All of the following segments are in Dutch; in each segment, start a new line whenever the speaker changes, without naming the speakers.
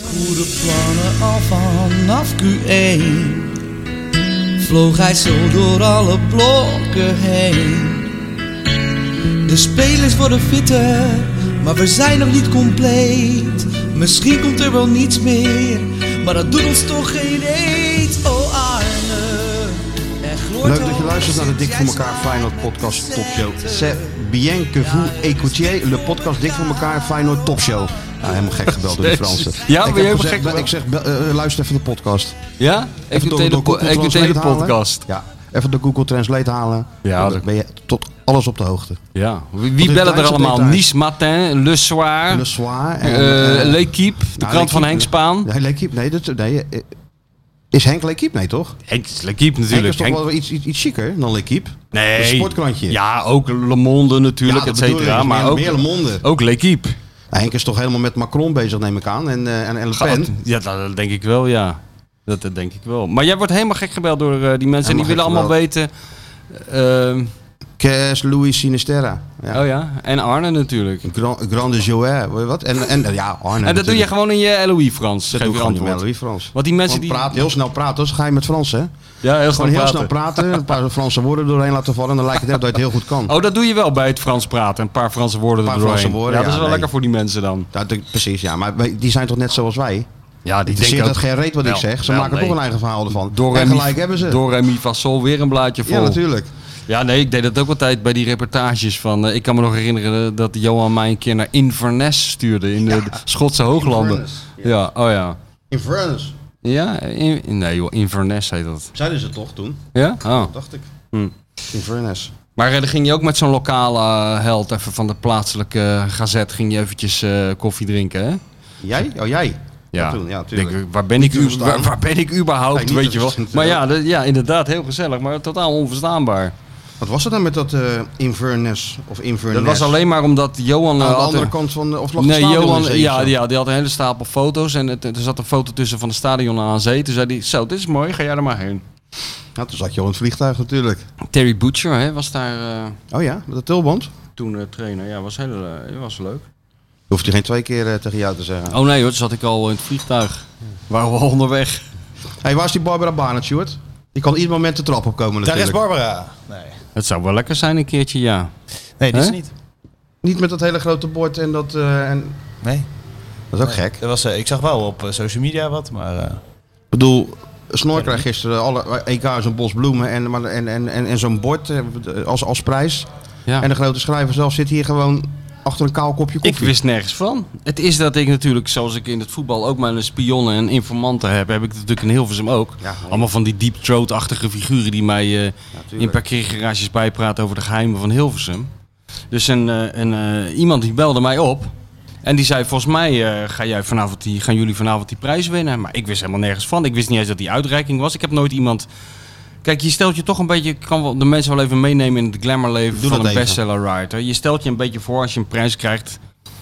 goede plannen al vanaf Q1 Vloog hij zo door alle blokken heen De spelers worden fitter, maar we zijn nog niet compleet Misschien komt er wel niets meer, maar dat doet ons toch geen eet Oh Arne, er gloort
Leuk dat je
al
luistert naar de Dik voor
sinds
elkaar
jij
Feyenoord
smaaide
podcast
de
topshow.
zetten.
C'est bien que vous écoutiez le podcast Dik voor elkaar Feyenoord topshow. Nou, helemaal gek gebeld door de
Jezus.
Fransen.
Ja, ben
ik
je
heb
helemaal
gezegd,
gek gebeld?
Ik zeg, eh, eh, luister even de podcast.
Ja? Ik
Even
doe tele-
Google
ik doe
Translate
tele
halen.
podcast.
Ja, even de Google Translate halen.
Ja,
Ja, dan
dat-
ben je tot alles op de hoogte.
Ja. Wie,
Tot
wie
in
bellen er
kleinste
allemaal?
detail.
Nice Matin, Le Soir,
Le Soir. en,
eh,
eh,
L'Equipe, de
nou,
krant van
L'Équipe-
Henk Spaan.
Nee, L'Équipe, nee, dat, nee. eh, Is Henk L'Equipe? Nee, toch?
Henk is L'Equipe
Henk is
natuurlijk.
toch
Henk-
wel iets, iets, iets chiquer dan L'Equipe?
nee.
Een sportkrantje.
Ja, ook Le Monde natuurlijk,
Ja,
et
dat bedoel
cetera.
ik.
Maar
Meer-
ook,
meer Le Monde.
ook L'Equipe.
Nou, Henk is toch helemaal met Macron bezig, neem ik aan. En, eh en, en Le
Gaat-
Pen.
Ja, dat, dat denk ik wel, ja. Dat, dat denk ik wel. Maar jij wordt helemaal gek gebeld door eh, die mensen. en die willen
Helemaal
allemaal weten... ehm,
Kes, Louis Sinisterra. Ja.
Oh ja, en Arne natuurlijk.
Grand, Grande Joël, weet je wat? En, en eh, ja, Arne.
Oh. en dat doe je
natuurlijk.
gewoon in je LOE-Frans.
Dat doe ik gewoon met
antwoord.
Louis Frans.
Want die mensen
Gewoon
die-
praten, heel snel praten, anders ga je met Frans, hè? Gewoon
Ja, heel snel
heel
praten.
snel praten, een paar Franse woorden doorheen laten vallen, dan lijkt het net dat je het heel goed kan.
Oh, dat doe je wel bij het Frans praten. Een paar Franse woorden
Een paar
er doorheen.
Franse woorden,
ja, dat is
ja,
wel
nee.
lekker voor die mensen dan.
Dat, dat- precies, ja, maar wij- die zijn toch net zoals wij?
Ja, die
Die
denken
zien dat
ook-
geen reet wat ik
Wel,
zeg, ze
wel,
maken
nee.
toch een eigen verhaal ervan.
Door
en
en mi-
gelijk hebben ze.
Door Remy van Sol weer een blaadje vol.
ja, natuurlijk.
Ja, nee, ik deed dat ook altijd bij die reportages van... eh, ik kan me nog herinneren eh, dat Johan mij een keer naar Inverness stuurde in de Schotse Hooglanden.
Inverness,
ja. oh ja.
In France
Ja, in, nee joh, Inverness heet dat.
zeiden ze toch toen,
Ja? Oh.
dacht ik.
Hm.
In France.
Maar eh, dan ging je ook met zo'n lokale eh, held even van de plaatselijke eh, gazet... ging je eventjes eh, koffie drinken, hè?
Jij? Oh, jij?
Ja,
toen, ja,
denk,
tuurlijk.
ik, waar, ben ik,
te
u-
verstaan.
waar, waar ben ik
Nee,
überhaupt,
niet
weet
te
je wel.
verstaan.
Maar ja, dat- ja, inderdaad, heel gezellig, maar totaal onverstaanbaar.
Wat was het dan met dat eh Inverness of Inverness?
Dat was alleen maar omdat Johan... eh,
aan de
had
andere
een-
kant van de of lag het
Nee,
stadion in
Johan
zee
ja,
of zo?
ja, die had een hele stapel foto's en het, er zat een foto tussen van het stadion aan zee. Toen zei hij, zo, dit is mooi, ga jij er maar heen.
Ja, Nou, toen zat je al in het vliegtuig natuurlijk.
Terry Butcher hè, was daar eh,
Oh ja, met de tulband.
toen eh, trainer. Ja, was, heel, eh, was leuk.
Hoeft hij geen twee keer eh, tegen jou te zeggen.
Oh nee hoor, toen zat ik al in het vliegtuig. Waren we al onderweg.
hey, waar is die Barbara Barnett, Stuart? Die kan ieder moment de trap opkomen
Daar
natuurlijk.
is Barbara. Nee,
Het zou wel lekker zijn een keertje, ja.
nee die is
Hè?
niet.
Niet met dat hele grote bord en dat... eh, en...
Nee.
Dat is ook gek.
Dat was, eh, ik zag wel op eh, social media wat, maar... eh,
Ik bedoel, Snor kreeg gisteren alle EK zo'n bos bloemen en, maar- en, en, en, en zo'n bord eh, als, als prijs.
ja.
En de grote schrijver zelf zit hier gewoon achter een kaal kopje
Ik
koffie.
wist nergens van. Het is dat ik natuurlijk, zoals ik in het voetbal ook mijn spionnen en informanten heb, heb ik het natuurlijk in Hilversum ook.
Ja, honderd.
Allemaal van die deep throat-achtige figuren die mij eh, in
Natuurlijk.
parkeergarages bijpraten over de geheimen van Hilversum. Dus een, eh, een, eh, iemand die belde mij op en die zei, volgens mij eh, ga jij vanavond die, gaan jullie vanavond die prijs winnen. Maar ik wist helemaal nergens van. Ik wist niet eens dat die uitreiking was. Ik heb nooit iemand... Kijk, je stelt je toch een beetje, ik kan wel de mensen wel even meenemen in het glamourleven
Doe
van
dat
een
even.
bestseller writer. Je stelt je een beetje voor als je een prijs krijgt,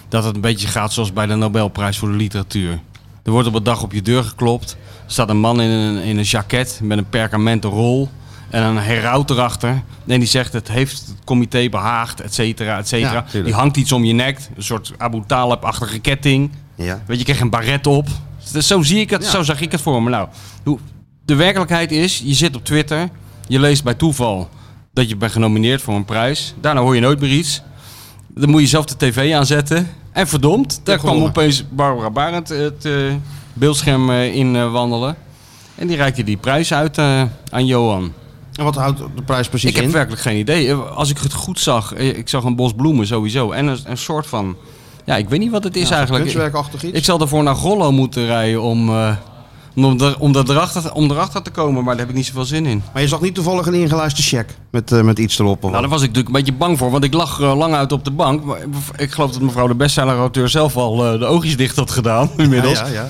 dat het een beetje gaat zoals bij de Nobelprijs voor de literatuur. Er wordt op een dag op je deur geklopt. Er staat een man in een, in een jacket met een perkamenten rol en een heraut erachter. En die zegt, het heeft het comité behaagd, et cetera, et
Ja,
cetera.
tuurlijk.
die hangt iets om je nek, een soort Abu Talib-achtige ketting.
Ja.
Weet je, je kreeg een baret op. Dus zo zie ik het,
Ja.
zo zag ik het voor me. Nou, hoe- de werkelijkheid is, je zit op Twitter, je leest bij toeval dat je bent genomineerd voor een prijs. Daarna hoor je nooit meer iets. Dan moet je zelf de tv aanzetten. En verdomd, daar kwam
gewonnen.
opeens Barbara Barend het eh, beeldscherm eh, in eh, wandelen. En die reikte die prijs uit eh, aan Johan.
En wat houdt de prijs precies
Ik heb
in?
werkelijk geen idee. Eh, Als ik het goed zag, eh, ik zag een bos bloemen sowieso. En een, een soort van, ja, ik weet niet wat het is eigenlijk.
Kunstwerkachtig iets?
Ik zal ervoor naar Gollo moeten rijden om, eh, om, er, om, dat erachter, om erachter te komen, maar daar heb ik niet zoveel zin in.
Maar je zag niet toevallig een ingeluisterde check met, eh, met iets erop. Of
Nou,
wat?
daar was ik natuurlijk een beetje bang voor, want ik lag eh, lang uit op de bank. Maar ik geloof dat mevrouw de bestseller-auteur zelf al eh, de oogjes dicht had gedaan inmiddels.
Ja, ja, ja.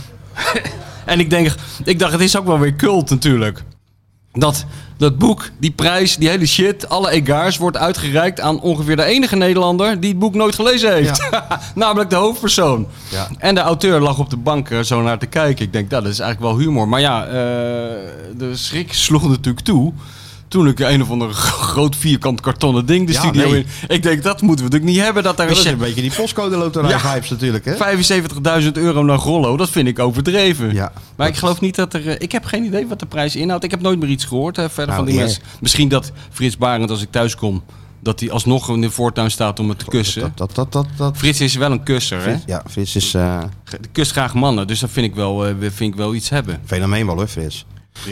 En ik, denk, ik dacht, het is ook wel weer cult natuurlijk. Dat, dat boek, die prijs, die hele shit, alle egaars wordt uitgereikt aan ongeveer de enige Nederlander die het boek nooit gelezen heeft. Namelijk de hoofdpersoon.
Ja.
En de auteur lag op de bank eh, zo naar te kijken. Ik denk, nou, dat is eigenlijk wel humor. Maar ja, eh, de schrik sloeg natuurlijk toe Toen ik een of ander groot vierkant kartonnen ding de
Ja,
studio
nee.
in. Ik denk, dat moeten we natuurlijk niet hebben. Dat daar
Dat is een
een
beetje die postcode loterij
Ja.
hypes natuurlijk, hè?
check 75.000 euro naar Rollo, dat vind ik overdreven.
Ja.
Maar ik geloof niet dat er... eh, Ik heb geen idee wat de prijs inhoudt. Ik heb nooit meer iets gehoord hè, verder
Nou,
van die
nee.
mensen. Misschien dat Frits Barend, als ik thuis kom... dat hij alsnog in de voortuin staat om het te kussen.
Dat, dat, dat, dat, dat.
Frits is wel een kusser, hè?
Ja, Frits is eh
Ge- Kust graag mannen, dus dat vind ik wel, eh, vind ik wel iets hebben.
fenomeenbal, hoor, Frits.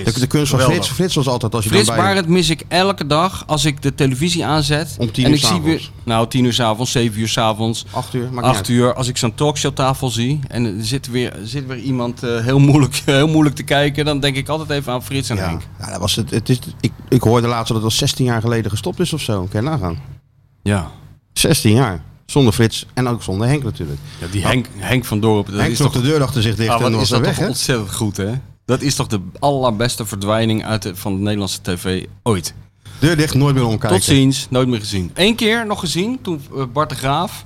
De, de kunst van
geweldig.
Frits, Frits was altijd als je
Frits
dan bij...
Barend mis ik elke dag als ik de televisie aanzet.
Om tien
en
uur
ik zie
s'avonds. Oh,
weer, Nou, tien uur s'avonds, zeven uur s'avonds.
Acht uur, maakt
Acht
niet
uur, als ik zo'n talkshowtafel zie en er zit weer, zit weer iemand eh, heel, moeilijk, heel moeilijk te kijken, dan denk ik altijd even aan Frits en
uit.
Henk.
Ja. Ja, dat was het, het is, ik, ik hoorde laatst dat het al 16 jaar geleden gestopt is of zo. Kan je nagaan.
Ja.
16 jaar. Zonder Frits en ook zonder Henk natuurlijk.
ja die Henk, Henk van Dorp, dat
Henk
is
trok
toch,
de deur achter zich dicht
ah,
en
wat is
was er
dat
weg,
toch
hè?
ontzettend goed, hè? Dat is toch de allerbeste verdwijning uit de, van de Nederlandse tv ooit.
Deur dicht, nooit meer omkijken.
Tot ziens, nooit meer gezien. Eén keer nog gezien, toen eh, Bart de Graaf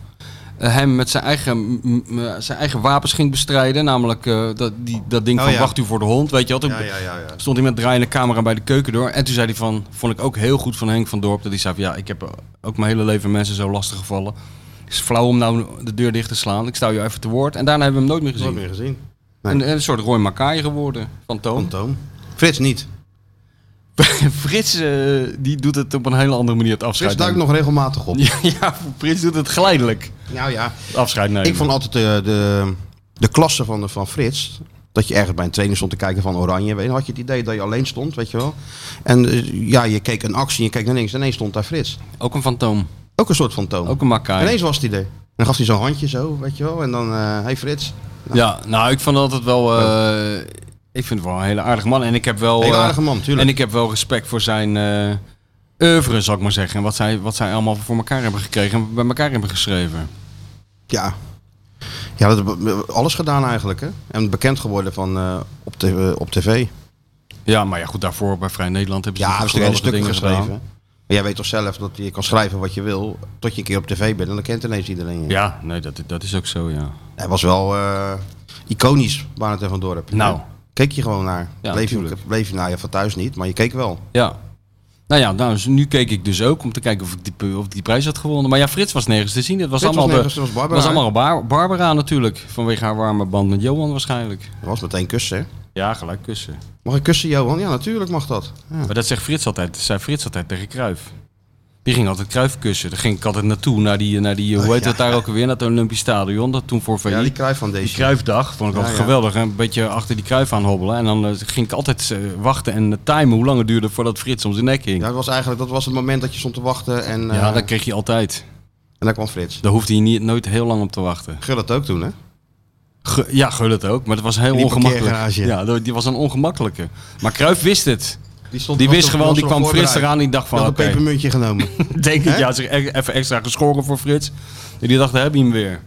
eh, hem met zijn eigen, m- m- eh, zijn eigen wapens ging bestrijden. Namelijk eh, dat, die, dat ding
Oh,
van
ja.
wacht u voor de hond, weet je wat. Toen
Ja, ja, ja, ja.
stond hij met draaiende camera bij de keuken door. En toen zei hij van, vond ik ook heel goed van Henk van Dorp. Dat hij zei van, ja, ik heb eh, ook mijn hele leven mensen zo lastig gevallen. Het is flauw om nou de deur dicht te slaan. Ik sta je even te woord. En daarna hebben we hem nooit meer gezien.
Nooit meer gezien.
Een, een soort Roy Makai geworden, fantoom.
Fantoom. Frits niet.
Frits, eh, die doet het op een hele andere manier, het afscheid.
Frits duikt
nemen.
nog regelmatig op.
Ja, ja, Frits doet het glijdelijk.
Nou ja,
afscheid nemen.
Ik vond altijd de, de, de klasse van, de, van Frits. Dat je ergens bij een trainer stond te kijken van Oranje. Weet je, had je het idee dat je alleen stond, weet je wel. En eh, ja, je keek een actie, je keek naar links en ineens stond daar Frits.
Ook een fantoom.
Ook een soort fantoom.
Ook een makkaai.
Ineens was hij er. Dan gaf hij zo'n handje zo, weet je wel. En dan, eh hey Frits.
Ja, nou, ik vond altijd wel... eh, ik vind het wel een hele aardige man. En ik heb wel...
Oh. Hele
eh,
aardige man, tuurlijk.
En ik heb wel respect voor zijn eh oeuvre, zal ik maar zeggen. En wat zij, wat zij allemaal voor elkaar hebben gekregen en bij elkaar hebben geschreven.
Ja. Ja, dat hebben we alles gedaan eigenlijk, hè. En bekend geworden van, eh, op, tv, op tv.
Ja, maar ja, goed, daarvoor bij Vrij Nederland hebben ze
Ja,
natuurlijk
een stuk, een
geweldige
stuk
dingen
geschreven.
gedaan.
Maar jij weet toch zelf dat je kan schrijven wat je wil, tot je een keer op tv bent en dan kent ineens iedereen je.
Ja, nee, dat, dat is ook zo, ja.
Hij was wel eh, iconisch, Barend en van Dorp.
Nou.
Keek je gewoon naar.
Ja,
bleef, je,
tuurlijk.
bleef je naar je van thuis niet, maar je keek wel.
Ja. Nou ja, nou, dus nu keek ik dus ook om te kijken of ik die, of ik die prijs had gewonnen. Maar ja, Frits was nergens te zien. Dat was
Frits
allemaal,
was nergens,
de,
dat was Barbara,
was allemaal Bar- Barbara natuurlijk. Vanwege haar warme band met Johan waarschijnlijk.
Dat was meteen kussen. hè?
Ja, gelijk kussen.
Mag ik kussen, Johan? Ja, natuurlijk mag dat. Ja.
Maar dat zegt Frits altijd, zei Frits altijd tegen Kruif. Die ging altijd Kruif kussen. Daar ging ik altijd naartoe, naar die, naar die hoe
Oh,
heet
ja.
dat daar ook weer, naar het Olympisch Stadion. Dat toen voor VI.
Ja, die
die,
kruif van deze.
Kruifdag, vond ik
Ja,
altijd
ja.
geweldig. hè. Een beetje achter die Kruif aan hobbelen. En dan eh, ging ik altijd eh, wachten en eh, timen hoe lang het duurde voordat Frits om zijn nek hing.
Ja,
Ja,
dat was eigenlijk dat was het moment dat je stond te wachten en, eh,
dat kreeg je altijd.
en daar kwam Frits.
Daar hoefde je niet, nooit heel lang op te wachten.
Gul het ook toen, hè?
Ge- ja, gul het ook, maar dat was heel
In die
ongemakkelijk.
parkeergarage.
Ja, dat- die was een ongemakkelijke. Maar Kruif wist het.
stond
Die
was
wist
er-
gewoon,
was
die
er
kwam
voorbereid.
Frits eraan die dacht
Die
van...
had een
oké.
pepermuntje genomen.
Denk ik,
Hè?
ja. Ze e- even extra geschoren voor Frits. En die dacht, daar heb je hem weer.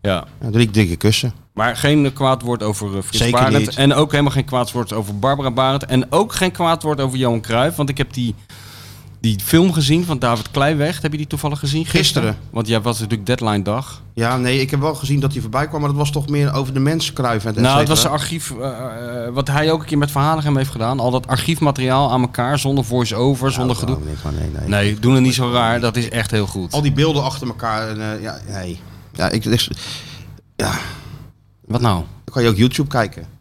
Ja.
Ja, drie dikke kussen.
Maar geen eh, kwaad woord over eh, Frits
Zeker
Barend.
niet.
En ook helemaal geen kwaad woord over Barbara Barend. En ook geen kwaad woord over Johan Cruijff. Want ik heb die, die film gezien van David Kleiweg. Heb je die toevallig gezien?
Gisteren.
Want jij was natuurlijk deadline dag.
Ja, nee, ik heb wel gezien dat hij voorbij kwam, maar dat was toch meer over de mensen kruiven. en et
Nou, het was
cetera.
zijn archief, eh, eh, wat hij ook een keer met Verhaligem heeft gedaan. Al dat archiefmateriaal aan elkaar, zonder voice-over,
Nou,
zonder gedoe.
nou, nee, van, nee, nee.
Nee, doen het niet zo raar. Dat is echt heel goed.
Al die beelden achter elkaar. En, eh, ja, nee. Ja, ik, ik-
Wat nou?
dan kan je ook YouTube kijken.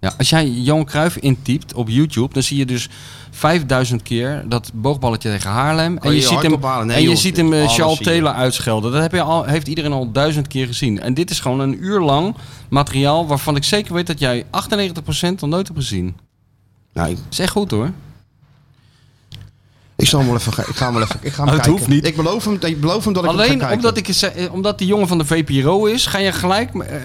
Ja, als jij Johan Cruijff intypt op YouTube, dan zie je dus 5000 keer dat boogballetje tegen Haarlem.
je
en je,
je
ziet
hart
hem,
ophalen? Nee,
en je
joh,
ziet hem eh,
alles
Charles
zie je.
Taylor uitschelden. Dat heb je al, heeft iedereen al duizend keer gezien. En dit is gewoon een uur lang materiaal waarvan ik zeker weet dat jij 98% nog nooit hebt gezien.
Nou, ik,
Dat is echt goed hoor.
ik zal hem wel even, ge- ik ga hem wel even, ik ga hem
Oh, het
kijken.
hoeft niet.
Ik beloof hem, ik beloof hem dat ik hem ga
Alleen
kijken.
omdat, ik, eens- eh, omdat die jongen van de VPRO is, ga je gelijk... eh,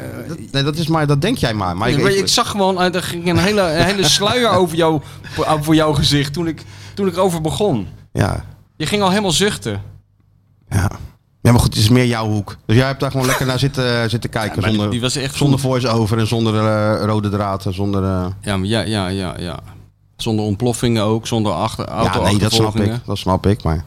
Nee, dat is maar, dat denk jij maar. maar ik,
ik,
ik-
zag gewoon, eh, er ging een hele, een hele sluier over, jou, over jouw gezicht toen ik, toen ik over begon.
ja,
Je ging al helemaal zuchten.
ja. Ja, maar goed, het is meer jouw hoek. Dus jij hebt daar gewoon lekker naar zitten, eh, zitten kijken.
Maar
zonder
die was echt
zonder voice-over en zonder eh, rode draad. en Zonder, eh,
Ja, maar ja, ja, ja, ja. Zonder ontploffingen ook, zonder achter, auto
ja, nee, dat snap ik. Dat snap ik, maar...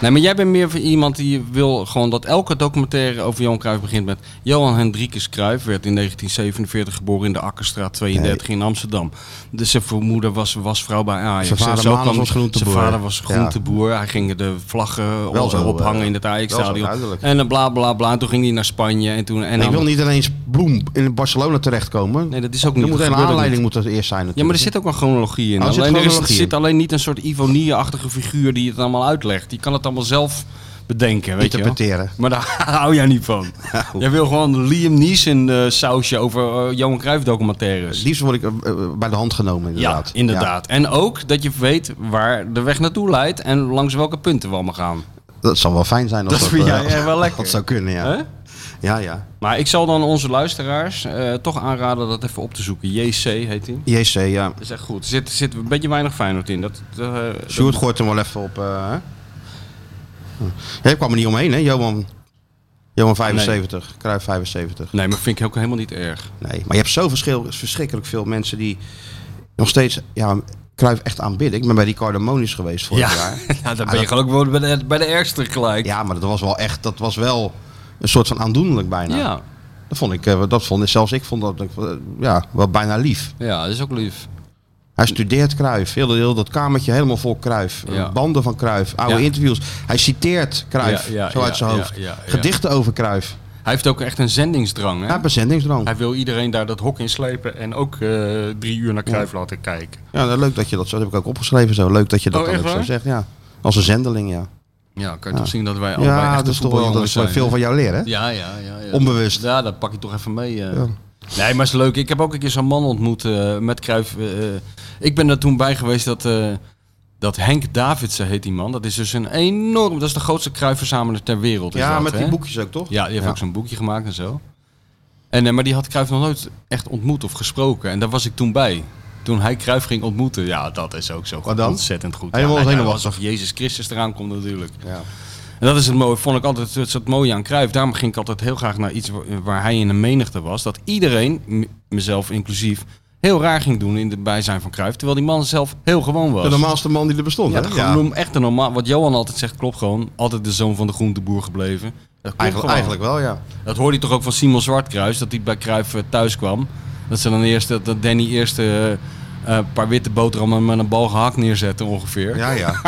Nee, maar jij bent meer van iemand die wil gewoon dat elke documentaire over Johan Cruijff begint met... Johan Hendrikus Cruijff werd in 1947 geboren in de Akkerstraat 32 in Amsterdam. Dus zijn moeder was, was vrouw bij Ajax.
Zijn vader
Zo
Manus
kwam-
was groenteboer.
Zijn vader was
Ja.
groenteboer. Hij ging de vlaggen
Wel zo,
ophangen
eh,
in het
wel zo
Ajax-stadion.
duidelijk.
En dan bla bla bla. En toen ging hij naar Spanje. En toen, en
ik
dan-
wil niet ineens bloem in Barcelona terechtkomen.
Nee, dat is ook
er
niet.
moet
dat
een
gebeurde
aanleiding
niet.
moet dat eerst zijn.
Ja, maar er zit ook een chronologie in.
Oh, er zit
alleen, er, is,
chronologie in.
zit alleen niet een soort Ivonie-achtige figuur die het allemaal uitlegt. Die kan het allemaal zelf bedenken, weet je wel.
interpreteren.
Maar daar hou jij niet van. Jij wil gewoon Liam Neeson eh, sausje over eh, Johan Cruijff documentaires.
Het liefst word ik eh, eh, bij de hand genomen, inderdaad.
Ja, inderdaad. En ook dat je weet waar de weg naartoe leidt en langs welke punten we allemaal gaan.
Ja, dat zou wel fijn zijn. Als
Dat vind
eh,
jij, eh, wel lekker.
Dat zou kunnen, ja.
Hè?
Ja, ja.
Maar ik zal dan onze luisteraars eh, toch aanraden dat even op te zoeken. JC heet hij.
JC, ja.
Dat is echt goed. Er zit, zit een beetje weinig Feyenoord in. Dat, dat, eh,
Sjoerd gooit hem wel even op. eh, hè? Ja, je kwam er niet omheen, hè? Johan, Johan 75, Cruijff 75.
Nee, maar vind ik ook helemaal niet erg.
Nee, maar je hebt zo verschil, verschrikkelijk veel mensen die nog steeds ja, Cruijff echt aanbidden. Ik ben bij Ricardo Moniz geweest vorig jaar.
nou, dan
Ah,
ben je gewoon ook wel bij de, bij de ergste gelijk.
Ja, maar dat was wel echt, dat was wel een soort van aandoenlijk bijna.
ja.
Dat vond ik, eh, dat vond ik, zelfs ik vond dat eh, ja, wel bijna lief.
Ja, dat is ook lief.
Hij studeert Cruijff, heel, heel dat kamertje helemaal vol Cruijff.
Ja.
Banden van Cruijff, oude
Ja.
interviews. Hij citeert Cruijff,
Ja, ja,
zo uit
ja,
zijn
ja,
hoofd.
ja, ja.
Gedichten over Cruijff.
Hij heeft ook echt een zendingsdrang. Hè?
Ja, bezendingsdrang.
Hij wil iedereen daar dat hok in slepen en ook eh, drie uur naar Kruif laten kijken.
Ja, nou, leuk dat je dat zo, dat heb ik ook opgeschreven zo. Leuk dat je dat
Oh,
dan
echt
ook zo
waar?
zegt, ja. Als een zendeling, ja.
Ja, kan je toch zien dat wij allebei
Ja,
echte
dat is toch wel dat
voetbaljongens
ik wel
zijn.
veel van jou leren. hè?
Ja, ja, ja, ja.
Onbewust.
Ja, dat pak je toch even mee. eh. Nee, maar is leuk. Ik heb ook een keer zo'n man ontmoet eh, met Kruif. ik ben er toen bij geweest dat, eh, dat Henk Davidsen heet die man. Dat is dus een enorm... Dat is de grootste kruifverzamelaar ter wereld. is
Ja,
dat,
met
hè?
die boekjes ook, toch?
Ja, die heeft
Ja.
ook zo'n boekje gemaakt en zo. En, eh, maar die had Cruijff nog nooit echt ontmoet of gesproken. En daar was ik toen bij. Toen hij Cruijff ging ontmoeten. Ja, dat is ook zo
Wat dan?
ontzettend goed.
Helemaal
ja, nou,
zenuwachtig.
alsof Jezus Christus eraan komt natuurlijk.
Ja.
En dat is het mooie, vond ik altijd het, het mooie aan Cruijff. Daarom ging ik altijd heel graag naar iets wa- waar hij in de menigte was. Dat iedereen, m- mezelf inclusief, heel raar ging doen in het bijzijn van Cruijff. Terwijl die man zelf heel gewoon was.
De normaalste man die er bestond,
Ja,
hè?
gewoon noem echt een normaal. Wat Johan altijd zegt, klopt gewoon. Altijd de zoon van de groenteboer gebleven. Dat klopt
Eigenlijk, eigenlijk
gewoon.
wel, ja.
Dat hoorde je toch ook van Simon Zwartkruis, dat hij bij Cruijff eh, thuis kwam. Dat ze dan eerst, dat dat Danny eerst eh, eh, een paar witte boterhammen met een bal gehakt neerzette ongeveer.
Ja, ja.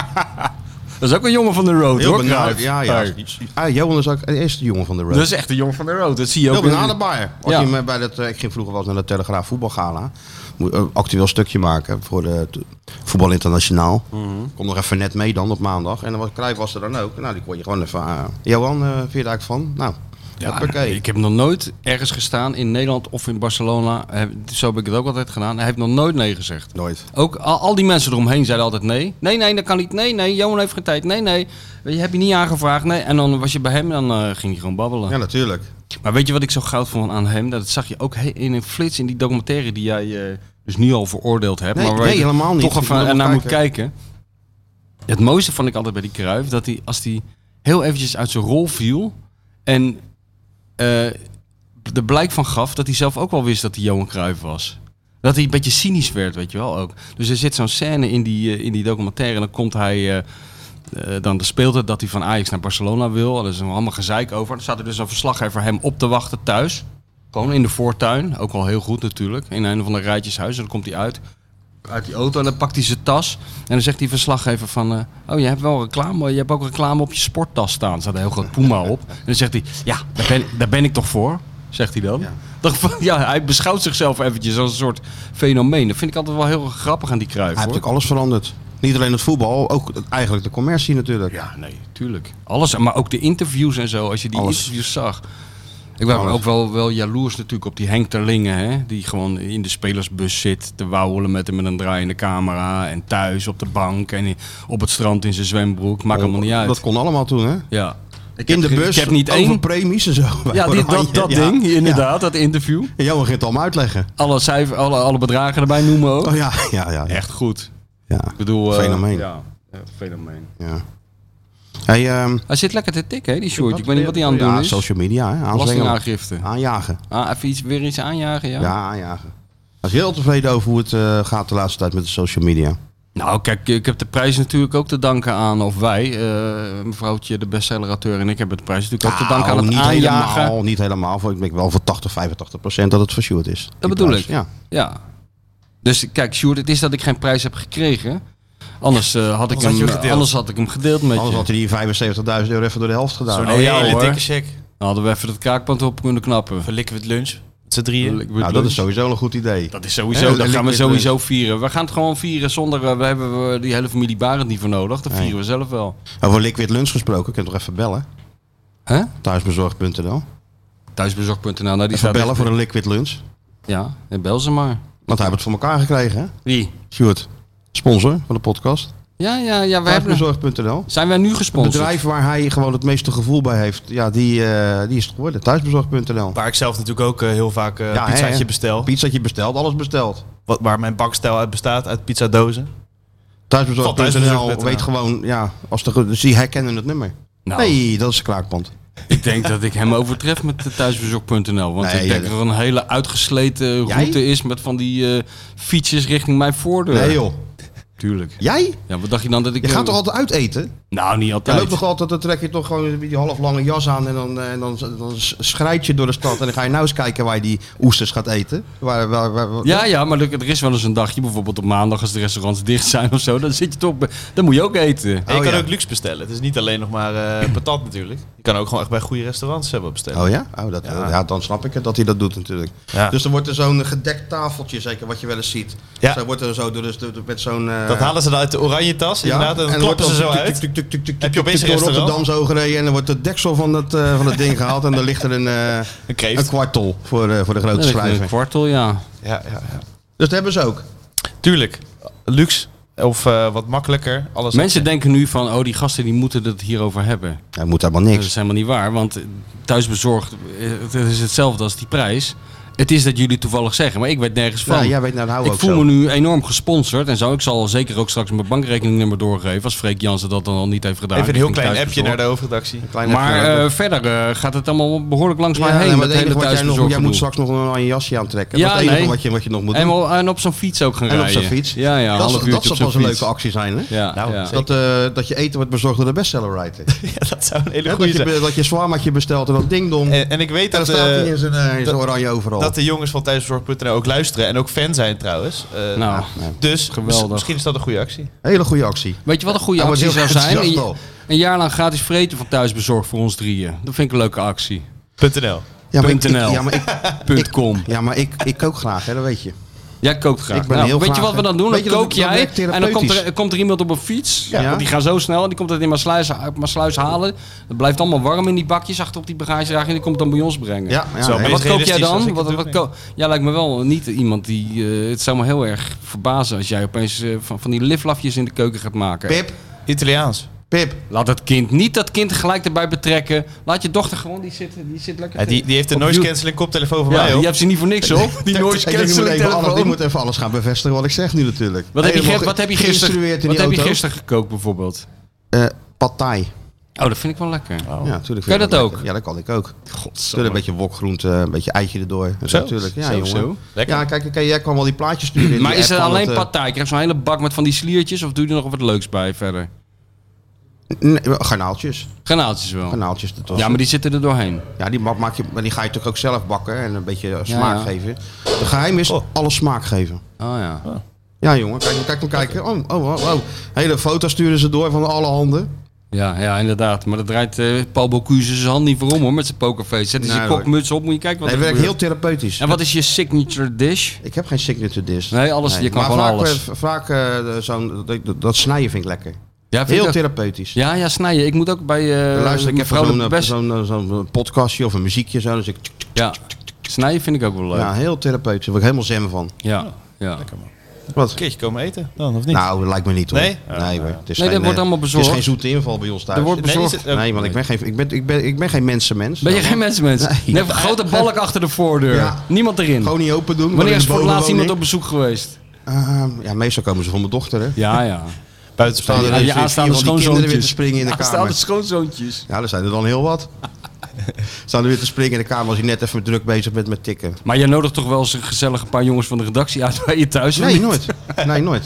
Dat is ook een jongen van de road,
Heel
hoor,
benauwd.
Cruijff.
Ja, ja.
Hey.
Ah, Johan is ook de eerste jongen van de road.
Dat is echt een jongen van de road, dat zie je ook.
Heel
in-
benaderbaar. Als
Ja.
je me bij dat, eh, ik ging vroeger wel eens naar de Telegraaf voetbalgala. Moet een actueel stukje maken voor de t- Voetbal Internationaal.
Mhm.
Kom nog even net mee dan op maandag. En dan was Cruijff was er dan ook. Nou, die kon je gewoon even... eh, Johan, eh vind je daar ook van? Nou,
Ja,
hoppakee.
ik heb nog nooit ergens gestaan in Nederland of in Barcelona. Eh, Zo heb ik het ook altijd gedaan. Hij heeft nog nooit nee gezegd.
Nooit.
Ook al, al die mensen eromheen zeiden altijd nee. Nee, nee, dat kan niet. Nee, nee, Johan heeft geen tijd. Nee, nee, je hebt je niet aangevraagd. Nee. En dan was je bij hem en dan eh, ging hij gewoon babbelen.
Ja, natuurlijk.
Maar weet je wat ik zo goud vond aan hem? Dat zag je ook he- in een flits in die documentaire die jij eh, dus nu al veroordeeld hebt.
Nee,
maar waar
nee,
je
helemaal niet.
Toch
Ik wil
even
nog
naar moet
kijken.
kijken. Het mooiste vond ik altijd bij die Kruif dat hij als hij heel eventjes uit zijn rol viel en eh er blijk van gaf dat hij zelf ook wel wist dat hij Johan Cruijff was. Dat hij een beetje cynisch werd, weet je wel ook. Dus er zit zo'n scène in die, eh, in die documentaire en dan komt hij... eh, eh, dan speelt het dat hij van Ajax naar Barcelona wil. Er is een allemaal gezeik over. Dan staat er dus een verslaggever hem op te wachten thuis. Gewoon in de voortuin. Ook wel heel goed natuurlijk. In een van de rijtjeshuizen. Dan komt hij uit. Uit die auto. En dan pakt hij zijn tas. En dan zegt die verslaggever van... eh, oh, je hebt wel reclame. Je hebt ook reclame op je sporttas staan. Er staat een heel groot Puma op. En dan zegt hij... Ja, daar ben, daar ben ik toch voor. Zegt hij dan.
Ja.
Dacht van, ja, hij beschouwt zichzelf eventjes als een soort fenomeen. Dat vind ik altijd wel heel grappig aan die kruif.
Hij heeft natuurlijk alles veranderd. Niet alleen het voetbal, ook het- eigenlijk de commercie natuurlijk.
Ja, nee, tuurlijk. Alles, maar ook de interviews en zo, als je die
Alles.
interviews zag. Ik was
Alles.
ook wel, wel jaloers natuurlijk op die Henk Terlingen, hè? die gewoon in de spelersbus zit te wauwelen met hem met een draaiende camera. En thuis op de bank en in- op het strand in zijn zwembroek. Maakt allemaal niet uit.
Oh, Dat kon allemaal toen, hè?
Ja. Ik
In
heb
de
geen-
bus,
Ik heb niet
over
één.
premies en zo.
Ja, die, dat, dat
Ja.
ding, inderdaad, dat interview.
Ja. Johan ging het allemaal uitleggen.
Alle, cijfer, alle, alle bedragen erbij noemen ook.
Oh ja, ja, ja. ja.
Echt goed.
ja.
Ik bedoel, eh,
Fenomeen.
Ja, eh, fenomeen.
ja. Hey, ehm,
Hij zit lekker te tikken, hè, die shortje. Ik weet niet wat hij aan het doen
ja,
is.
social media, hè? aanzwengelen.
Belastingaangifte.
Aanjagen.
Ah, even iets, weer iets aanjagen, ja?
Ja, aanjagen. Hij is heel tevreden over hoe het eh, gaat de laatste tijd met de social media.
Nou, kijk, ik heb de prijs natuurlijk ook te danken aan, of wij, eh, mevrouwtje, de bestsellerauteur en ik hebben de prijs natuurlijk ook te danken aan
Nou,
het
niet
aanjagen.
Helemaal, niet helemaal, voor ik denk wel voor 80, 85 procent dat het voor Sjoerd is. Die
bedoel
prijs,
ik.
Ja.
Ja. Dus kijk, Sjoerd, het is dat ik geen prijs heb gekregen. Anders, eh, had, ik
had je hem
hem,
gedeeld.
anders had ik hem gedeeld met
Anders
je.
had hij die 75.000 euro even door de helft gedaan.
Zo'n
oh, ja,
hele
hoor.
dikke check.
Dan hadden we even dat kraakpand op kunnen knappen.
Verlikken we het lunch. Met z'n drieën.
Ik
nou,
bedoel-
dat is sowieso een goed idee.
dat is sowieso,
Hè,
dat gaan we
liquid dus.
sowieso vieren. We gaan het gewoon vieren zonder, eh, we hebben eh, die hele familie Barend niet voor nodig. Dat vieren we zelf wel.
Over Liquid Lunch gesproken, kun je toch even bellen?
Hè?
Thuisbezorgd.nl.
Thuisbezorg.nl, nou die
Even
staat...
bellen voor een Liquid Lunch.
Ja, en bel ze maar.
Want hij hebben het voor elkaar gekregen, hè?
Wie?
Sjoerd, sponsor van de podcast.
Ja, ja, ja. We hebben...
Thuisbezorgd.nl.
Zijn wij nu
Het
gesponsord?
bedrijf waar hij gewoon het meeste gevoel bij heeft, ja, die, eh, die is het geworden. Thuisbezorgd.nl.
Waar ik zelf natuurlijk ook eh, heel vaak eh
Ja, hè,
pizzaatje
hè.
bestel.
Pizzaatje besteld, alles besteld.
Wat, waar mijn bakstijl uit bestaat, uit pizzadozen. Van
Thuisbezorgd.nl
thuisbezorgd.nl.
weet gewoon, ja, als de, dus die herkennen het nummer.
Nou,
Nee, dat is een kraakpand.
ik denk dat ik hem overtref met eh, thuisbezoek.nl. Want
Nee,
ik denk
ja,
dat er een hele uitgesleten
Jij?
route is met van die eh, fietsjes richting mijn voordeur.
Nee joh.
Tuurlijk.
Jij?
Ja, wat dacht je dan dat ik...
Je
eh,
gaat toch altijd uit eten?
Nou, niet
Je
altijd.
loopt toch altijd, dan trek je toch gewoon die halflange jas aan en dan, eh, en dan, dan schrijt je door de stad en dan ga je nou eens kijken waar je die oesters gaat eten. Waar, waar, waar, waar-
Ja, ja, maar er er is wel eens een dagje, bijvoorbeeld op maandag als de restaurants dicht zijn of zo. Dan zit je toch... bij- Dan moet je ook eten.
En je
Oh,
kan
ja.
ook luxe bestellen. Het is niet alleen nog maar eh, patat natuurlijk. Je kan ook gewoon echt bij goede restaurants hebben bestellen.
Oh ja? Oh, dat, ja.
Ja.
dan snap ik het dat hij dat doet natuurlijk.
Ja.
Dus er wordt er zo'n gedekt tafeltje, zeker wat je wel eens ziet.
Ja.
Zo wordt er zo door, dus, door- door- met zo'n... eh,
dat halen ze dan uit de oranje tas
ja,
inderdaad. En dan
er
kloppen ze
wordt
zo
dan tuk,
uit.
tuk, tuk, tuk, tuk,
Heb je
tuk,
opeens
tuk
een
door
restaurant?
Rotterdam zo gereden en dan wordt het deksel van dat, eh, van dat ding gehaald en dan ligt er een, eh,
Een
een
kreeft.
kwartel voor, eh, voor de grote
Dan heb ik Een
schrijver.
kwartel, ja.
Ja, ja, ja.
Dus dat hebben ze ook.
Tuurlijk. Luxe. Of eh, wat makkelijker. Alles
Mensen denken nu van, oh, die gasten die moeten het hierover hebben.
Hij moet helemaal
Dat
niks.
is helemaal niet waar, want thuisbezorgd eh, het is hetzelfde als die prijs. Het is dat jullie toevallig zeggen, maar ik weet nergens van.
Ja, jij weet nou, dat houden
ik
we ook
voel
zo.
me nu enorm gesponsord en zo. Ik zal zeker ook straks mijn bankrekeningnummer doorgeven als Freek Jansen dat dan al niet heeft gedaan.
Even een heel
richting
klein appje naar de
Thuisbezorgd.
hoofdredactie.
Klein
Maar
even-
eh, verder eh, gaat het allemaal behoorlijk langs
Ja,
mij heen.
nee, maar
met
het
hele
enige wat jij, nog,
thuisbezorgd
jij moet
gedoe.
straks nog een oranje jasje aantrekken.
Ja,
dat is het enige
nee.
wat, je, wat je nog moet doen.
en, wel- en op zo'n fiets ook gaan
En op
rijden.
zo'n fiets.
Ja, ja,
dat
half
zou-
uurtje
dat
op
zou
zo'n
pas een
fiets.
leuke actie zijn, hè?
Ja,
Nou,
ja.
zeker.
Dat, eh, dat je eten wordt bezorgd door de bestseller-writer.
Ja, dat zou een hele
Ja,
goede
dat,
zijn.
je, dat je zwaarmatje bestelt en dat ding-dong.
Eh.
En
En, en ik weet
dan
dat,
staat hij
eh,
in zijn, eh, in zijn oranje overal.
dat de jongens van thuisbezorg.nl ook luisteren. En ook fan zijn trouwens. Eh,
Nou,
dus
geweldig.
mis- misschien is dat een goede actie.
Hele goede actie.
Weet je wat een goede
Hij wordt
actie
heel
zou zijn?
enthousiast
Een,
al.
een jaar lang gratis vreten van thuisbezorgd voor ons drieën. Dat vind ik een leuke actie.
.nl.
Ja, maar ik, ik-
.nl.
ja, maar, ik,
Punt com.
ja, maar ik, ik kook graag, hè, dat weet je.
Jij kookt graag.
Ik ben
Nou,
heel
weet
graag,
je wat we dan doen?
weet je,
dan
dat-
kook
dat
jij
werkt
en dan komt er,
therapeutisch.
komt er iemand op een fiets.
Ja.
Want die gaan zo snel en die komt dat in mijn sluis, uit mijn sluis halen. Dat blijft allemaal warm in die bakjes achter op die bagagedrager en die komt dan bij ons brengen.
Ja, ja,
Zo,
nee.
En wat
Meest
kook jij
realistisch als
dan?
ik
Wat,
het
wat
doe,
ko- jij lijkt me wel niet iemand die... eh, het zou me heel erg verbazen als jij opeens eh, van, van die liflafjes in de keuken gaat maken.
Pip,
Italiaans.
Pip.
Laat het kind niet dat kind gelijk erbij betrekken. Laat je dochter gewoon, die zit, die zit lekker...
Ja, die, die heeft een
op
noise
you-
cancelling koptelefoon van
Ja,
mij
die
op.
hebt ze niet voor niks op. Die noise
Ik denk, die moet,
cancelling
even alles, die
telefoon.
moet even alles gaan bevestigen wat ik zeg nu natuurlijk.
Wat heb, je,
Helemaal
ge- wat heb je
geïnstrueerd
gisteren,
in
wat
die
heb je
auto.
gisteren gekookt bijvoorbeeld?
Eh, Pad Thai.
Oh, dat vind ik wel lekker.
Ja, natuurlijk.
Kan je dat ook?
Ja, dat kan ik ook. Natuurlijk
Godsamme.
een beetje wokgroente, een beetje eitje erdoor.
Zo,
natuurlijk. Ja,
zo,
jongen.
zo.
Lekker.
Ja, kijk, kijk, jij kan wel die plaatjes sturen. in die
Maar is
app
het
van
alleen
eh,
partij? Krijg je zo'n hele bak met van die sliertjes of doe je er nog wat leuks bij verder?
Nee, garnaaltjes.
Granaaltjes wel.
Garnaaltjes. dat was
Ja,
het.
maar die zitten er doorheen.
Ja, die, ma- maak je, maar die ga je natuurlijk ook zelf bakken en een beetje eh, smaak
ja.
geven. Het geheim is
Oh.
alles smaak geven.
Oh ja.
Ja, jongen, kijk, kijk, kijk, kijken. Oh, oh, oh, oh. Hele foto sturen ze door van alle handen.
Ja, ja inderdaad. Maar dat draait eh, Paul Bocuse zijn hand niet voor om hoor, met zijn pokerface. Zet hij
Nee,
zijn
hoor.
kokmuts op, moet je kijken wat
Nee, het
er
werkt
gebeurt.
heel therapeutisch.
En wat is je signature dish?
Ik heb geen signature dish.
Nee, alles, je kan
maar
gewoon
vaak,
alles.
eh, vaak eh, zo'n, dat, dat snijden vind ik lekker.
Ja, vind je
Heel
dat-
therapeutisch.
Ja, ja, snijden. Ik moet ook bij eh
Luister, ik heb
mevrouw
zo'n
de
eh,
Best-
zo'n eh, zo'n podcastje of een muziekje zo. Dus ik,
Ja, snijden vind ik ook wel leuk.
ja,
Oh Ja,
heel therapeutisch. Daar word ik helemaal zen van.
ja.
Wat?
Een keertje komen eten dan, of niet?
Nou, dat lijkt me niet hoor.
Nee?
nee, hoor. Het is
Nee, dat
geen, eh,
wordt allemaal bezorgd.
Het is geen zoete inval bij ons thuis.
Er wordt
Nee, is
bezorgd.
het- eh,
Nee, want ik ben geen, ik ben, ik ben, ik ben geen mensenmens.
Ben je geen mensenmens?
Nee.
Nee. een grote balk achter de voordeur.
Ja.
Niemand erin.
Gewoon niet open doen.
Wanneer is voor het
de
laatst iemand op bezoek geweest?
Ah, ja, meestal komen ze van mijn dochter, hè.
Ja, ja.
Buiten
Staan er
Ja,
dus
je
vier
aanstaande
van die kinderen weer te
schoonzoontjes.
springen in de
Aanstaande
kamer.
schoonzoontjes.
Ja, er zijn er dan heel wat. Staan er weer te springen in de kamer als hij net even druk bezig bent met tikken.
Maar jij nodigt toch wel eens een gezellige paar jongens van de redactie uit bij je thuis? of
Nee,
niet?
nooit. Nee, nooit.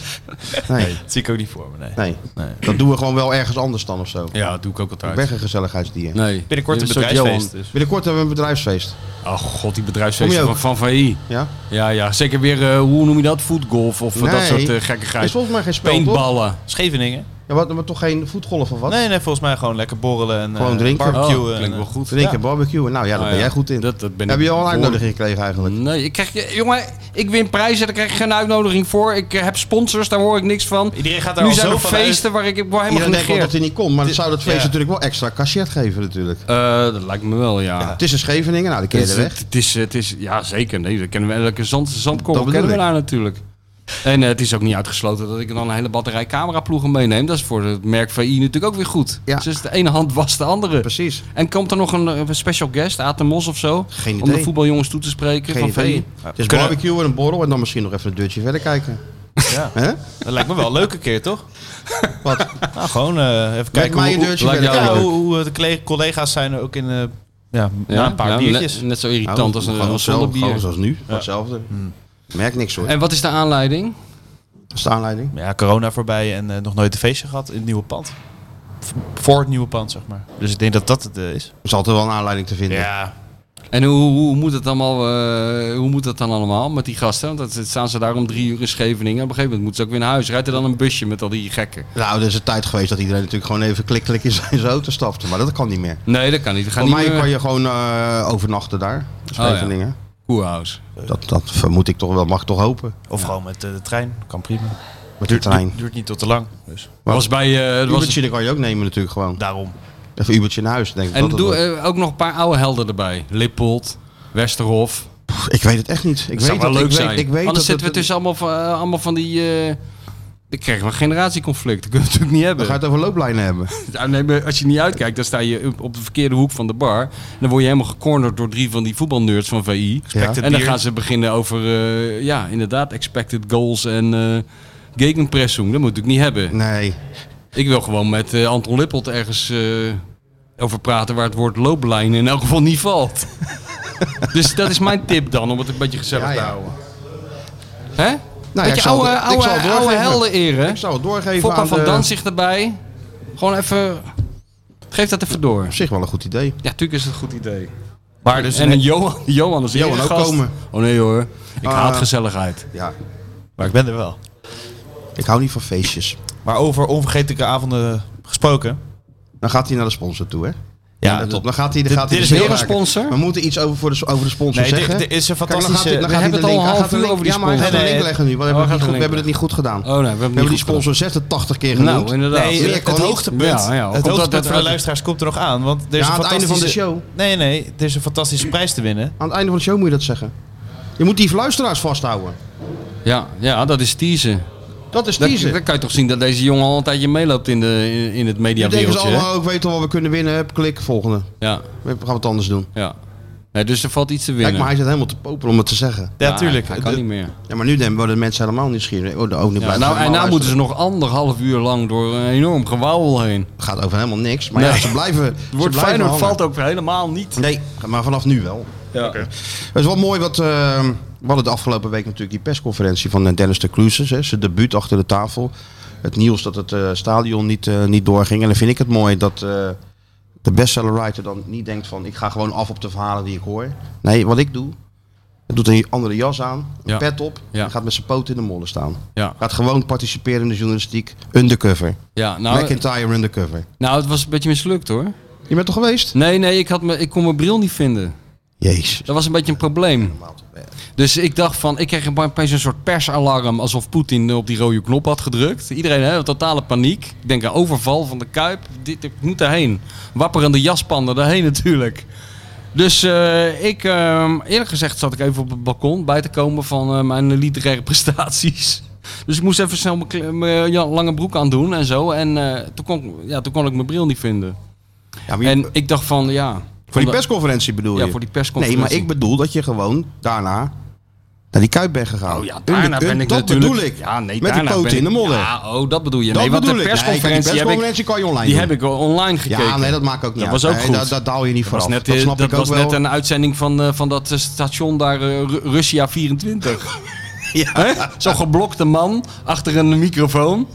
Nee,
Dat zie ik ook niet voor me, nee.
nee.
Nee.
Dat doen we gewoon wel ergens anders dan of zo.
Ja, dat doe ik ook altijd.
Ik ben geen gezelligheidsdier.
Nee.
Binnenkort een
soort
bedrijfsfeest dus.
Binnenkort hebben we een bedrijfsfeest.
Johan. Ach god, die
Kom
bedrijfsfeesten
je
van,
ook?
van VI.
Ja?
Ja, ja. Zeker weer, eh, hoe noem je dat? Footgolf of eh, dat
Nee.
soort eh,
Er is
gekkigheid.
volgens mij geen spel, toch?
Paintballen.
Scheveningen?
Ja, wat, maar toch geen voetgolf of wat?
Nee, nee, volgens mij gewoon lekker borrelen en eh,
Gewoon drinken.
barbecuen.
Oh,
en,
klinkt
eh,
wel goed.
Drinken, barbecue. Nou ja, daar
Ah,
ben
ja.
jij goed in.
Dat, dat ben
Heb
ik
je al een
dol.
uitnodiging gekregen eigenlijk?
Nee, ik krijg, jongen, ik win prijzen, daar krijg ik geen uitnodiging voor. Ik eh, heb sponsors, daar hoor ik niks van.
eh, Iedereen gaat daar
Nu
al
zijn
zo
er
van uit.
feesten waar ik ik word helemaal
Iedereen denkt wel dat
genegeerd.
hij niet komt, maar dat zou dat feest
ja.
natuurlijk wel extra cachet geven natuurlijk.
Eh, dat lijkt me wel, ja.
Het is in Scheveningen, nou, de keer
Het
de
is,
weg.
het is, het is, ja, zeker. Nee, dat kennen we, elke zand, zandkorrel
Dat bedoel
kennen we
ik.
daar natuurlijk. En eh, het is ook niet uitgesloten dat ik dan een hele batterij cameraploegen meeneem. Dat is voor het merk VI natuurlijk ook weer goed.
Ja.
Dus het is de ene hand was de andere.
Precies.
En komt er nog een, eh, special guest, Aad de Mos of zo?
Geen
Om de
idee.
voetbaljongens toe te spreken
Geen
van
idee.
VI.
Het is
Kunnen-
barbecue en een borrel en dan misschien nog even een deurtje verder kijken.
Ja.
Hè?
Dat lijkt me wel een leuke keer, toch?
Wat?
Nou, gewoon eh, even
Kijk
kijken
mij een
hoe,
deurtje
lijkt
verder
jou
ja,
kijken.
hoe, hoe, eh, de collega- collega's zijn ook in eh, ja, na een paar
ja, nou,
biertjes.
Net, net zo irritant als een,
Nou, Gewoon
als zonder
hetzelfde,
bier.
gewoon zoals nu. Hetzelfde. Merk niks hoor.
En wat is de aanleiding?
Dat is de aanleiding.
Maar ja, corona voorbij en eh, nog nooit een feestje gehad in het nieuwe pand. V- Voor het nieuwe pand, zeg maar. Dus ik denk dat dat het eh, is.
Er is altijd wel een aanleiding te vinden.
En hoe, hoe, moet het allemaal, eh, hoe moet dat dan allemaal met die gasten? Want dat- dat staan ze daar om drie uur in Scheveningen. Op een gegeven moment moeten ze ook weer naar huis. Rijdt er dan een busje met al die gekken?
Nou, er is een tijd geweest dat iedereen natuurlijk gewoon even klik klik in zijn auto stapte. Maar dat kan niet meer.
Nee, dat kan niet. We gaan
Voor
niet
mij
meer- Oh,
kan je gewoon eh, overnachten daar. in
ja.
Scheveningen.
Koehuis.
dat, dat vermoed ik toch wel, mag ik toch hopen.
Of gewoon met eh, de trein. Kan prima.
Met de trein.
Duurt, duurt niet tot te lang. Dus
Dat was bij... eh, dat was...
Ubertje dat kan je ook nemen natuurlijk gewoon.
daarom.
Even Ubertje naar huis, denk ik.
En
dat het
doe
wordt.
eh, ook nog een paar oude helden erbij. Lippold, Westerhof.
Pff, ik weet het echt niet. Ik
Dat zou
weet
wel
dat,
leuk
ik
zijn.
Weet, ik weet
Anders
dat
zitten we
het-
tussen allemaal van, eh, allemaal van die... eh, dan krijgen we een generatieconflict. Dat kunnen we natuurlijk niet
We
hebben.
gaan het over looplijnen hebben.
Ja, nee, maar als je niet uitkijkt, dan sta je op- op de verkeerde hoek van de bar. Dan word je helemaal gecornerd door drie van die voetbalnerds van VI.
Ja.
En dan
bier.
gaan ze beginnen over, eh, ja, inderdaad, expected goals en eh gegenpressing. Dat moet ik niet hebben.
Nee.
Ik wil gewoon met eh, Anton Lippelt ergens eh, over praten waar het woord looplijn in elk geval niet valt. dus dat is mijn tip dan, om het een beetje gezellig
Ja,
te
ja. Nou
houden. Hè?
ja,
beetje
ik zal
oude,
het- ik
oude,
zal het
oude
doorgeven.
helden eren.
Ik zou het doorgeven
Fokka
aan
van
de-
Danzig erbij. Gewoon even... Geef dat even door.
Op zich wel een goed idee.
Ja, tuurlijk is het een goed idee.
Maar dus
en Johan, Johan is
Johan
hier
ook
gast.
komen.
Oh nee hoor, ik
Ah.
haat gezelligheid.
Ja.
Maar ik ben er wel.
Ik hou niet van feestjes.
Maar over onvergetelijke avonden gesproken.
Dan gaat hij naar de sponsor toe, hè?
Ja,
let
top.
op. Dan gaat hij, dan
Dit-
gaat hij
dit
de
is
zin
weer een
maken.
sponsor?
We moeten iets over, voor de, over de sponsor
Nee, dit-
zeggen.
dit is een
Kijk, dan gaat
fantastische-
hij- dan
eh, We
gaat hij
hebben
de
het al
link- hij
een half
gaat de
uur
link-
over die
Ja, maar hij gaat
sponsor.
de link
Nee,
leggen nu. want
oh,
We hebben,
hij gaat
het niet,
de
goed- we
link
hebben het niet goed gedaan.
Oh nee, we hebben,
we hebben die
niet goed
sponsor 86 keer
gedaan.
genoemd.
Nou, inderdaad.
Nee,
meer
het,
kan
het
niet.
hoogtepunt,
Ja, ja,
het
omdat
hoogtepunt
het-
voor de luisteraars komt er nog aan. Want er
Ja,
is een
aan het einde van de
fantastische...
show.
Nee, nee, er is een fantastische prijs te winnen.
Aan het einde van de show moet je dat zeggen. Je moet die luisteraars vasthouden.
Ja, ja, dat is teasen.
Dat is
Dan,
teaser.
dan kan je toch zien dat deze jongen al een tijdje meeloopt in, de, in, in het
Nu denken ze
mediawereldje. hè?
allemaal, "Oh, ik weet al wat we kunnen winnen. Hup, Klik, volgende.
Ja,
We gaan wat anders doen.
ja. Nee, dus er valt iets te winnen.
Kijk, maar hij zit helemaal te popelen om het te zeggen.
Ja,
Ja,
tuurlijk.
Hij kan
De-
niet meer.
Ja, maar nu denken- worden de mensen helemaal nieuwsgierig. Oh, de ook niet
Ja, nou, en nou moeten ze nog anderhalf uur lang door een enorm gewauwel heen.
Het gaat over helemaal niks. Maar
Nee.
ja, ze blijven. ze
Het woord
blijven
Feyenoord
hangen.
valt ook helemaal niet.
Nee, maar vanaf nu wel.
Ja.
Het is wel mooi wat. eh, we hadden de afgelopen week natuurlijk die persconferentie van eh, Dennis de Kloezes. hè, Zijn debuut achter de tafel. Het nieuws dat het eh, stadion niet, eh, niet doorging. En dan vind ik het mooi dat eh, de bestseller writer dan niet denkt van... ik ga gewoon af op de verhalen die ik hoor. Nee, wat ik doe... Hij doet een andere jas aan, een
Ja.
pet op...
Ja.
en gaat met zijn poot in de modder staan.
Ja.
Gaat gewoon participeren in de journalistiek undercover.
Ja, nou,
McIntyre undercover.
nou, het was een beetje mislukt hoor.
Je bent toch geweest?
Nee, nee, ik, had me, ik kon mijn bril niet vinden.
Jezus.
Dat was een beetje een probleem. Dus ik dacht van, ik kreeg opeens een soort persalarm alsof Poetin op die rode knop had gedrukt. Iedereen hè, totale paniek. Ik denk aan overval van de Kuip. Dit, ik moet daarheen. Wapperende jaspanden daarheen natuurlijk. Dus eh, ik, ehm, eerlijk gezegd zat ik even op het balkon bij te komen van eh, mijn literaire prestaties. Dus ik moest even snel mijn kle- mijn eh, ja, lange broek aandoen en zo. En eh, toen, kon, ja, toen kon ik mijn bril niet vinden.
Ja, maar je-
En ik dacht van, ja...
voor die
van de-
persconferentie bedoel je?
Ja, voor die persconferentie.
Nee, maar ik bedoel dat je gewoon daarna naar die Kuip ben gegaan.
Oh ja,
Een-
daarna
een-
ben ik
dat
natuurlijk...
bedoel ik.
Ja, nee,
Met die
daarna
poot
ben
in
ik-
de modder.
Ja, oh, dat bedoel je.
Dat
Nee, want de
bedoel ik. Nee, kijk, die
persconferentie, heb ik-
persconferentie kan je online
Die
doen.
heb ik online gekeken.
Ja, nee, dat maakt ook niet
Dat
uit.
was ook
Nee,
goed.
Daar, daar daal je niet
was
vooraf.
net,
dat
eh,
snap
dat
ik ook
was
wel.
net een uitzending van, eh, van dat eh, station daar, eh, Ru- Russia 24. Hè? Zo'n geblokte man achter een microfoon.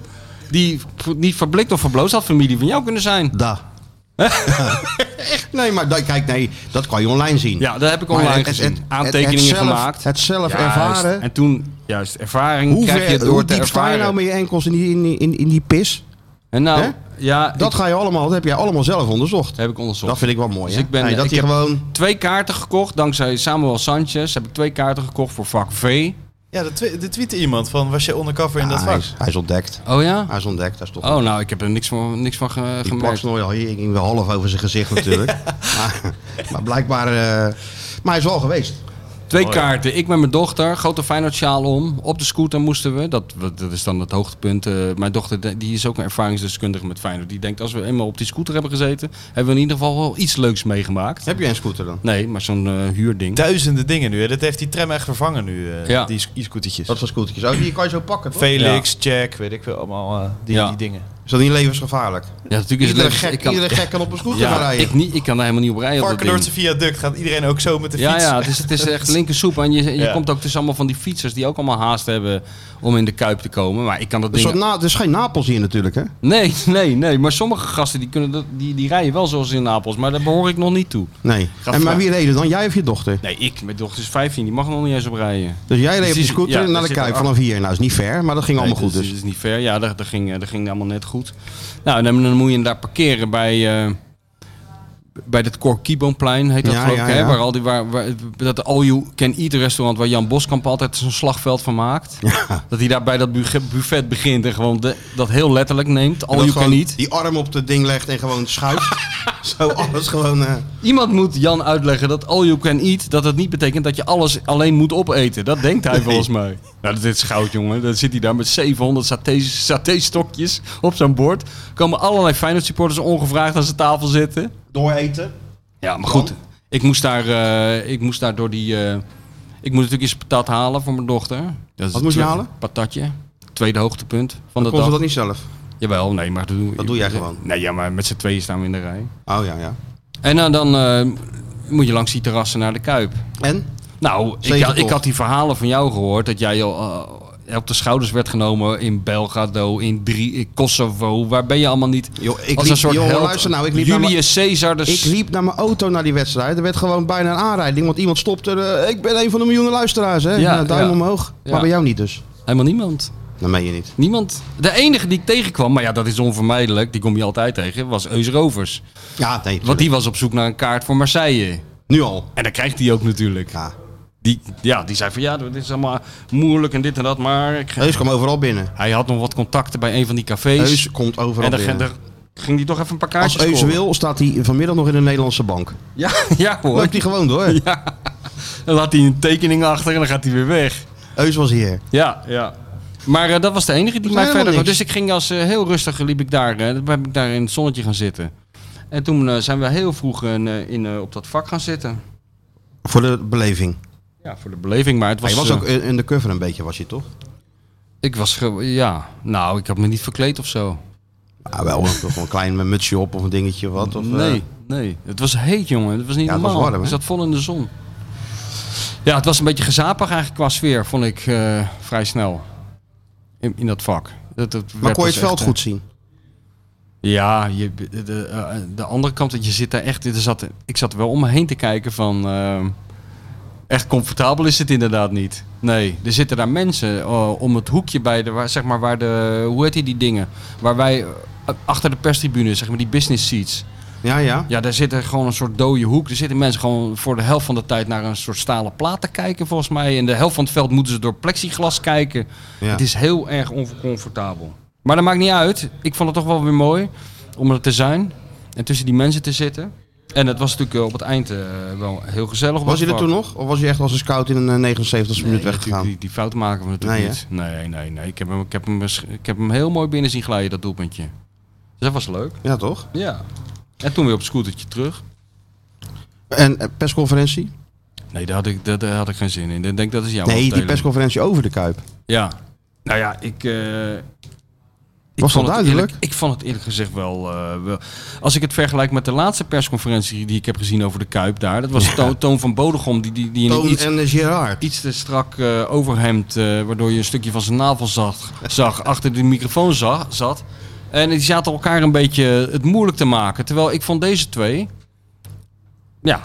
Die v- niet verblikt of verbloosd had familie van jou kunnen zijn.
Da. nee, maar dat- kijk, nee, dat kan je online zien.
Ja, dat heb ik
Maar
online
het- het-
gezien.
het- het
Aantekeningen
zelf-
gemaakt.
Het zelf
Juist.
ervaren.
En toen, juist, ervaring
Hoe,
krijg
ver,
je
hoe
door te
diep sta je
ervaren.
nou met je enkels in die, in, die- in, in die pis?
en nou,
Hè?
ja,
Dat
ik-
ga je allemaal, dat heb jij allemaal zelf onderzocht.
heb ik onderzocht.
Dat vind ik wel mooi.
Dus
hè?
ik ben-
Nee, dat
ik
je
heb-
gewoon.
Twee kaarten gekocht, dankzij Samuel Sanchez heb ik twee kaarten gekocht voor vak V.
Ja, de, twi- de tweette iemand van was je undercover in dat
Ja, hij,
vak?
is, hij is ontdekt.
Oh ja?
Hij is ontdekt, dat is toch.
Oh, nou, ik heb er niks van, niks van ge-
die
gemerkt.
plaksnooi al hier ging wel half over zijn gezicht natuurlijk. maar, maar blijkbaar. eh, maar hij is wel geweest.
Twee
Oh,
kaarten. Ik met mijn dochter. Grote Feyenoordsjaal om. Op de scooter moesten we. Dat, dat is dan het hoogtepunt. Eh, mijn dochter de- die is ook een ervaringsdeskundige met Feyenoord. Die denkt als we eenmaal op die scooter hebben gezeten... hebben we in ieder geval wel iets leuks meegemaakt.
Heb je een scooter dan?
Nee, maar zo'n eh, huurding.
Duizenden dingen nu. Hè. Dat heeft die tram echt vervangen nu, eh,
Ja.
die sc- e-scootertjes.
Dat soort scootertjes. Oh, die kan je zo pakken. Toch?
Felix, Jack, weet ik veel, allemaal eh, die,
Ja.
die dingen.
Is dat niet levensgevaarlijk?
Ja, natuurlijk is het
Iedere
leuk.
gek,
ik kan,
iedere gek kan op een scooter gaan
ja,
rijden.
ik, niet, ik kan daar helemaal niet op rijden. op dat ding.
Varkenoordse viaduct gaat iedereen ook zo met de
Ja,
fiets.
ja het, is, het is echt linkersoep. En je, je
Ja.
komt ook tussen allemaal van die fietsers die ook allemaal haast hebben om in de kuip te komen. Maar ik kan dat
Een
ding.
soort na, er is geen Napels hier natuurlijk, hè?
Nee, nee, nee. Maar sommige gasten die, kunnen dat, die, die rijden wel zoals in Napels. Maar daar behoor ik nog niet toe.
Nee.
Ga
En, maar
vragen.
wie reden dan? Jij of je dochter?
Nee, ik. Mijn dochter is 15, die mag nog niet eens op rijden.
Dus jij reed op
Dus
die
die-
scooter
ja, daar
naar de
zit
Kuip
een
vanaf hier. Nou, is niet ver, maar dat ging allemaal
Nee,
goed
dat
dus.
is- is niet ver. Ja, dat, dat, ging, eh, dat ging allemaal net goed. Nou, en dan, dan moet je hem daar parkeren bij... eh, bij dat Corkibonplein heet dat
Ja,
geloof ik,
ja,
hè?
ja.
Waar al die, waar, waar- dat All You Can Eat restaurant waar Jan Boskamp altijd zo'n slagveld van maakt.
dus.
Dat hij daar bij dat bu- buffet begint en gewoon de- dat heel letterlijk neemt. All
Dat
You Can
gewoon
Eat.
Die arm op het ding legt en gewoon schuift. zo alles gewoon... eh,
Iemand moet Jan uitleggen dat all you can eat, dat het niet betekent dat je alles alleen moet opeten. Dat denkt hij volgens mij. Nou, dit is goud, jongen. Dan zit hij daar met 700 saté- saté-stokjes op zijn bord. Komen allerlei Feyenoord supporters ongevraagd aan zijn tafel zitten.
dooreten.
Ja, maar goed. Ik moest daar, eh, ik moest daar door die... eh, ik moest natuurlijk eens patat halen voor mijn dochter. Dat is
Wat moest
het
je
tweede-
halen?
Patatje. Tweede hoogtepunt van de
Kon ze
dag.
dat niet zelf?
Jawel, nee, maar dat doe,
Dat doe jij gewoon.
Nee, ja, maar met z'n tweeën staan we in de rij.
Oh ja, ja.
En nou, dan eh, moet je langs die terrassen naar de Kuip.
En?
Nou, ik,
Zeker
had- ik
toch?
had die verhalen van jou gehoord dat jij al eh, op de schouders werd genomen in Belgrado, in, drie, in Kosovo. Waar ben je allemaal niet?
Yo, ik
als
liep-
een soort
joh,
held.
luister nou, ik liep naar
Julius Caesar. Dus,
Ik liep naar mijn auto naar die wedstrijd. Er werd gewoon bijna een aanrijding. Want iemand stopte. eh, ik ben een van de miljoenen luisteraars. Hè?
Ja,
Ja, duim
ja.
omhoog.
Ja.
Maar bij jou niet dus.
Helemaal niemand.
Dat meen je niet.
Niemand. De enige die ik tegenkwam, maar ja, dat is onvermijdelijk. Die kom je altijd tegen. Was Eus Rovers.
Ja, nee.
Want die was op zoek naar een kaart voor Marseille.
Nu al.
En dat krijgt hij ook natuurlijk.
Ja.
Die, ja, die zei van ja, dit is allemaal moeilijk en dit en dat. Maar ik-
Heus kwam overal binnen.
hij had nog wat contacten bij een van die cafés.
Heus komt
en
overal
dan,
binnen.
ging- dan ging hij toch even een paar kaartjes
Als Heus
scoren.
wil, staat hij vanmiddag nog in de Nederlandse bank.
Ja, ja hoor.
Loopt hij gewoon door.
Dan laat hij een tekening achter en dan gaat hij weer weg.
Heus was hier.
Ja, ja. Maar eh, dat was de enige die
is
mij
helemaal
verder...
niks.
Dus ik ging als eh, heel rustig liep ik daar, eh, ben ik daar in het zonnetje gaan zitten. En toen eh, zijn we heel vroeg in, eh, in, eh, op dat vak gaan zitten.
Voor de beleving.
Ja, voor de beleving, maar het was...
hij was
eh,
ook in- undercover een beetje, was hij toch?
ik was... ge- Ja, nou, ik had me niet verkleed of zo.
Ja, wel. Toch een klein mutsje op of een dingetje of wat. Of, eh,
nee, nee. Het was heet, jongen. Het was niet
Ja, het was
normaal.
warm, hè?
het zat vol in de zon. Ja, het was een beetje gezapig eigenlijk qua sfeer, vond ik eh, vrij snel. In, in dat vak. Dat, dat
maar
werd
kon je
dus
het veld
echt, eh,
goed zien?
Ja, je, de, de, eh, de andere kant, dat je zit daar echt... Er zat, ik zat er wel om me heen te kijken van... ehm, echt comfortabel is het inderdaad niet. Nee, er zitten daar mensen eh, om het hoekje bij de... Waar, zeg maar waar de... Hoe heet die, die dingen? Waar wij... eh, achter de perstribune, zeg maar die business seats.
Ja, ja.
Ja, daar zit er gewoon een soort dode hoek. Er zitten mensen gewoon voor de helft van de tijd naar een soort stalen plaat te kijken, volgens mij. En de helft van het veld moeten ze door plexiglas kijken.
Ja.
Het is heel erg oncomfortabel. Maar dat maakt niet uit. Ik vond het toch wel weer mooi om er te zijn en tussen die mensen te zitten. En het was natuurlijk eh, op het eind eh, wel heel gezellig. op
Was
het
hij er
vak.
toen nog? Of was hij echt als een scout in een 79 e minuut
Nee,
weggegaan?
natuurlijk, Die, die fout maken we natuurlijk
Nee,
niet. Nee, nee, nee. Ik heb, hem, ik, heb hem, bes- ik heb hem heel mooi binnen zien glijden, dat doelpuntje. Dus dat was leuk.
Ja, toch?
Ja. En toen weer op het scootertje terug.
En eh, persconferentie?
Nee, daar had ik, daar, daar had ik geen zin in. Ik denk dat is jouw
Nee, die
afdeling.
persconferentie over de Kuip.
Ja. Nou ja, ik... eh, ik
Was
vond
wel
het
duidelijk?
eerlijk- ik vond het eerlijk gezegd wel, eh, wel... Als ik het vergelijk met de laatste persconferentie die ik heb gezien over de Kuip daar. Dat was Toon- Toon van Bodegom die, die, die in een
Toon
iets,
en eh, Gerard.
iets te strak eh, overhemd... eh, waardoor je een stukje van zijn navel zag, zag achter de microfoon za- zat. En die zaten elkaar een beetje het moeilijk te maken. Terwijl ik vond deze twee... Ja,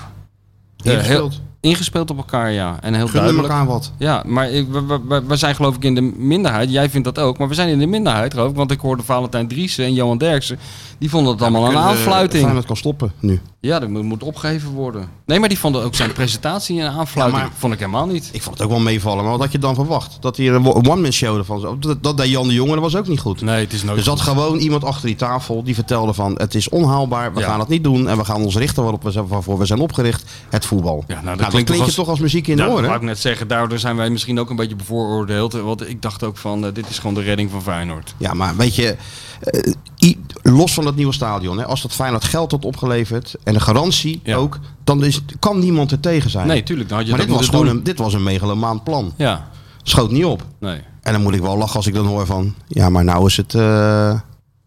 eh,
Ingespeeld.
heel- ingespeeld op elkaar, ja. En heel
Gunnen
duidelijk.
elkaar wat.
Ja, maar ik- we, we- we- we zijn geloof ik in de minderheid. Jij vindt dat ook, maar we zijn in de minderheid geloof ik. Want ik hoorde Valentijn Driessen en Johan Derksen. Die vonden het allemaal een
Kunnen, eh,
aanfluiting.
Feyenoord kan stoppen nu.
Ja, dat moet, moet opgegeven worden. Nee, maar die vonden ook zijn presentatie een aanfluiting.
Ja, maar-
Vond ik helemaal niet.
Ik vond het ook wel meevallen, maar wat had je dan verwacht? Dat hier een wo- een one-man show ervan zou- Dat, dat deed Jan de Jonge, dat was ook niet goed.
Nee, het is nooit
Er zat gewoon iemand achter die tafel die vertelde van het is onhaalbaar, we
Ja.
gaan het niet doen en we gaan ons richten waarop we zijn, waarvoor we zijn opgericht, het voetbal.
Ja, nou, dat
dat
klinkt
je
toch als-
toch als muziek in
Ja,
de
dat wou
oren.
ik net zeggen. Daardoor zijn wij misschien ook een beetje bevooroordeeld. Want ik dacht ook van, eh, dit is gewoon de redding van Feyenoord.
Ja, maar weet je, eh, i- los van dat nieuwe stadion, hè, als dat Feyenoord geld had opgeleverd en de garantie
Ja.
ook, dan is, kan niemand er tegen zijn.
Nee, tuurlijk. Dan had je
maar
dat
dit was
moeten
gewoon
doen.
een, dit was een megalomaan plan.
Ja,
Schoot niet op.
nee.
En dan moet ik wel lachen als ik dan hoor van, ja, maar nou is het eh
Ja,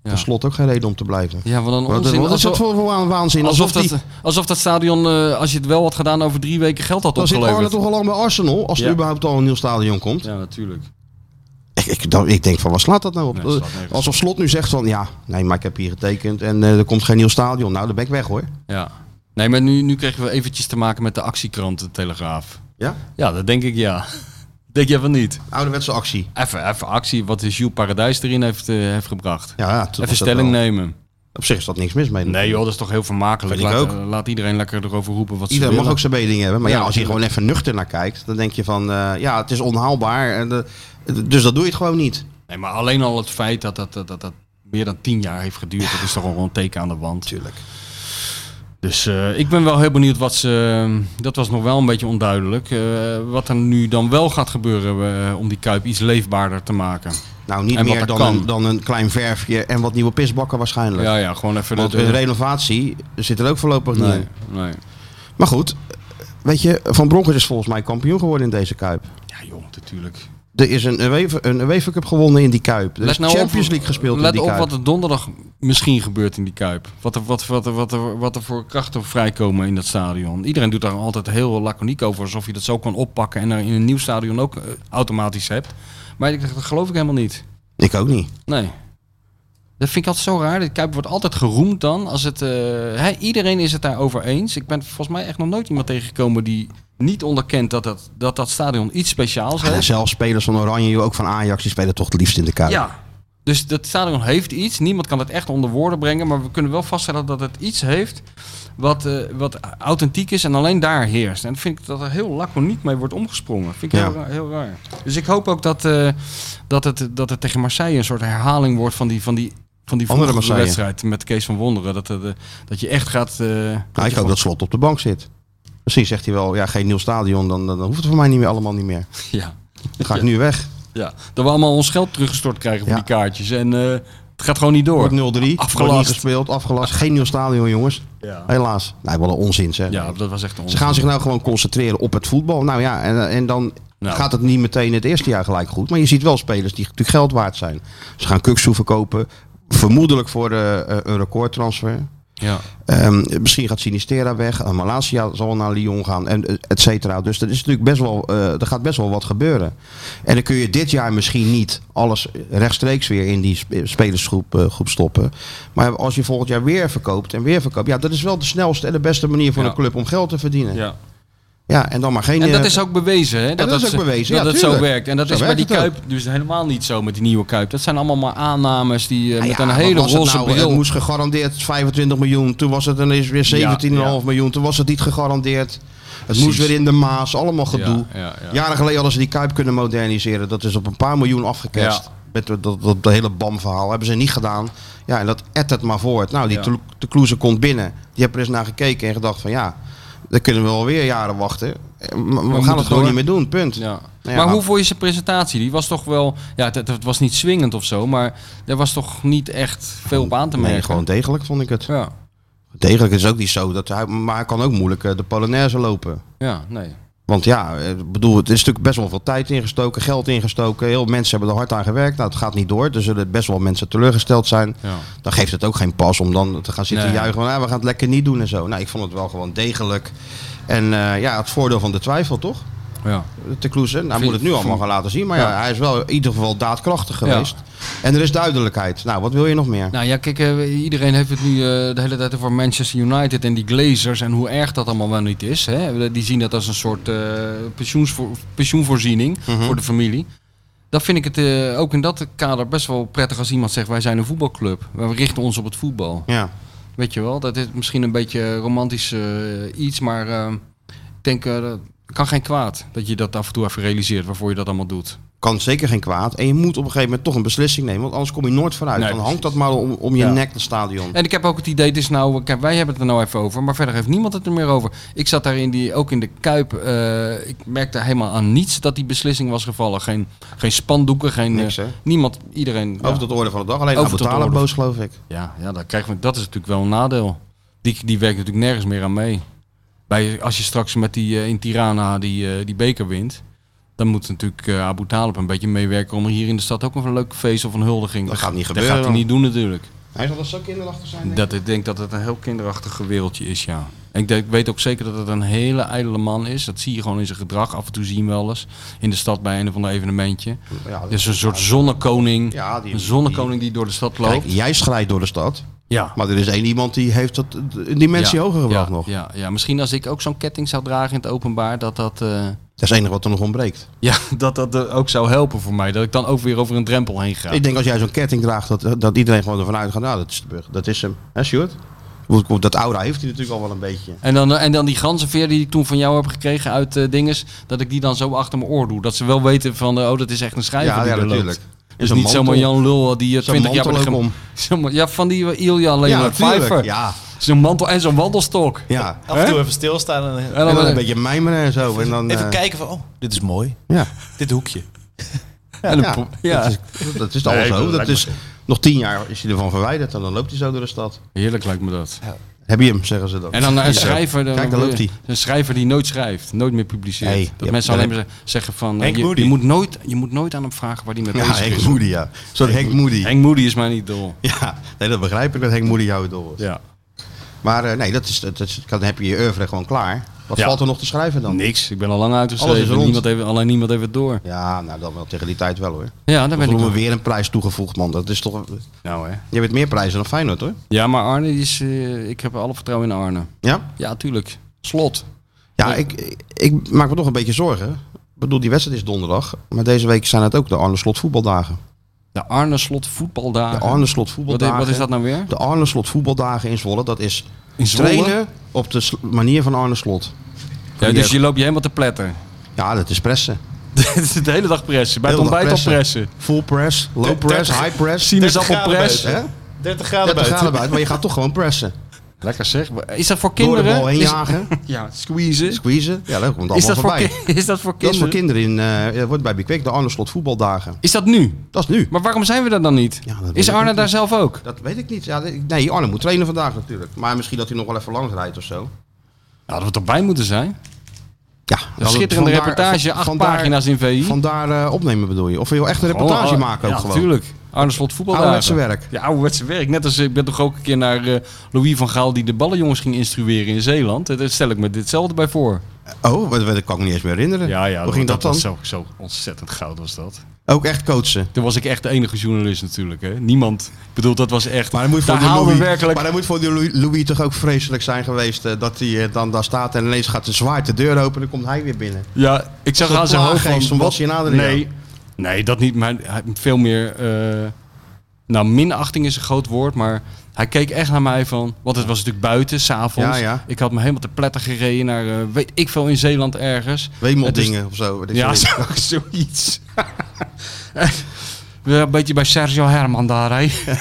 van slot ook geen reden om te blijven.
ja wat een
Wat,
onzin.
wat is
Alsof-
het voor, voor wa- waanzin?
Alsof
die-
dat, alsof dat stadion, eh, als je het wel had gedaan, over drie weken geld had
Dan zit Arne
opgeleverd.
toch al lang bij Arsenal, als er
Ja.
überhaupt al een nieuw stadion komt.
Ja, natuurlijk.
Ik, ik, dan- ik denk van, wat slaat dat nou op?
Nee, dat slaat nergens op.
Alsof Slot nu zegt van, ja, nee, maar ik heb hier getekend en eh, er komt geen nieuw stadion. Nou, dan ben ik weg hoor.
Ja. Nee, maar nu, nu kregen we eventjes te maken met de actiekrant, de Telegraaf.
Ja?
Ja, dat denk ik ja. Denk jij van niet?
Ouderwetse actie.
Even, even actie, wat de Jules Paradijs erin heeft, eh, heeft gebracht.
Ja, ja, toen was
even
dat
stelling
wel-
nemen.
Op zich is dat niks mis mee.
Nee joh, dat is toch heel vermakelijk.
Vind ik
Laat,
ook.
eh, laat iedereen lekker erover roepen wat
Iedereen
ze
mag
willen.
ook zijn beding hebben. Maar
Ja,
ja, als je
natuurlijk.
gewoon even nuchter naar kijkt, dan denk je van, eh, ja, het is onhaalbaar. En, eh, dus dat doe je het gewoon niet.
Nee, maar alleen al het feit dat dat, dat, dat, dat meer dan tien jaar heeft geduurd, dat is toch al wel een teken aan de wand.
Tuurlijk.
Dus eh, ik ben wel heel benieuwd wat ze. Dat was nog wel een beetje onduidelijk. eh, wat er nu dan wel gaat gebeuren eh, om die kuip iets leefbaarder te maken.
Nou, niet
En wat
meer
er
dan
kan.
een, dan een klein verfje en wat nieuwe pisbakken waarschijnlijk.
Ja, ja, gewoon even.
Want
de-
de renovatie zit er ook voorlopig niet
nee,
in.
nee.
Maar goed, weet je, Van Bronckhorst is volgens mij kampioen geworden in deze Kuip.
Ja, joh, natuurlijk.
Er is een UEFA, een UEFA Cup gewonnen in die Kuip. Er is Champions League gespeeld in
nou Let
die
op
Kuip.
wat er donderdag misschien gebeurt in die kuip. Wat er, wat, wat, er- wat, er, wat er voor krachten vrijkomen in dat stadion. Iedereen doet daar altijd heel laconiek over. Alsof je dat zo kan oppakken en er in een nieuw stadion ook eh, automatisch hebt. Maar ik, dat geloof ik helemaal niet.
Ik ook niet.
Nee. Dat vind ik altijd zo raar. De Kuip wordt altijd geroemd dan. Als het, eh, hè, iedereen is het daarover eens. Ik ben volgens mij echt nog nooit iemand tegengekomen die niet onderkent dat dat, dat, dat stadion iets speciaals
En
heeft.
zelfs spelers van Oranje, ook van Ajax, die spelen toch het liefst in de Kuip.
Ja. Dus dat stadion heeft iets. Niemand kan het echt onder woorden brengen. Maar we kunnen wel vaststellen dat het iets heeft wat, eh, wat authentiek is en alleen daar heerst. En dat vind ik dat er heel laconiek mee wordt omgesprongen. Vind ik
Ja.
heel, raar, heel raar. Dus ik hoop ook dat, eh, dat, het, dat het tegen Marseille een soort herhaling wordt van die, van die, van die
Andere
vroegere
Marseille.
wedstrijd met Kees van Wonderen. Dat, het, eh, dat je echt gaat... eh,
Nou,
je
ik hoop dat Slot op de bank zit. Misschien zegt hij wel, ja, geen nieuw stadion, dan, dan, dan hoeft het voor mij niet meer, allemaal niet meer.
gewoon- Ja,
Dan ga ik nu weg.
ja. Dat we allemaal ons geld teruggestort krijgen voor
Ja.
die kaartjes. En eh, het gaat gewoon niet door.
Wordt 0-3, wordt niet
Afgelast.
gespeeld, afgelast. Geen nieuw stadion, jongens.
Ja.
Helaas. Nee, wel een onzin, zeg.
ja, dat was echt onzin.
Ze gaan zich nou gewoon concentreren op het voetbal. Nou ja, en, en dan
Nou.
gaat het niet meteen het eerste jaar gelijk goed. Maar je ziet wel spelers die natuurlijk geld waard zijn. Ze gaan Kuksu verkopen. Vermoedelijk voor eh, eh, een recordtransfer.
Ja.
Ehm, misschien gaat Sinistera weg. Eh, Malasia zal naar Lyon gaan. En eh, et cetera. Dus er, is natuurlijk best wel, eh, er gaat best wel wat gebeuren. En dan kun je dit jaar misschien niet alles rechtstreeks weer in die sp- spelersgroep eh, groep stoppen. Maar als je volgend jaar weer verkoopt en weer verkoopt. Ja, dat is wel de snelste en de beste manier voor
Ja.
een club om geld te verdienen.
ja.
Ja, en dan maar geen.
En dat
eh,
is ook bewezen, hè?
dat is ook bewezen,
Dat
ja,
het zo
tuurlijk.
werkt. En dat
Zo
is bij die
werkt het
Kuip dus helemaal niet zo met die nieuwe Kuip. Dat zijn allemaal maar aannames die eh,
nou
met
ja,
een
wat
hele
was het
roze
nou?
bril...
Het moest gegarandeerd 25 miljoen. Toen was het ineens weer 17,5
Ja, ja.
miljoen. Toen was het niet gegarandeerd. Het moest
Precies.
weer in de Maas. Allemaal gedoe.
Ja, ja, ja.
Jaren geleden hadden ze die Kuip kunnen moderniseren. Dat is op een paar miljoen afgeketst.
Ja.
Met dat, dat, dat hele BAM-verhaal hebben ze niet gedaan. Ja, en dat ettert maar voort. Nou, die
Ja.
Telo- de Kloeze komt binnen. Die hebben er eens naar gekeken en gedacht van ja, dan kunnen we alweer jaren wachten. Eh, Maar we,
moeten
gaan het gewoon
door.
niet meer doen, punt.
Ja.
Ja,
maar
maar-
hoe vond je zijn presentatie? Die was toch wel... Ja, het, het was niet swingend of zo, maar er was toch niet echt veel op aan te merken?
Nee, gewoon degelijk vond ik het.
Ja,
Degelijk is ook niet zo. Dat hij, maar hij kan ook moeilijk eh, de Polonaise lopen.
ja nee.
Want ja, eh, ik bedoel, het is natuurlijk best wel veel tijd ingestoken, geld ingestoken. Heel veel mensen hebben er hard aan gewerkt. Nou, het gaat niet door. Er zullen best wel mensen teleurgesteld zijn.
Ja.
Dan geeft het ook geen pas om dan te gaan zitten
Nee.
juichen. Van, ah, we gaan het lekker niet doen en zo. Nou, ik vond het wel gewoon degelijk. En eh, ja, het voordeel van de twijfel, toch?
Ja.
Te kloezen. Nou, hij
Vind-
moet het nu allemaal
vind-
gaan laten zien. Maar ja.
Ja.
hij is wel in ieder geval daadkrachtig geweest. En er is duidelijkheid. Nou, wat wil je nog meer?
Nou ja, kijk, eh, iedereen heeft het nu eh, de hele tijd over Manchester United en die Glazers en hoe erg dat allemaal wel niet is. Hè? Die zien dat als een soort eh, pensioensvoor, pensioenvoorziening voor de familie. Dat vind ik het eh, ook in dat kader best wel prettig als iemand zegt wij zijn een voetbalclub. We richten ons op het voetbal.
Ja.
Weet je wel, dat is misschien een beetje romantisch eh, iets, maar eh, ik denk, eh, dat kan geen kwaad dat je dat af en toe even realiseert waarvoor je dat allemaal doet.
Kan zeker geen kwaad. En je moet op een gegeven moment toch een beslissing nemen. Want anders kom je nooit vooruit.
Nee,
dan
precies.
hangt dat maar om, om je
Ja.
nek, het stadion.
En ik heb ook het idee, het is nou, kijk, wij hebben het er nou even over, maar verder heeft niemand het er meer over. Ik zat daar in die, ook in de Kuip, eh, ik merkte helemaal aan niets dat die beslissing was gevallen. Geen, geen spandoeken, geen,
Niks,
eh,
hè?
niemand, iedereen.
Over
ja.
tot de orde van de dag. Alleen
Over
Over
tot de
betalen
orde
boos, geloof ik.
Ja, ja dat, krijgen we, dat is natuurlijk wel een nadeel. Die, die werkt natuurlijk nergens meer aan mee. Bij, als je straks met die, eh, in Tirana die, eh, die beker wint, dan moet natuurlijk eh, Abu Talib een beetje meewerken om hier in de stad ook een leuk feest of een huldiging.
Dat gaat niet
Dat
gebeuren,
gaat hij
man.
niet doen natuurlijk.
Hij zal dat zo kinderachtig zijn. denk ik.
Dat ik denk dat het een heel kinderachtig wereldje is, ja. Ik, denk, ik weet ook zeker dat het een hele ijdele man is. Dat zie je gewoon in zijn gedrag. Af en toe zien we wel eens in de stad bij een of ander evenementje.
Ja, dat-
Dus een soort zonnekoning.
Ja, die-
een zonnekoning die door de stad loopt.
Kijk, jij schrijdt door de stad.
ja.
Maar er is één iemand die heeft dat een dimensie
Ja,
hoger gebracht
ja,
nog.
Ja, ja, misschien als ik ook zo'n ketting zou dragen in het openbaar, dat dat, eh,
Dat is het enige wat er nog ontbreekt.
ja, dat, dat eh, ook zou helpen voor mij. Dat ik dan ook weer over een drempel heen ga.
Ik denk als jij zo'n ketting draagt, dat, dat iedereen gewoon ervan uitgaat. Nou, dat is, de burger, dat is hem. Hè, Sjoerd? Hoe- Dat aura heeft hij natuurlijk al wel een beetje.
En dan, eh, en dan die ganzenveer die ik toen van jou heb gekregen uit eh, dinges, dat ik die dan zo achter mijn oor doe. Dat ze wel weten van, eh, oh, dat is echt een schrijver
Ja,
die
ja,
er loopt.
natuurlijk.
Dus
Zo'n
niet zomaar
mantel.
Jan Lul eh, die
Zo'n
eh, 20 jaar bij de
mantel ook
gem- Zo'n- Ja, van die eh, Ilja
Ja,
Leonard Pfeiffer.
natuurlijk. Ja,
Zo'n mantel en zo'n wandelstok.
ja.
Af en toe even stilstaan en,
En
En dan
eh,
een beetje mijmeren en zo. En dan,
even
eh,
kijken van, oh, dit is mooi.
Ja,
Dit hoekje.
eh, en een
ja.
pro- ja.
Dat, is, dat is al
Nee, ik
zo.
bedoel,
Dat
lijkt me
is, nog tien jaar is hij ervan verwijderd en dan loopt hij zo door de stad.
Heerlijk lijkt me dat.
Heb je hem, zeggen ze dan.
En dan eh, een
Zo.
schrijver, dan-
Kijk, daar loopt hij.
een schrijver die nooit schrijft, nooit meer publiceert.
Nee,
dat
ja,
mensen
dat
alleen maar ze- zeggen van, eh,
Henk
je,
Moody.
je moet nooit, je moet nooit aan hem vragen waar hij mee
Ja,
bezig
Henk
is.
Moody, ja. Zo'n Henk Moody.
Henk Moody is mijn idool.
Ja, nee, dat begrijp ik dat Henk Moody jou door was.
Ja.
Maar eh, nee, dat is, dat is, dan heb je je oeuvre gewoon klaar. Wat
Ja.
valt er nog te schrijven dan?
Oh, Niks, ik ben al lang
Alles is
uitgeschreven.
rond.
Niemand heeft, alleen niemand heeft het door.
Ja, nou dan wel tegen die tijd wel hoor.
Ja, daar ben ik
Dan we
ook.
weer een prijs toegevoegd, man. Dat is toch...
Nou, hè.
Je bent meer prijzen dan Feyenoord, hoor.
Ja, maar Arne, die is, eh, ik heb alle vertrouwen in Arne.
Ja?
Ja, tuurlijk. Slot.
Ja, ik, ik maak me toch een beetje zorgen. Ik bedoel, die wedstrijd is donderdag. Maar deze week zijn het ook de Arne Slot voetbaldagen.
De Arne Slot voetbaldagen.
De Arne Slot
wat, is-
voetbaldagen.
wat is dat nou weer?
De Arne Slot voetbaldagen in Zwolle. Dat is
In Zwolle?
trainen op de sl- manier van Arne Slot.
Ja, dus je loopt je helemaal te pletten.
Ja, dat is pressen.
de hele dag pressen. Bij het
Heel dag
ontbijt al pressen.
Full press, low press, high press.
Sinaasappelpress.
Hè?
30 graden
30
buiten.
graden buiten, maar je gaat toch gewoon pressen.
Lekker zeg. Is dat voor
Door de
kinderen?
bal heen
Is-
jagen,
Ja, squeezen.
squeezen. Ja, leuk, komt allemaal
Is dat, voor
voorbij.
ki- is dat voor
dat is voor
kinderen?
kinderen in, eh, ja, wordt bij Bikwik de Arne Slot voetbaldagen.
Is dat nu?
Dat is nu.
Maar waarom zijn we dat dan niet?
Ja, dat weet
is
ik
Arne
ook
daar zelf ook?
Dat weet ik niet. Ja, ik- nee, Arne moet trainen vandaag natuurlijk. Maar misschien dat hij nog wel even langs rijdt of zo.
Nou, dat we erbij moeten zijn.
Ja,
Een schitterende
vandaar-
reportage,
van-
acht
vandaar-
pagina's in VI.
Vandaar eh, opnemen bedoel je? Of wil je echt een reportage
Gewoon,
maken ook
Oh, ja,
gewoon?
natuurlijk. Arne Slot
Ouderwetse
voetbaldagen.
werk.
Ja, ouderwetse werk. Net als eh, ik ben toch ook een keer naar eh, Louis van Gaal die de ballenjongens ging instrueren in Zeeland. Eh, Daar stel ik me ditzelfde bij voor.
Oh, dat, dat kan ik me niet eens meer herinneren. Hoe ging dat, dan?
was zo, zo ontzettend goud was dat.
Ook echt coachen.
Toen was ik echt de enige journalist natuurlijk. Hè. Niemand, ik bedoel, dat was echt...
Maar dan moet voor
daar
die
haalden
Louis,
we werkelijk...
maar dan moet voor die Louis, Louis toch ook vreselijk zijn geweest eh, dat hij eh, dan daar staat en ineens gaat de zwaard de deur open en dan komt hij weer binnen.
Ja, ik zag
Zo'n
aan zijn hoofd van...
plaaggeest van Bassie en Adriaan.
nee, nee, dat niet. Maar hij- veel meer... eh, nou, minachting is een groot woord, maar... Hij keek echt naar mij van, want het was natuurlijk buiten, s'avonds.
Ja, ja.
Ik had me helemaal te pletten gereden naar, eh, weet ik veel, in Zeeland ergens.
Wemeldingen of zo. wat is
Ja,
dat?
zo, zoiets. Weer een beetje bij Sergio Herman daar, hè.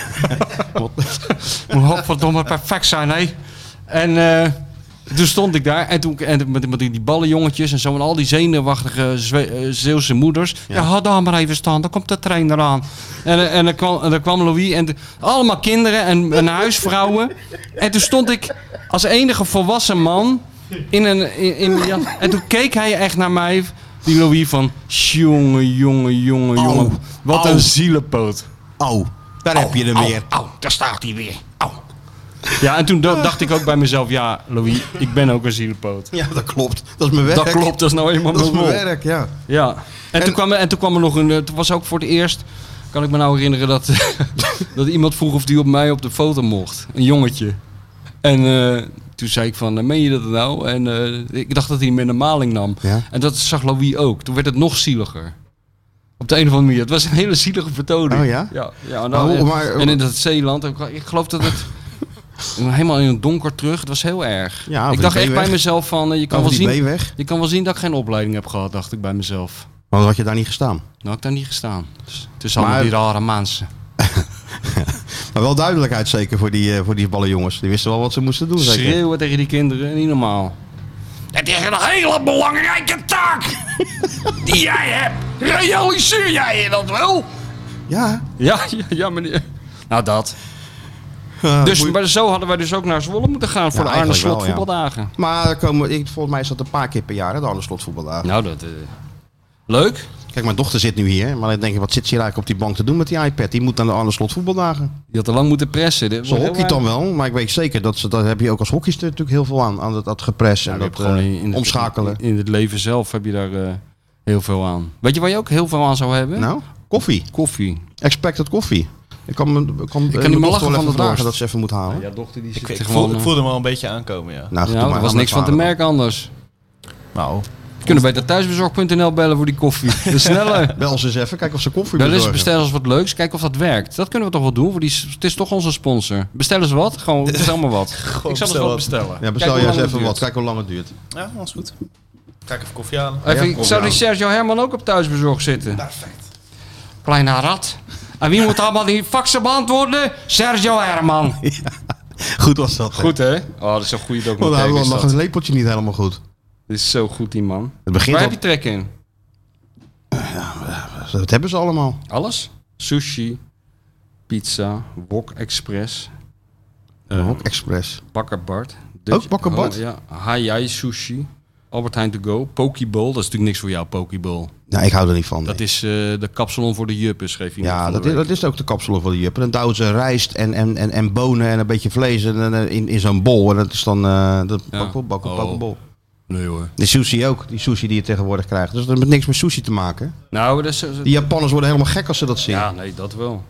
Moet godverdomme perfect zijn, hè. En eh, toen stond ik daar en toen en met, met die ballenjongetjes en zo en al die zenuwachtige Zwe- eh, Zeeuwse moeders. Ja, had daar maar even staan, dan komt de trainer aan. En, eh, en, dan, kwam, en dan kwam Louis en de- allemaal kinderen en, en huisvrouwen. En toen stond ik als enige volwassen man In een, in, in mijn jas. En toen keek hij echt naar mij, die Louis, van... Jongen, jongen, jongen,
Au.
jongen. Wat
Au.
een zielepoot.
Oh, daar heb je er weer.
Au, daar staat hij weer. Au. Ja, en toen da- dacht ik ook bij mezelf... Ja, Louis, ik ben ook een zielepoot.
Ja, dat klopt. Dat is mijn werk.
Dat klopt, dat is nou eenmaal
Dat is
mijn
mijn
rol.
werk, ja.
Ja. En, toen kwam, er- en toen kwam er nog een. eh, Toen was ook voor het eerst. Kan ik me nou herinneren dat, dat iemand vroeg of die op mij op de foto mocht. Een jongetje. En eh, toen zei ik van, eh, meen je dat nou? En eh, ik dacht dat hij me in de maling nam.
Ja.
En dat zag Louis ook. Toen werd het nog zieliger. Op de een of andere manier. Het was een hele zielige vertoning.
Oh ja?
Ja. ja nou,
Oh,
eh,
maar-
en in dat Zeeland. Ik ik geloof dat het... helemaal in het donker terug. Het was heel erg.
Ja, over
ik
die
dacht echt bij
B-weg.
mezelf van, eh, je kan
Over
wel
die
zien...
B-weg.
Je kan wel zien dat ik geen opleiding heb gehad, dacht ik bij mezelf.
Want had je daar niet gestaan.
Nou, had ik daar niet gestaan. Dus het is
Maar-
allemaal die rare mensen.
Maar wel duidelijkheid zeker voor die, eh, voor die ballenjongens. Die wisten wel wat ze moesten doen zeker.
Schreeuwen tegen die kinderen, niet normaal. Het is een hele belangrijke taak die jij hebt. Realiseer jij je dat wel?
Ja.
Ja, ja, ja meneer. Nou, dat.
Eh,
Dus
moet-
maar zo hadden wij dus ook naar Zwolle moeten gaan voor
Ja,
de Arne
eigenlijk
Slot
wel, ja.
voetbaldagen.
Maar er komen, ik, volgens mij is dat een paar keer per jaar, hè, de Arne Slot voetbaldagen.
Nou, dat... eh, leuk.
Kijk, mijn dochter zit nu hier. Maar dan denk ik, wat zit ze hier eigenlijk op die bank te doen met die iPad? Die moet naar de Arne Slot voetbaldagen.
Je had er lang moeten pressen. Dit
Ze
wordt heel
hockeyt dan wel, maar ik weet zeker dat ze, daar heb je ook als hockeyster natuurlijk heel veel aan. Aan dat, dat gepres en
Ja, je
dat
hebt
eh,
gewoon Nou, in- in het-
omschakelen.
In het leven zelf heb je daar eh, heel veel aan. Weet je waar je ook heel veel aan zou hebben?
Nou, koffie.
Koffie.
Expected koffie. Ik kan, mijn- ik kan, ik
niet meer lachen van de
vragen
dorst.
dat ze even moet halen.
Ja, dochter die
Ik,
zit
ik,
gewoon...
voel, ik
eh,
voelde hem al een beetje aankomen, ja.
Nou, goed, doe
ja,
maar
er was
aan
niks van te
verhalen.
merken anders.
Nou,
We kunnen beter thuisbezorg.nl bellen voor die koffie. De sneller.
Bel ze eens even, kijk of ze koffie
Bel eens,
bezorgen.
bestel eens wat leuks, kijk of dat werkt. Dat kunnen we toch wel doen, voor die, s- het is toch onze sponsor. Bestel eens wat, gewoon bestel maar wat. ik zal eens
bestel
wat
wat.
bestellen.
Ja,
Kijk
bestel
hoe
jij eens
lang het
even
duurt.
wat. Kijk hoe lang het duurt.
ja, dat is goed. Ga ik even koffie halen.
Even,
Ja, nou. kom
zou die
aan.
Sergio Herman ook op thuisbezorg zitten?
Perfect.
Kleine rat. En wie moet allemaal die faxen beantwoorden? Sergio Herman.
Goed was dat.
Goed hè? Oh, dat is een goede
Want hij
documentaire.
had
is
nog
dat.
het lepeltje niet helemaal goed.
Dit is zo goed die man.
Het begint
Waar
al,
heb je trek in?
dat hebben ze allemaal.
Alles? Sushi, pizza, Wok Express,
Ook Express.
Bakker Bart.
Ook Bakker Bart?
Oh, ja, Hayai Sushi, Albert Heijn To Go, Pokeball. Dat is natuurlijk niks voor jou, Pokeball.
Nou, ik hou er niet van.
Dat
nee.
is eh, de kapsalon voor de juppen, schreef iemand
ja,
van
dat
de
is,
week.
dat is ook de kapsel van de juppen. Dan douwen ze rijst en, en, en, en bonen en een beetje vlees en, en, eh, in, in zo'n bol. En dat is dan eh dat
Ja.
bakken, bakken,
Oh.
bakken, bol.
Nee hoor.
De sushi ook, die sushi die je tegenwoordig krijgt. Dus dat heeft niks met sushi te maken.
Nou, dat is... dat-
Die Japanners worden helemaal gek als ze dat zien.
ja, nee, dat wel.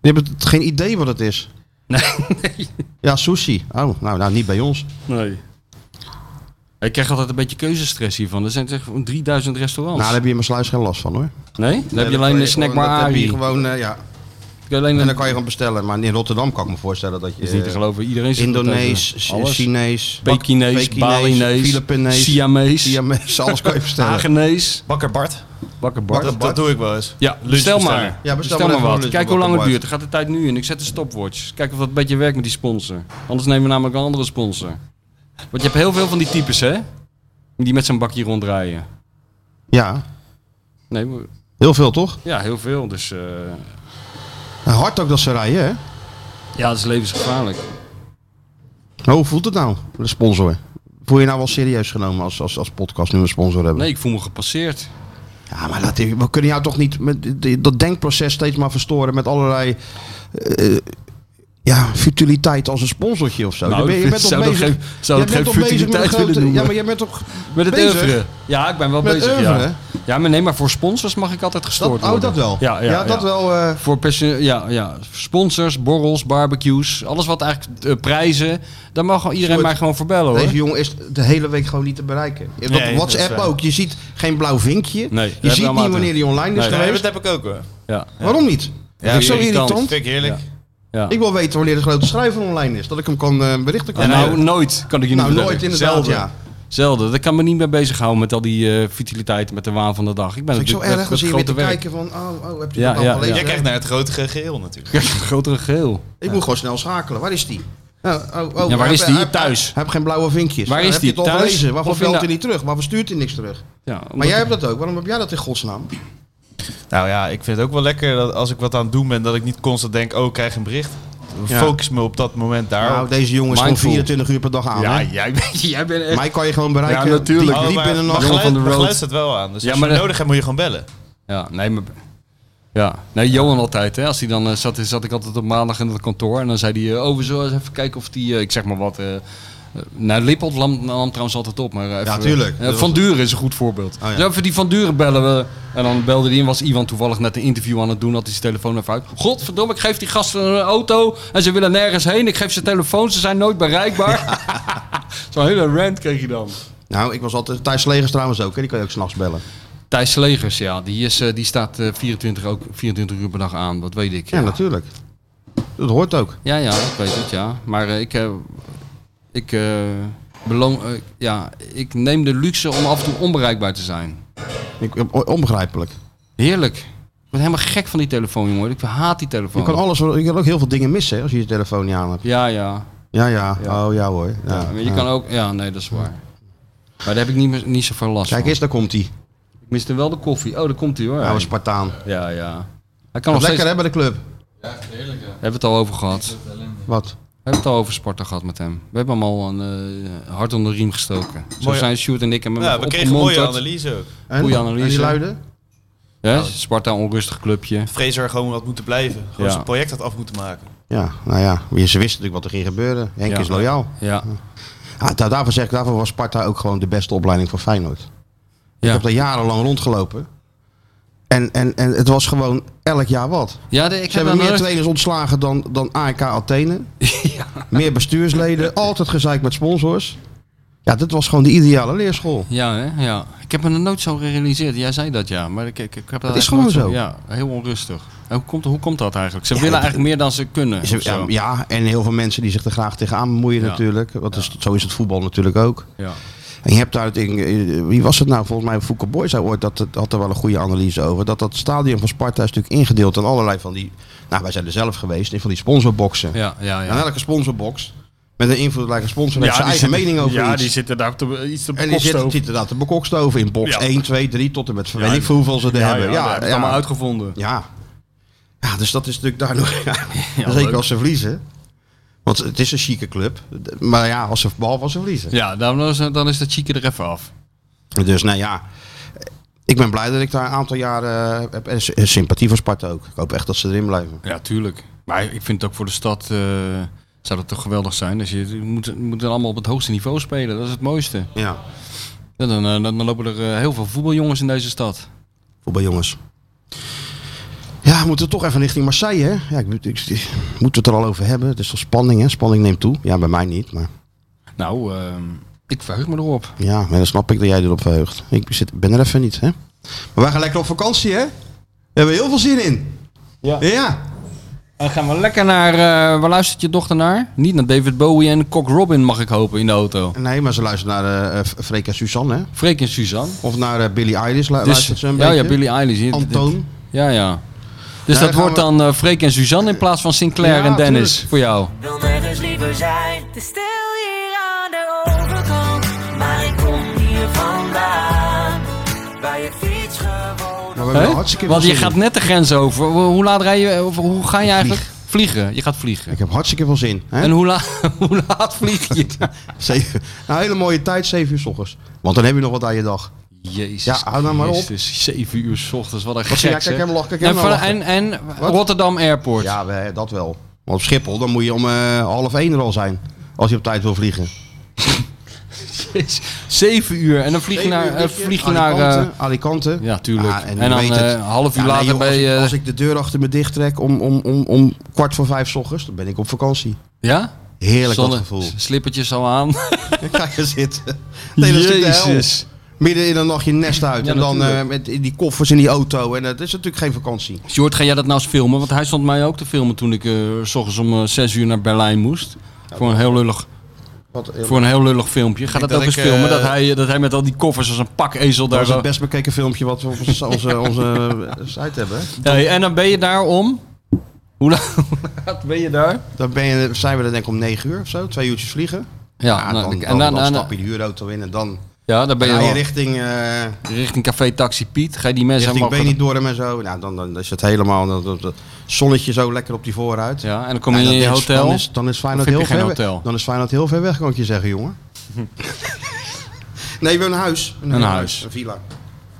Die hebben het- geen idee wat het is.
Nee,
Ja, sushi. Oh, nou, nou niet bij ons.
nee. Ik krijg altijd een beetje keuzestress hiervan. Er zijn echt 3000
Nou,
restaurants.
daar heb je in mijn sluis geen last van hoor.
nee? Dan heb je alleen de snackbar
Dat heb je
Ari.
gewoon, eh, ja.
Heb je alleen
En
een-
dan kan je gewoon bestellen. Maar in Rotterdam kan ik me voorstellen dat je...
is niet te
eh,
geloven. Iedereen zit
Indonees, eh,
thuis,
Chi-
hè? Alles.
Chinees,
Pekinees, Balinees,
Filipinees,
Siamees,
Siamese, alles kan je bestellen.
Hagenees,
Bakker Bart.
bakkerbak.
Dat,
Bart.
dat doe ik wel eens.
Ja,
Lunch
bestel
bestellen.
maar.
Ja, bestel
bestel
maar
maar,
even een
wat.
lunch
Kijk
bij
hoe lang het
Bakkerbak.
duurt. Dan gaat de tijd nu in. Ik zet de stopwatch. Kijk of dat een beetje werkt met die sponsor. Anders nemen we namelijk een andere sponsor. Want je hebt heel veel van die types, hè? Die met zo'n bakje ronddraaien.
Ja,
Nee, maar-
heel veel toch?
ja, heel veel. Dus eh,
En hard ook dat ze rijden, hè?
ja, dat is levensgevaarlijk.
Hoe voelt het nou, de sponsor? Voel je nou wel serieus genomen als, als, als podcast nu een sponsor hebben?
Nee, ik voel me gepasseerd.
Ja, maar dat, we kunnen jou toch niet met die- dat denkproces steeds maar verstoren met allerlei... eh, ja, futiliteit als een sponsortje of zo.
Nou,
Dan ben je, je bent toch
zou dat
bezig,
geen-
jij
zou dat
bent
geen
toch bezig met een
futiliteit willen
grote...
noemen?
Ja, maar jij bent toch...
Met het
Bezig?
oeuvre. Ja, ik ben wel
Met
bezig.
oeuvre?
Ja. ja, maar nee, maar voor sponsors mag ik altijd
Dat,
gestoord
oh,
worden.
dat wel.
Ja, ja,
dat
ja.
wel. eh,
Voor perso- ja, ja, sponsors, borrels, barbecues, alles wat eigenlijk eh, prijzen. Daar mag gewoon iedereen
Soort-
mij gewoon voor bellen hoor.
Deze jongen is de hele week gewoon niet te bereiken. Op
Nee, dat
WhatsApp
is waar.
ook. Je ziet geen blauw vinkje.
Nee,
je
daar
ziet
hebben we
niet
maten.
wanneer die online is
Nee,
Nee,
geweest.
dat heb ik ook hoor.
Ja,
Waarom niet? dat is zo
irritant.
irritant.
Vind ik heerlijk.
ja.
Ik wil weten wanneer de grote schrijver online is. Dat ik hem kan eh, berichten kan
En nou,
sturen.
nooit kan ik je
nou,
niet
nooit
vertellen.
inderdaad.
Zelden.
Ja.
Zelden. Dat kan me niet meer bezighouden met al die eh futiliteit, met de waan van de dag. Ik ben
Vind Dus ik zo
natuurlijk
erg
met,
als je
met
hier weer te
grote werk.
kijken van... Oh, oh heb je
Ja,
dat nou
ja,
gelezen?
ja.
Jij kijkt naar het grote geheel natuurlijk.
Kijk, grotere geheel.
Ik moet gewoon snel schakelen. Waar is die? Nou, oh, oh,
Ja, waar
heb-
is die?
heb-
Thuis.
Heb geen blauwe vinkjes.
Waar
Nou,
is
heb
die?
je het al
Thuis?
gelezen? Waarvoor
Of in
belt
de-
hij niet terug? Waarvoor stuurt hij niks terug?
Ja,
Maar
omdat
jij
ik-
hebt dat ook. Waarom heb jij dat in godsnaam?
Nou ja, ik vind het ook wel lekker dat als ik wat aan het doen ben, dat ik niet constant denk, oh, ik krijg een bericht.
Ja.
focus me op dat moment daar.
Nou, deze jongen is gewoon
Mindful.
24 uur per dag aan.
ja,
hè?
jij, bent- jij bent echt...
Mij kan je gewoon bereiken.
Ja, natuurlijk.
Diep, diep
Oh, maar-
in de
maar
nacht.
Jongen
geluid,
van de
maar
road.
geluid staat wel aan. Dus
Ja,
als
maar
je
dat-
nodig hebt, moet je gewoon bellen.
Ja, nee, maar... Ja, nee, Johan altijd. Hè. Als hij dan eh, zat, zat ik altijd op maandag in het kantoor. En dan zei hij, eh, oh, we zullen eens even kijken of die, eh, ik zeg maar wat... eh eh, nou, Lippold nam, nam trouwens altijd op. Maar eh, even,
tuurlijk.
eh,
Dat
van
was- Ah,
Duren is een goed voorbeeld.
ja.
Dus even die Van Duren bellen we. En dan belde hij in, was Iwan toevallig net een interview aan het doen. Had hij zijn telefoon even uit. Godverdomme, ik geef die gasten een auto. En ze willen nergens heen. Ik geef ze telefoon, ze zijn nooit bereikbaar. Zo'n hele rant kreeg je dan.
Nou, ik was altijd... Thijs Legers trouwens ook. Hè? Die kan je ook s'nachts bellen.
Thijs Slegers, ja, die, is, eh, die staat eh, 24, ook, 24 uur per dag aan, dat weet ik.
Ja, natuurlijk. Dat hoort ook.
Ja, ja, ik weet het, ja. Maar eh, ik, eh, ik, eh, beloon, eh, ja, ik neem de luxe om af en toe onbereikbaar te zijn.
Ik, onbegrijpelijk.
Heerlijk. Ik word helemaal gek van die telefoon, jongen. Ik haat die telefoon.
Je kan alles... Je kan ook heel veel dingen missen hè, als je je telefoon niet aan hebt.
Ja, ja.
Ja, ja. Oh, ja hoor. Ja,
ja. maar je
ja.
kan ook... Ja, nee, dat is waar. Maar daar heb ik niet, meer- niet zoveel last
Kijk
van.
eens, daar komt hij.
Ik miste wel de koffie. Oh, daar komt hij hoor.
Oude Spartaan.
Ja, ja. Hij kan
Wat
nog steeds...
lekker hè bij de club.
Hebben we het al over gehad.
Wat?
We hebben het al over Sparta gehad met hem. We hebben hem al een eh, hard onder de riem gestoken. Zo
Mooi.
zijn Sjoerd en ik hem
Ja, we kregen een mooie
opgemonterd.
analyse ook.
En,
Goeie
en
analyse.
die luiden?
Ja, Sparta, onrustig clubje.
Fraser gewoon wat moeten blijven. Gewoon
Ja.
zijn project had af moeten maken.
Ja, nou ja. Ze wisten natuurlijk wat er ging gebeuren. Henk
Ja.
is loyaal.
Ja.
Ah, daar- daarvoor zeg ik, daarvoor was Sparta ook gewoon de beste opleiding voor Feyenoord. Ik
Ja,
heb daar jarenlang rondgelopen. En, en, en het was gewoon elk jaar wat.
ja de- ik
Ze
heb
hebben
hem
meer
nooit-
trainers ontslagen dan, dan AEK Athene. Meer bestuursleden. Altijd gezeik met sponsors. Ja, dit was gewoon de ideale leerschool.
Ja, hè? ja, ik heb me er nooit zo gerealiseerd. Jij zei dat ja, maar ik, ik, ik heb dat
Het is
eigenlijk nooit
gewoon
Ja, heel onrustig. En hoe, komt, hoe komt dat eigenlijk? Ze willen eigenlijk meer dan ze kunnen.
Ze-
of zo.
ja, ja, en heel veel mensen die zich er graag tegenaan bemoeien
Ja.
natuurlijk. Want is, zo is het voetbal natuurlijk ook.
Ja.
En je hebt daar, het in- eh, wie was het nou? Volgens mij Foucault Boy zei ooit, dat, het- had er wel een goede analyse over. Dat dat stadion van Sparta is natuurlijk ingedeeld in allerlei van die... Nou, wij zijn er zelf geweest, in van die sponsorboxen.
Ja, ja,
En
ja.
elke sponsorbox met een invloedrijke sponsor heeft zijn eigen mening over
ja,
iets.
die zitten daar te, iets te
en die zitten zitten daar te bekokstoven in box
Ja.
1, 2, 3 tot en met
Ja,
weet ik veel hoeveel ze er hebben.
ja,
Ja,
dat
ja,
allemaal
ja,
uitgevonden.
ja. Ja, dus dat is natuurlijk daar nog...
Ja,
zeker
leuk.
als ze verliezen. Want het is een chique club. Maar ja, als ze, behalve als ze verliezen.
Ja, dan is, dan is dat chique er even af.
Dus nou ja, ik ben blij dat ik daar een aantal jaren eh, heb. En sy- en sympathie voor Sparta ook. Ik hoop echt dat ze erin blijven.
Ja, tuurlijk. Maar ik vind het ook voor de stad eh, zou dat toch geweldig zijn. Dus je, je moet, je moet dan allemaal op het hoogste niveau spelen. Dat is het mooiste.
Ja,
Ja, dan, eh, dan, dan lopen er eh, heel veel voetbaljongens in deze stad.
voetbaljongens. Ja, we moeten toch even richting Marseille, hè? Ja, ik, moet- ik, ik- moeten we het er al over hebben? Het is toch spanning, hè? Spanning neemt toe. Ja, bij mij niet, maar
Nou, ehm, ik verheug me erop.
ja, maar dan snap ik dat jij erop verheugt. Ik zit, ben er even niet, hè? Maar wij gaan lekker op vakantie, hè? Daar hebben we heel veel zin in.
Ja.
Ja.
Dan gaan we lekker naar... eh, waar luistert je dochter naar? Niet naar David Bowie en Cock Robin, mag ik hopen, in de auto.
Nee, maar ze luistert naar eh, eh, Freek en Suzanne, hè?
Freek en Suzanne.
Of naar eh, Billie Eilish lu- luistert ze een
Dus- ja,
beetje.
ja, Billie Eilish. Dit- dit-
Antoon. Nou,
Ja, ja. Dus
Ja,
dat
dan
wordt
gaan
dan eh, Freek en Suzanne in plaats van Sinclair
Ja,
en Dennis
tuurlijk.
voor jou.
wil nergens liever zijn. Te stil hier aan de overkant, maar ik kom hier vandaan. Bij je fiets gewoon.
Nou, we hebben
Hè?
hartstikke
Want
veel
je
zin in.
gaat net de grens over. Hoe hoe laat rij je? Of hoe ga je eigenlijk?
vlieg.
Vliegen. Je gaat vliegen.
Ik heb hartstikke veel zin. Hè?
En hoe, la- hoe laat vlieg je? dan?
Zeven- nou, hele mooie tijd, 7 uur s ochtends. Want dan heb je nog wat aan je dag.
Jezus.
Ja, hou nou maar op.
Christus, zeven uur 's ochtends. Wat een
Wat zie jij?
gek.
Kijk
zeg.
hem lachen, kijk
En,
hem
van-
lachen.
en, en Rotterdam Airport.
Ja, we- dat wel. Want op Schiphol, dan moet je om eh, half één er al zijn. Als je op tijd wil vliegen.
Jezus. Zeven uur. En dan vlieg je naar. eh, vlieg je naar
Alicante.
eh,
Alicante.
ja, tuurlijk.
Ah,
en,
je
dan
weet
eh,
het.
een half
Ja,
uur
nee,
later
joh,
ben je. eh,
als, ik, als ik de deur achter me dicht trek om, om, om, om kwart voor vijf 's ochtends, dan ben ik op vakantie.
eh, ja?
Heerlijk dat
Zonne-
gevoel.
Slippertjes al aan.
Kijk je zitten. Nee, dat is natuurlijk de hel. Midden in de nacht je nest uit.
Ja,
en dan
natuurlijk.
eh, met in die koffers in die auto. En dat is natuurlijk geen vakantie.
Sjoerd, ga jij dat nou eens filmen? Want hij stond mij ook te filmen toen ik eh, s ochtends om eh, zes uur naar Berlijn moest. Voor een heel lullig
Wat,
Voor een heel lullig filmpje. Ga dat,
dat
ook eens
ik,
filmen.
eh,
Dat hij, dat hij met al die koffers als een pak ezel
Dat
daar
is
zo.
het best bekeken filmpje wat we op onze, onze, onze site hebben.
Hey, en dan ben je daar om. Hoe la- hoe laat ben je daar?
Dan ben je, zijn we er denk ik om 9 uur of zo, twee uurtjes vliegen.
Ja,
Ja,
nou,
dan,
ik-
dan,
en dan,
dan
en-
stap je de huurauto in en dan
Ja, dan ben je,
Ga je
wel-
richting, eh
richting Café Taxi Piet. Ga je die mensen
richting
helemaal...
Benidorm en zo. Nou, dan, dan is het helemaal dat, dat, dat zonnetje zo lekker op die vooruit.
Ja, en dan kom je
Ja,
in je
dat is-
hotel.
Dan is, dan is Feyenoord
Of heb
heel
je
ver
geen
weg.
hotel?
Dan is Feyenoord heel ver weg, kan ik je zeggen, jongen. nee, we hebben een huis.
Een
heel
huis.
Een villa.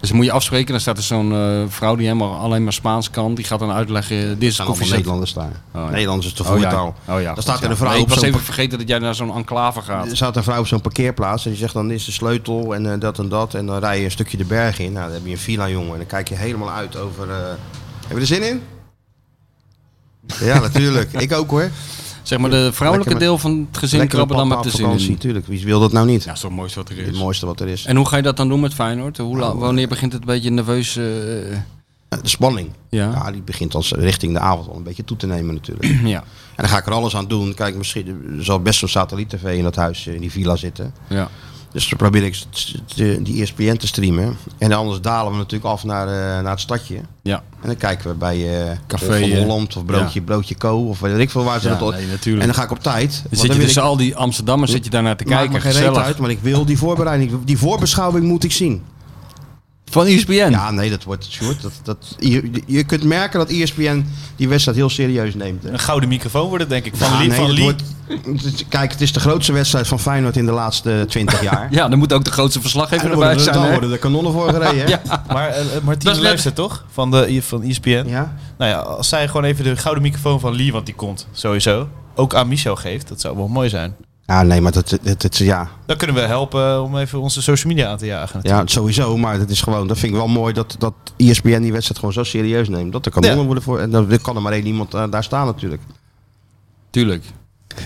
Dus dan moet je afspreken. Dan staat er zo'n eh, vrouw die helemaal alleen maar Spaans kan. Die gaat dan uitleggen. Dit is
staan
koffie
allemaal
zet.
Nederlanders daar.
ja.
Nederlanders is de
Oh ja.
voertaal.
Oh ja.
Daar
goed,
staat
ja.
er een vrouw
Nee, ik
op
was
zo'n
even vergeten dat jij naar zo'n enclave gaat.
Er staat een vrouw op zo'n parkeerplaats en die zegt dan dit is de sleutel en eh, dat en dat. En dan rij je een stukje de berg in. Nou, dan heb je een villa, jongen. En dan kijk je helemaal uit over... eh, Heb je er zin in? Ja, natuurlijk. Ik ook hoor.
Zeg maar, de vrouwelijke
Lekker met-
deel van het gezin
Lekker
krabben dan met de zin in. Ja,
natuurlijk. Wie wil dat nou niet?
dat is toch het mooiste wat er
Het
is.
mooiste wat er is.
En hoe ga je dat dan doen met Feyenoord? Hoe
Oh.
la- wanneer begint het een beetje nerveus? eh,
Eh, De spanning.
ja.
Ja, die begint als richting de avond al een beetje toe te nemen natuurlijk.
ja,
En dan ga ik er alles aan doen. Kijk, misschien er zal best zo'n satelliet-tv in dat huis, eh, in die villa zitten.
ja.
Dus dan probeer ik st- te- die E ESPN te streamen. En anders dalen we natuurlijk af naar, eh, naar het stadje.
Ja,
En dan kijken we bij eh
Café,
Café van
eh,
Holland of Broodje, Broodje Co. Of weet ik veel waar ze
Ja,
dat
nee, natuurlijk.
En dan ga ik op tijd. want
Dan zit je
wil
tussen
ik-
al die Amsterdammers zit je daarnaar te
Maakt
kijken.
me geen reet
gezellig.
uit, maar ik wil die voorbereiding, die voorbeschouwing moet ik zien.
Van E ESPN?
Ja, nee, dat wordt short. Dat, dat, je, je kunt merken dat E ESPN die wedstrijd heel serieus neemt. hè.
Een gouden microfoon wordt het, denk ik. Van
Ja,
Lee.
nee,
van
dat
Lee.
wordt- het is- kijk, het is de grootste wedstrijd van Feyenoord in de laatste 20 jaar.
Ja, dan moet ook de grootste verslaggever
En dan
erbij
worden, er-
zijn.
dan
hè?
worden er kanonnen voor gereden. hè?
Ja.
Maar eh, eh, Martien
Dat is net-
luistert toch? Van, de, van E ESPN.
Ja?
Nou ja, als zij gewoon even de gouden microfoon van Lee, want die komt sowieso, ook aan Michel geeft, dat zou wel mooi zijn.
Ja, nee, maar dat, dat, dat- ja.
Dan kunnen we helpen om even onze social media aan te jagen.
ja, sowieso. Maar dat is gewoon, dat vind ik wel mooi dat, E dat ESPN die wedstrijd gewoon zo serieus neemt. Dat er kanonnen
Ja.
worden voor. En dan kan er maar één iemand eh, daar staan natuurlijk.
Tuurlijk.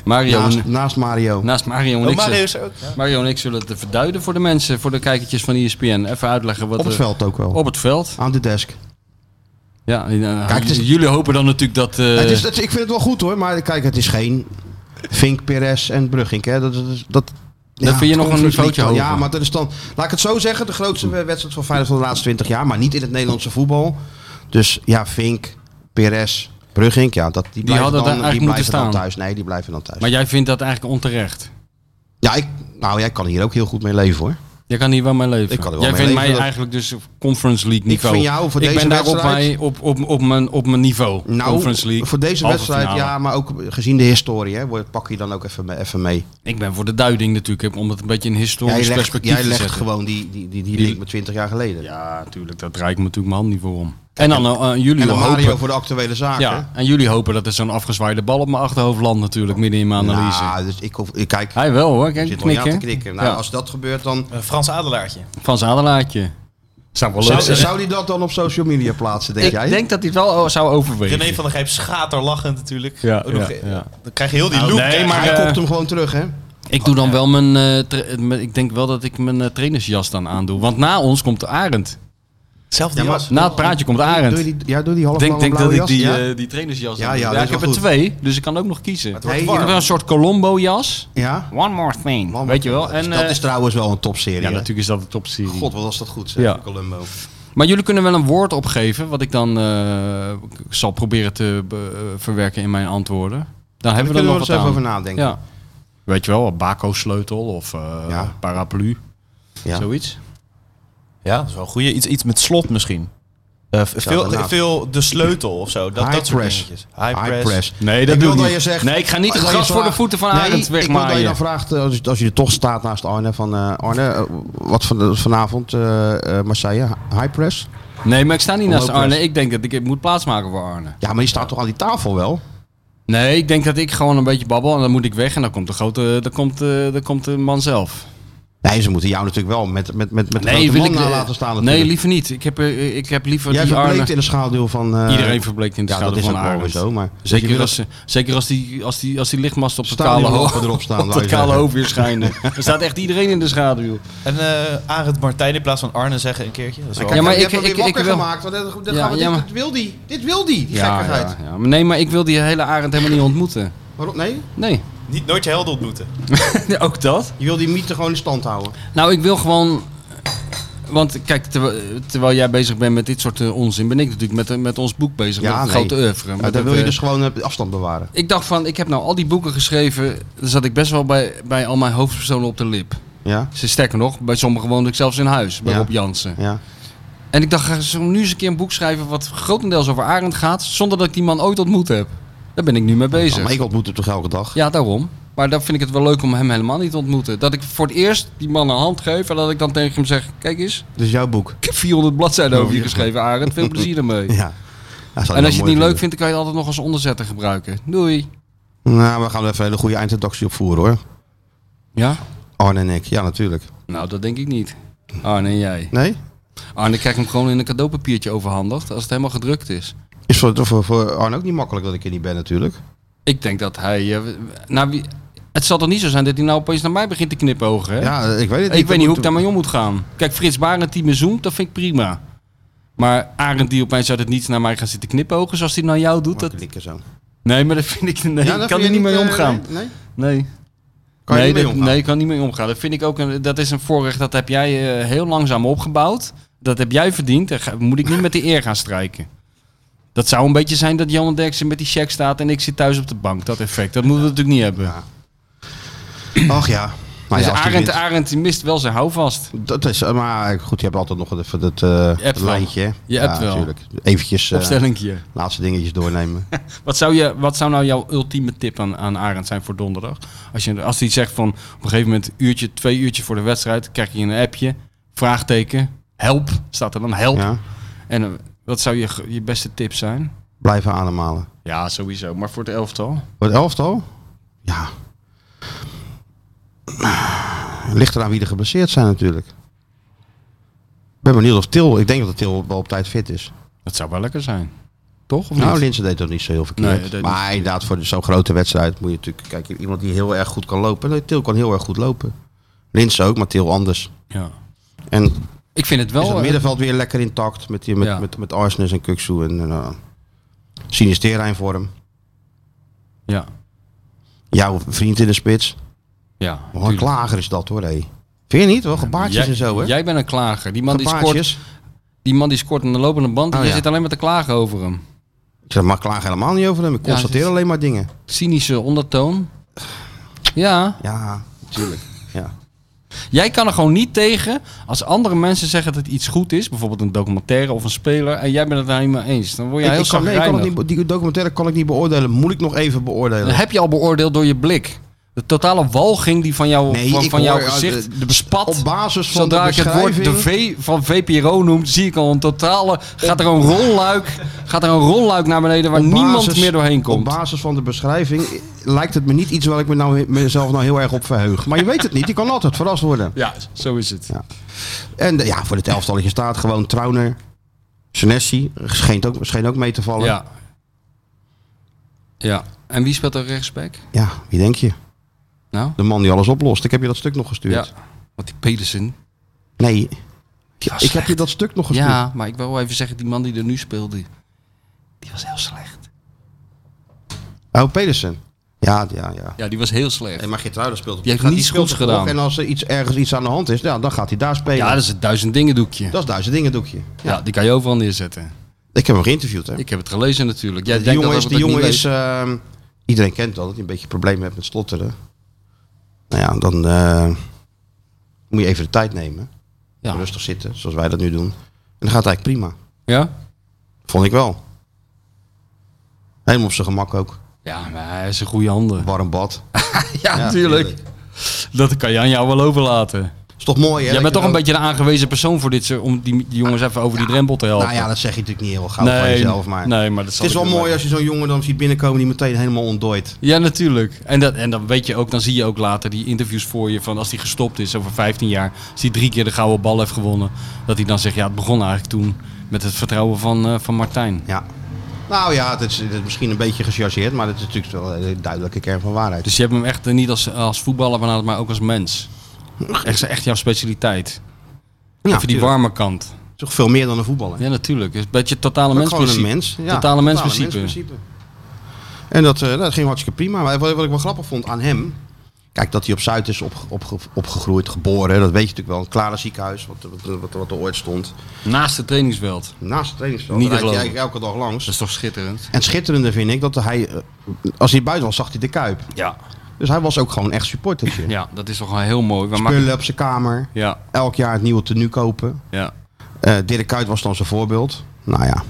Mario
Naast,
en,
naast Mario.
naast Mario en
Oh,
ik.
Mario
zullen-
is er ook. Ja.
Mario en ik zullen het verduiden voor de mensen, voor de kijkertjes van E ESPN. Even uitleggen wat
Op het
er-
veld ook wel.
Op het veld.
Aan de desk.
Ja, en, eh,
Kijk, het is-
jullie hopen dan natuurlijk dat. eh,
het is, het- ik vind het wel goed hoor, maar kijk, het is geen Vink, Perez en Brugink. Hè. Dat, dat, dat,
vind je
het
nog een
Conference
niveautje
League dan.
hoger.
Ja, maar dat is dan, laat ik het zo zeggen, de grootste wedstrijd van Feyenoord van de laatste 20 jaar. Maar niet in het Nederlandse voetbal. Dus ja, Vink, Perez, Brugink, ja, dat, die, blijven
hadden
dan,
daar
die
eigenlijk
blijven
moeten
dan
staan.
thuis. Nee, die blijven dan thuis.
maar jij vindt dat eigenlijk onterecht.
ja, ik, nou, jij kan hier ook heel goed mee leven hoor.
Jij kan hier wel mee leven.
Ik kan er wel
jij
mee
vindt
leven,
mij
dat-
eigenlijk dus op Conference League niveau.
vind jou voor
ik
deze
ben daar op,
wedstrijd-
mijn, op, op, op, mijn, op mijn niveau.
Nou,
Conference League.
voor deze
halve
wedstrijd,
finale.
ja, maar ook gezien de historie, hè, word- pak je dan ook even, mee- even mee.
Ik ben voor de duiding natuurlijk, om het een beetje in historisch
Jij legt,
perspectief
jij
te
legt
zetten.
gewoon die, die, die, die
Die-
link met 20 jaar geleden.
Ja, natuurlijk. Dat draai ik me natuurlijk mijn hand niet voor om. En dan eh, eh, jullie
En dan Mario
hopen.
voor de actuele zaken.
Ja, en jullie hopen dat er zo'n afgezwaaide bal op mijn achterhoofd landt natuurlijk, midden in mijn analyse.
Nou, dus ik, hoef- ik kijk, ik
Hij wel hoor, kijk,
zit nog niet aan te
knikken.
knikken. Nou,
Ja.
als dat gebeurt, dan...
Een Eh, Frans Adelaartje.
Van zijn adelaartje. Zou wel leuk
Zou,
zijn.
zou die dat dan op social media plaatsen, denk
Ik
jij?
denk dat hij het wel oh, zou overwegen.
René van der Gijp schaterlachend natuurlijk.
Ja,
Ook nog-
ja, ja.
Dan krijg je heel die
Nou,
look.
nee,
krijg je.
maar-
Hij
eh,
kopt hem gewoon terug, hè?
Ik doe dan wel mijn, eh, tra- eh, mijn- Ik denk wel dat ik mijn eh, trainersjas dan aandoe. Want na ons komt Arend.
Zelfde
Ja, maar-
jas.
Na het praatje komt
Doe je
Arend.
die, ja, doe die half
Ik denk, denk dat
blauwe
ik
jas,
die,
ja?
eh, die trainersjas
Ja,
aan doe.
ja, dat is
ik heb
wel
er
goed.
twee, dus ik kan ook nog kiezen.
wordt
Hey,
Ik heb wel een soort Colombo-jas.
ja?
One more thing.
Man,
weet je wel? En,
dat
eh,
is trouwens wel een topserie.
ja,
hè?
natuurlijk is dat een topserie.
God, wat was dat goed, zeg,
Ja.
Columbo.
Maar jullie kunnen wel een woord opgeven, wat ik dan eh, ik zal proberen te be- eh, verwerken in mijn antwoorden. Dan hebben we
Daar
er
kunnen
nog
we eens
wat
even
aan.
over nadenken.
ja. Weet je wel, een bako-sleutel of eh,
Ja.
paraplu,
Ja.
zoiets.
Ja, dat is wel een goeie. Iets, iets met slot misschien. Eh, v- veel,
inderdaad.
veel de sleutel of zo. Dat,
High
dat soort
press.
dingetjes. High,
High
press.
press.
Nee,
Ik wil dat je zegt...
nee, ik ga niet het
dat je
gras voor de
vraagt-
voeten van
Nee,
Arend
ik wil dat je
wegmaaien.
dan vraagt, eh, als, als je er toch staat naast Arne, van eh, Arne, eh, wat van, vanavond eh, eh, Marseille, high press?
Nee, maar ik sta niet naast
Omhoog
Arne. Ik denk dat ik het moet plaatsmaken voor Arne.
Ja, maar je staat toch aan die tafel wel?
Nee, ik denk dat ik gewoon een beetje babbel en dan moet ik weg en dan komt de grote, dan komt, eh, dan komt de man zelf.
Nee, ze moeten jou natuurlijk wel met, met, met, met de
Nee,
grote
wil
man
ik
na
eh,
laten staan natuurlijk.
Nee, liever niet. Ik heb, eh, ik heb liever
Jij
die Arne.
verbleekt in de schaduw van... eh,
Iedereen verbleekt in de
ja, dat
schaduw
is
van
ook wel weer
Arend.
zo, maar...
Zeker, als, zeker als, die, als, die, als Dus die lichtmast op het
Staan
kale
die
hoofd
lampen erop staan,
Op
wou
dat
je
kale
zeggen.
hoofd weer schijnen. er staat echt iedereen in de schaduw.
En eh, Arend Martijn in plaats van Arne zeggen een keertje. Dat is wel-
Ja, maar
je
ik-
hebt hem
ik-
weer wakker
ik wil-
gemaakt, want dat, dat
Ja,
gaan we,
ja,
dit,
maar-
dit wil die, dit wil die, die gekkigheid.
ja, ja. Maar Nee, maar ik wil die hele Arend helemaal niet ontmoeten.
Waarom? Nee,
Nee.
Niet, nooit je helden ontmoeten.
Ook dat?
je wil die mythe gewoon in stand houden.
Nou, ik wil gewoon... Want kijk, terwijl, terwijl jij bezig bent met dit soort eh, onzin, ben ik natuurlijk met, met ons boek bezig.
Ja,
met het
nee.
grote oeuvre.
Maar
Met
dan
het,
wil je
eh,
dus gewoon eh, afstand bewaren.
Ik dacht van, ik heb nou al die boeken geschreven, daar zat ik best wel bij, bij al mijn hoofdpersonen op de lip.
Ja?
Ze sterker nog, bij sommigen woonde ik zelfs in huis, bij
Ja.
Rob Jansen.
Ja?
En ik dacht, ga zo nu eens een keer een boek schrijven wat grotendeels over Arend gaat, zonder dat ik die man ooit ontmoet heb. Daar ben ik nu mee bezig.
Oh, Maar ik ontmoet hem toch elke dag?
Ja, daarom. Maar dan vind ik het wel leuk om hem helemaal niet te ontmoeten. Dat ik voor het eerst die man een hand geef en dat ik dan tegen hem zeg: Kijk eens,
Dus jouw boek?
ik heb 400 bladzijden over je geschreven, Arend. Veel plezier ermee.
Oh, Ja. Dat zou
En als
wel
je het niet
mooi
leuk vindt, dan kan je het altijd nog als onderzetter gebruiken. Doei.
Nou, we gaan er even een hele goede eindredactie opvoeren hoor.
Ja?
Arne en ik, ja natuurlijk.
Nou, dat denk ik niet. Arne en jij.
Nee?
Arne krijgt hem gewoon in een cadeaupapiertje overhandigd als het helemaal gedrukt is.
Is voor, voor, voor Arne ook niet makkelijk dat ik er niet ben natuurlijk.
Ik denk dat hij. eh, nou, wie, het zal toch niet zo zijn dat hij nou opeens naar mij begint te knipogen, hè?
Ja, ik weet het niet.
Ik weet niet hoe ik
moet-
daarmee om moet gaan. Kijk, Frits Barend die me zoomt, dat vind ik prima. Maar Arend die opeens uit het niets naar mij gaat zitten knipogen zoals hij naar jou doet. Dat...
Klikken zo.
Nee, maar dat vind ik... Nee,
Ja,
ik
dat vind
kan er
je
niet mee
eh,
omgaan.
Nee? nee?
Nee.
Kan je
nee,
niet mee
dat-
omgaan?
Nee, ik kan niet mee omgaan. Dat vind ik ook een, dat is een voorrecht. Dat heb jij eh, heel langzaam opgebouwd. Dat heb jij verdiend. Daar ga- moet ik niet met die eer gaan strijken. Dat zou een beetje zijn dat Jan Derksen met die check staat en ik zit thuis op de bank. Dat effect. Dat moeten we natuurlijk niet hebben.
Ja. Ach ja. Maar
dus
ja, als die
Arend,
wint-
Arend die mist wel zijn houvast.
dat is, eh, maar goed, je hebt altijd nog even dat eh,
hebt wel.
lijntje. hè?
Je hebt wel.
natuurlijk. Eventjes eh,
Opstellingje.
laatste dingetjes doornemen.
Wat zou, je, wat zou nou jouw ultieme tip aan, aan Arend zijn voor donderdag? Als, je, als hij zegt van op een gegeven moment uurtje, twee uurtjes voor de wedstrijd, krijg je een appje, vraagteken, help, staat er dan help.
ja?
En eh, wat zou je, ge- je beste tip zijn?
Blijven ademhalen.
Ja, sowieso. Maar voor het elftal?
Voor het elftal? Ja. Ligt eraan wie er geblesseerd zijn natuurlijk. Ik ben benieuwd of Til... Ik denk dat Til wel op tijd fit is.
Dat zou wel lekker zijn. Toch? Of
Nou,
niet?
Linse deed dat niet zo heel
Nee,
verkeerd.
hij deed
maar inderdaad, voor zo'n grote wedstrijd moet je natuurlijk... Kijk, iemand die heel erg goed kan lopen. Nee, Til kan heel erg goed lopen. Linse ook, maar Til anders.
Ja.
En is
Ik vind het wel...
het
eh,
middenveld weer lekker intact met, die, met,
Ja.
met, met Arsenis en Kuksu en... eh, Sinistera in vorm.
ja.
Jouw vriend in de spits.
Ja.
Wat een
tuurlijk.
klager is dat hoor, hé. Vind je niet? Wel gebaartjes
Jij-
en zo, hè?
Jij bent een klager. Die man, die scoort,
Gebaartjes.
die man die scoort aan de lopende band, en
Oh,
je
ja.
zit alleen maar te klagen over hem.
Ik zeg, maar klaag helemaal niet over hem. Ik
Ja,
constateer
het is-
alleen maar dingen.
Cynische ondertoon. Ja.
Ja, natuurlijk. Ja.
Jij kan er gewoon niet tegen als andere mensen zeggen dat iets goed is. Bijvoorbeeld een documentaire of een speler. En jij bent het daar niet mee eens. Dan word je
Ik,
heel
ik kan, nee, ik kan het
chagrijnig.
niet, be- die documentaire kan ik niet beoordelen. Moet ik nog even
Dat
beoordelen.
heb je al beoordeeld door je blik. De totale walging die van, jou,
Nee,
van,
ik
van jouw
hoor, eh,
gezicht
de- de
bespat.
Op basis van
Zodra
de
ik het woord de
beschrijving-
V van VPRO noem, zie ik al een totale... Gaat er een rolluik, gaat er een rolluik naar beneden waar
op
niemand
basis-
meer doorheen
Op
komt.
basis van de beschrijving eh, lijkt het me niet iets waar ik me nou, mezelf nou heel erg op verheug. Maar je weet het niet. Je kan altijd verrast worden.
Ja, zo is het.
En eh, ja, voor dit elftalletje staat gewoon Trauner. Senesi scheen ook, scheen ook mee te vallen.
Ja. ja. En wie speelt er rechtsback?
ja, wie denk je?
Nou?
De man die alles oplost. Ik heb je dat stuk nog
Ja.
gestuurd.
Want die Pedersen,
Nee. ik heb
slecht.
je dat stuk nog gestuurd.
Ja, maar ik wil wel even zeggen, die man die er nu speelde, die was heel slecht.
Oh, Pedersen. Ja, ja, ja.
Ja, die was heel slecht.
maar Gertruiden speelt op.
Die heeft
gaat-
niets
speelt
goeds
op de blok
gedaan.
En als er iets, ergens iets aan de hand is, ja, dan gaat hij daar spelen.
Ja, dat
dat...
is het duizend dingen doekje.
is duizend dingen doekje.
ja. die kan je overal neerzetten.
Ik heb hem geïnterviewd. Hè.
Ik heb het gelezen natuurlijk. Jij
die
denkt
jongen
dat
is,
we
die
dat
jongen
niet
is
lezen.
ehm, iedereen kent dat, dat hij een beetje problemen heeft met slotteren. Nou ja, dan eh, moet je even de tijd nemen.
Ja.
Rustig zitten, zoals wij dat nu doen. En dan gaat het eigenlijk prima.
Ja?
Vond ik wel. Helemaal op zijn gemak ook.
Ja, maar hij is een goede handen.
Warm bad.
Ja,
Ja,
natuurlijk.
tuurlijk.
Dat kan je aan jou wel overlaten.
Is toch mooi, hè?
Jij
dat
bent
je
toch een
dan-
beetje de aangewezen persoon voor dit, zo- om die, die jongens even over die drempel te helpen.
Nou ja, dat zeg je natuurlijk niet heel gauw van jezelf, maar...
nee, maar dat
Het is wel mooi als je zo'n jongen dan ziet binnenkomen die meteen helemaal ontdooit.
Ja, natuurlijk. En, dat, en dan weet je ook, dan zie je ook later die interviews voor je van als hij gestopt is over 15 jaar, als hij drie keer de gouden bal heeft gewonnen, dat hij dan zegt, ja, het begon eigenlijk toen met het vertrouwen van, eh, van Martijn.
Ja. Nou ja, het is, het is misschien een beetje gechargeerd, maar het is natuurlijk wel een duidelijke kern van waarheid.
Dus je hebt hem echt eh, niet als, als voetballer benaderd, maar ook als mens. Echt, echt jouw
ja,
specialiteit. Even die
tuurlijk.
warme kant.
Het is toch veel meer dan een voetballer.
Ja, natuurlijk. Het is een beetje
Ook
totale
gewoon
mensprincipe.
een mens. Ja,
totale mensprincipe.
En dat, eh, dat ging hartstikke prima. Maar wat, wat ik wel grappig vond aan hem... Kijk, dat hij op Zuid is opge- opge- opgegroeid, geboren. Dat weet je natuurlijk wel. Een klare ziekenhuis, wat, wat, wat, wat er ooit stond.
Naast het trainingsveld.
Naast het trainingsveld.
Niet
Daar
te
rijdt hij eigenlijk
geloven.
elke dag langs.
Dat is toch schitterend?
En het schitterende vind ik dat hij... eh, Als hij buiten was, zag hij de Kuip.
Ja.
Dus hij was ook gewoon echt supportertje.
Ja, dat is toch wel heel mooi. We maken-
Spullen op zijn kamer.
Ja,
Elk jaar het nieuwe tenue kopen.
ja.
Eh Dirk Kuyt was dan zijn voorbeeld. Nou ja.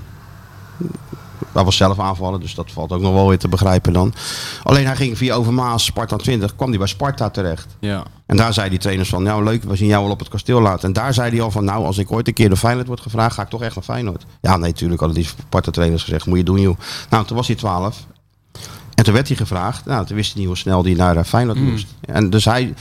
Hij was zelf aanvallen, dus dat valt ook nog wel weer te begrijpen dan. Alleen hij ging via Overmaas, Sparta 20, kwam hij bij Sparta terecht.
Ja,
En daar zei die trainers van, nou leuk, we zien jou wel op het kasteel laten. En daar zei hij al van, nou als ik ooit een keer door Feyenoord word gevraagd, ga ik toch echt naar Feyenoord. Ja, nee, natuurlijk hadden die Sparta trainers gezegd, moet je doen joh. Nou, toen was hij 12. En toen werd hij gevraagd. Nou, toen wist hij niet hoe snel hij naar eh, Feyenoord moest. En dus hij,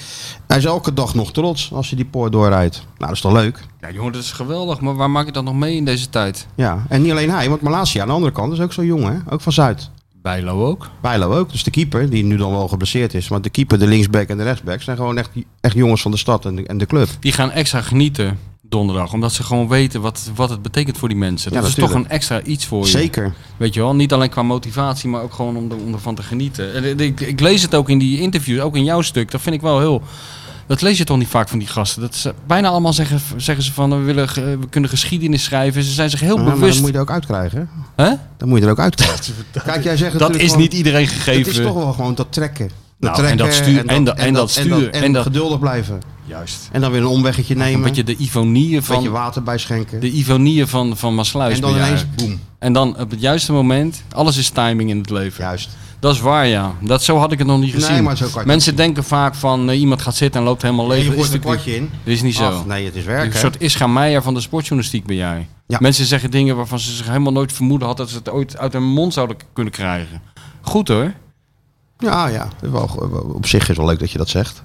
hij is elke dag nog trots als hij die poort doorrijdt. Nou, dat is toch leuk?
ja jongen, dat is geweldig. Maar waar maak je dat nog mee in deze tijd?
Ja, en niet alleen hij, want Malasia aan de andere kant is ook zo jong, hè? Ook van Zuid.
Bijlo ook.
Bijlo ook, dus de keeper, die nu dan wel geblesseerd is. Want de keeper, de linksback en de rechtsback zijn gewoon echt, echt jongens van de stad en de, en de club.
Die gaan extra genieten donderdag. Omdat ze gewoon weten wat, wat het betekent voor die mensen. Dat
Ja,
is toch
natuurlijk.
een extra iets voor je.
Zeker.
Weet je wel, niet alleen qua motivatie, maar ook gewoon om, er- om ervan te genieten. En eh, ik- Ik, ik lees het ook in die interviews, ook in jouw stuk. Dat vind ik wel heel... Dat lees je toch niet vaak van die gasten. Dat ze, bijna allemaal zeggen, zeggen ze van, we, willen, ge- we kunnen geschiedenis schrijven. Ze zijn zich heel
Ja, maar
bewust.
dan moet je er ook uitkrijgen.
Hè?
Dan moet je er ook uitkrijgen. Kijk, jij zegt
Dat
natuurlijk
is
gewoon,
niet iedereen
Het
gegeven.
is toch wel gewoon dat trekken. Dat
Nou, en dat sturen- en dat- en dat sturen.
En,
En dat-
geduldig blijven.
Juist.
En dan weer een omweggetje
Een
nemen.
beetje de ivonieën
een beetje
van,
water bijschenken.
de ivonieën van, van Maasluis.
En dan
bejagen.
ineens, boem.
En dan op het juiste moment, alles is timing in het leven.
Juist.
Dat is waar, ja. Dat, zo had ik het nog niet
Nee,
gezien.
maar zo kan je het
Mensen denken vaak van eh, iemand gaat zitten en loopt helemaal leeg.
je
Dat is
gooit een
natuurlijk
kwartje in.
niet- Dat is niet zo.
Af. Nee, het is werken.
Een soort Ischa Meijer van de sportjournalistiek ben jij.
Ja.
Mensen zeggen dingen waarvan ze zich helemaal nooit vermoeden had dat ze het ooit uit hun mond zouden k- kunnen krijgen. Goed hoor.
Ja, ja. Wel, wel- op zich is wel leuk dat je dat zegt.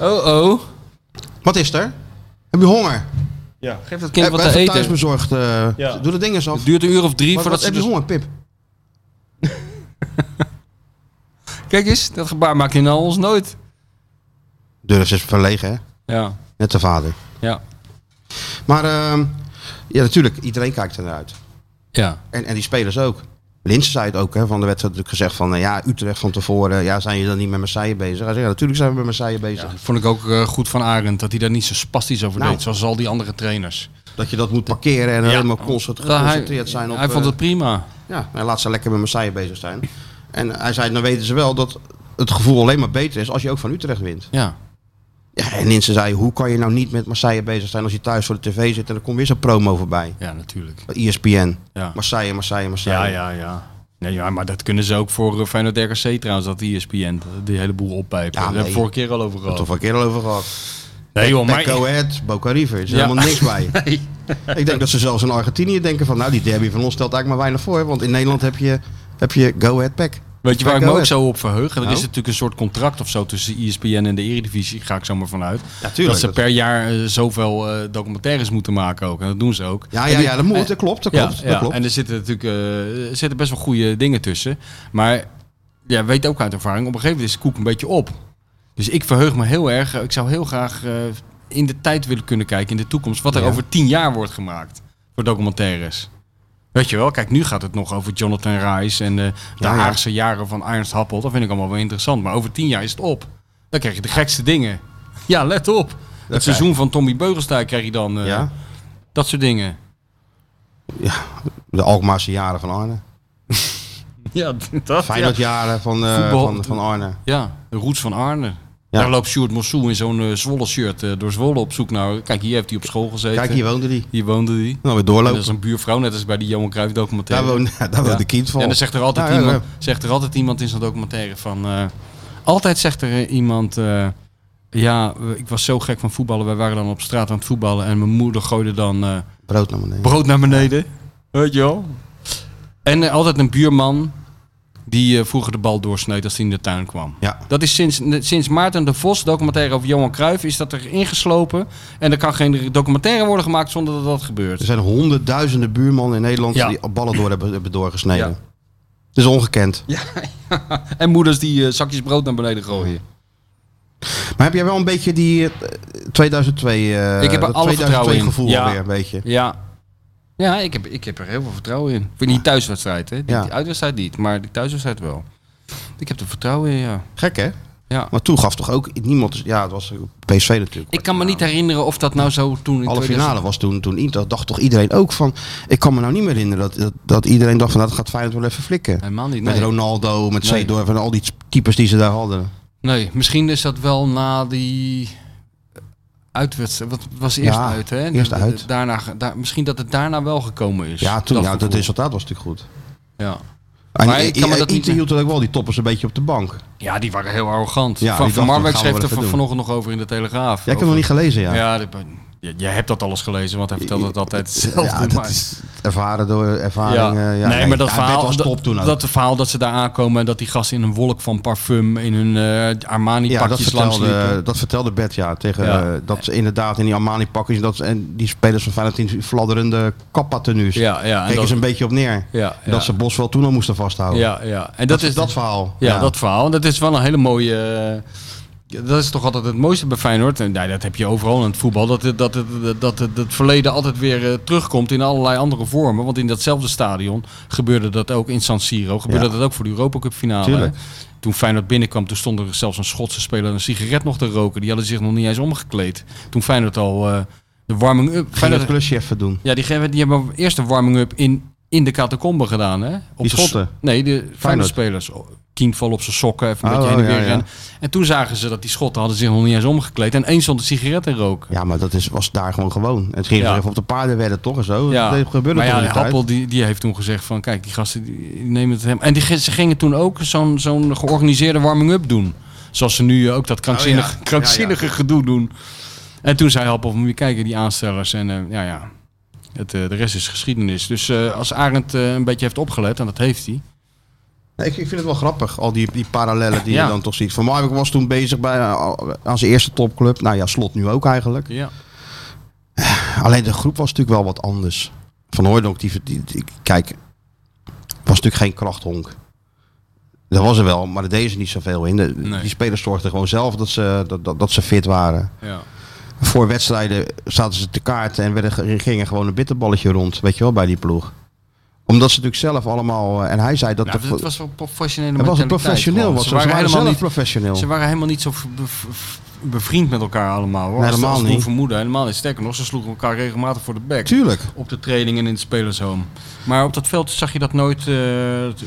Oh oh.
Wat is er? Heb je honger?
Geef dat kind
heb
wat
even
te
thuis
eten.
bezorgd. eh,
Ja.
Doe dat ding eens af.
Het duurt een uur of drie
Wat-
voordat
wat- heb
ze...
je
dus-
honger, Pip?
Kijk eens, dat gebaar maakt hij nou ons nooit.
Durf is verlegen, hè?
Ja,
Net de vader.
ja,
Maar ehm, ja, natuurlijk, iedereen kijkt er naar uit.
ja.
En, en die spelers ook. Linsen zei het ook, hè, van de werd natuurlijk gezegd van, nou ja, Utrecht van tevoren, ja, zijn je dan niet met Marseille bezig? Hij zei, ja, natuurlijk zijn we met Marseille bezig.
Dat vond ik ook eh, goed van Arend, dat hij daar niet zo spastisch over
Nou.
deed, zoals al die andere trainers.
Dat je dat moet parkeren en helemaal concent-
Dat hij-
geconcentreerd zijn op...
Hij vond
eh,
het prima.
Ja, hij laat ze lekker met Marseille bezig zijn. En hij zei, dan weten ze wel dat het gevoel alleen maar beter is als je ook van Utrecht wint.
Ja,
Ja, en Linsen zei, hoe kan je nou niet met Marseille bezig zijn als je thuis voor de tv zit en er komt weer zo'n promo voorbij.
ja natuurlijk.
Bij E ESPN.
Ja.
Marseille, Marseille, Marseille.
Ja, ja, ja. Nee, ja, maar dat kunnen ze ook voor eh, Feyenoord RKC trouwens, dat ESPN, die E hele boel oppijpen.
Ja,
Daar hebben
nee.
we vorige keer al over
We hebben het
gehad.
al een keer al over gehad.
Nee joh, maar...
Go ahead, Boca River. Er is
Ja.
helemaal niks bij.
Nee.
Ik denk dat ze zelfs in Argentinië denken van, nou die derby van ons stelt eigenlijk maar weinig voor. Want in Nederland heb je, heb je Go Ahead Pack.
Weet je waar
Pack
ik me
Go
ook
Ahead.
zo op verheug? Er
Nou?
is natuurlijk een soort contract of zo tussen E ESPN en de Eredivisie, ga ik zo maar vanuit.
tuurlijk,
dat ze
dat-
per jaar eh, zoveel eh, documentaires moeten maken ook. En dat doen ze ook.
Ja,
En
ja,
die-
ja, dat moet, dat klopt, dat
Ja,
klopt.
ja.
Dat klopt.
en er zitten natuurlijk eh, er zitten best wel goede dingen tussen. Maar ja, weet ook uit ervaring, op een gegeven moment is de koek een beetje op. Dus ik verheug me heel erg. eh, Ik zou heel graag eh, in de tijd willen kunnen kijken, in de toekomst, wat er
Ja.
over tien jaar wordt gemaakt voor documentaires. Weet je wel, kijk, nu gaat het nog over Jonathan Rice en eh, de
Oh Ja, ja.
Haagse jaren van Ernst Happel. Dat vind ik allemaal wel interessant. Maar over tien jaar is het op. Dan krijg je de gekste dingen. Ja, let op. het
krijg
seizoen van Tommy Beugelstijk krijg je dan. eh,
Ja,
Dat soort dingen.
de Alkmaarse jaren van Arne.
Ja, dat.
Feyenoord jaren van, eh,
Voetbal.
van, van Arne.
Ja, de roots van Arne.
Ja.
Daar loopt Sjoerd Mossou in zo'n eh, Zwolle shirt eh, door Zwolle op zoek naar... Kijk, hier heeft hij op school gezeten.
Kijk, hier woonde die.
Hier woonde hij.
Nou, weer
En
doorlopen.
dat is een buurvrouw, net als bij die Johan Cruijff
Daar
documentaire.
woonde, daar woonde
Ja.
de kind van.
Ja, dan zegt er altijd,
Ja, ja,
iemand, Zegt er altijd iemand in zo'n documentaire van... eh, altijd zegt er eh, iemand... eh, ja, eh, ik was zo gek van voetballen. Wij waren dan op straat aan het voetballen. En mijn moeder gooide dan eh,
Brood naar beneden.
brood naar beneden. Weet je wel? En eh, altijd een buurman die eh, vroeger de bal doorsneed als hij in de tuin kwam.
Ja.
Dat is sinds, sinds Maarten de Vos, documentaire over Johan Cruijff, is dat er ingeslopen. En er kan geen documentaire worden gemaakt zonder dat dat gebeurt.
Er zijn honderdduizenden buurmannen in Nederland
Ja.
die ballen door hebben, hebben doorgesneden.
Ja.
Het is ongekend.
En moeders die eh, zakjes brood naar beneden gooien.
Maar heb jij wel een beetje die eh, 2002, eh
Ik heb er
dat
alle vertrouwen in.
gevoel
Ja.
alweer een beetje?
Ja, ja ik, heb, ik heb er heel veel vertrouwen in. Voor die thuiswedstrijd, hè? Die,
Ja.
die uitwedstrijd niet, maar die thuiswedstrijd wel. Ik heb er vertrouwen in, ja.
Gek hè?
Ja.
Maar toen gaf toch ook niemand... Ja, het was PSV natuurlijk.
Ik kan me niet herinneren of dat nou zo toen in
Alle
2000
finale was toen, toen Inter, dacht toch iedereen ook van... Ik kan me nou niet meer herinneren dat, dat, dat iedereen dacht van nou, dat gaat Feyenoord wel even flikken.
Helemaal niet.
Met
Nee.
Ronaldo, met
Nee.
Seedorf en al die types die ze daar hadden.
nee, misschien is dat wel na die uitwedstrijd. Wat was eerst
Ja,
uit, hè?
eerst uit.
Daarna, ge- daar, misschien dat het daarna wel gekomen is.
Ja, toen,
dat
ja, het
gevoel.
resultaat was natuurlijk goed.
Ja.
En
Maar
I-
ik kan me
I-
dat niet
Inter hield er ook wel die toppers een beetje op de bank.
ja, die waren heel arrogant.
Ja,
van
die
van
dachten,
Marwijk
gaan we
schreef
wel
er
even
van-
doen.
vanochtend nog over in de Telegraaf.
Jij hebt
Over-
hem nog niet gelezen, ja.
Ja, dat- je, je hebt dat alles gelezen, want hij vertelde het altijd hetzelfde.
Ja, dat
Oh, maar-
is ervaren door ervaring. eh, Ja.
nee, maar dat
ja,
verhaal,
Bert was
dat-
top toen ook.
dat verhaal dat ze daar aankomen en dat die gasten in een wolk van parfum in hun eh, Armani
ja, dat
pakjes langs liepen.
vertelde, dat vertelde Bert, ja. Tegen,
Ja.
eh, dat ze inderdaad in die Armani-pakjes dat ze- en die spelers van Feyenoord in fladderende kappa-tenues.
Ja, ja, en
Keken
dat-
ze een beetje op neer.
Ja, ja.
Dat ze Bos wel toen al moesten vasthouden.
Ja, ja. En dat,
Dat,
is
dat verhaal.
Ja, dat verhaal. En Dat is wel een hele mooie. eh, ja, dat is toch altijd het mooiste bij Feyenoord. En ja, dat heb je overal in het voetbal. Dat het, dat het, dat het, het verleden altijd weer eh, terugkomt in allerlei andere vormen. Want in datzelfde stadion gebeurde dat ook in San Siro. Gebeurde
Ja.
dat ook voor de Europa Cup finale.
Tuurlijk.
hè. Toen Feyenoord binnenkwam, toen stond er zelfs een Schotse speler een sigaret nog te roken. Die hadden zich nog niet eens omgekleed. Toen Feyenoord al eh, de warming-up...
Ging dat
Feyenoord-
klusje even doen.
Ja, die, geven- die hebben eerst een warming-up in, in de catacombe gedaan. Hè? Op
Die
de-
Schotten?
Nee, de Feyenoord-spelers. Kien val op zijn sokken, even een
Oh,
beetje heen en
oh, ja,
weer
ja.
rennen. En toen zagen ze dat die Schotten hadden zich nog niet eens omgekleed. En één stond een sigaret te roken.
Ja, maar dat is, was daar gewoon gewoon. Het ging
Ja.
even op de paarden werden toch en zo.
Ja.
Dat gebeurde
maar
toch
ja,
in die tijd.
Happel die, die heeft toen gezegd van... Kijk, die gasten die, die nemen het hem... En die, ge- ze gingen toen ook zo'n zo'n georganiseerde warming-up doen. Zoals ze nu eh, ook dat krankzinnige,
Oh ja.
krankzinnige gedoe doen. En toen zei Happel van... "Moet je Kijken, die aanstellers. En eh, ja, ja. Het, eh, de rest is geschiedenis. Dus eh, als Arend eh, een beetje heeft opgelet, en dat heeft hij...
Nee, ik, ik vind het wel grappig, al die, die parallellen die
Ja.
je dan toch ziet. Van Marwijk was toen bezig bij, eh, aan zijn eerste topclub. Nou ja, Slot nu ook eigenlijk.
Ja.
Alleen de groep was natuurlijk wel wat anders. Van Hooydonk, die, die, die- kijk, was natuurlijk geen krachthonk. Dat was er wel, maar daar deden ze niet zoveel in. De-
Nee.
Die spelers zorgden gewoon zelf dat ze, dat, dat, dat ze fit waren.
Ja.
Voor wedstrijden zaten ze te kaarten en werden, ge- gingen gewoon een bitterballetje rond. Weet je wel, bij die ploeg. Omdat ze natuurlijk zelf allemaal... eh, En hij zei dat...
Nou,
de-
het was wel professionele
het was
mentaliteit
professioneel.
gewoon.
Was,
ze,
ze
waren helemaal
zelf
niet,
professioneel.
ze waren helemaal niet zo v- bev- bevriend met elkaar allemaal. Hoor.
Nee,
Als-
helemaal
als
niet.
vroeg vermoeden, helemaal niet. Sterker nog, ze sloegen elkaar regelmatig voor de bek.
Tuurlijk.
Op de training en in het spelershome. Maar op dat veld zag je dat nooit... eh, t-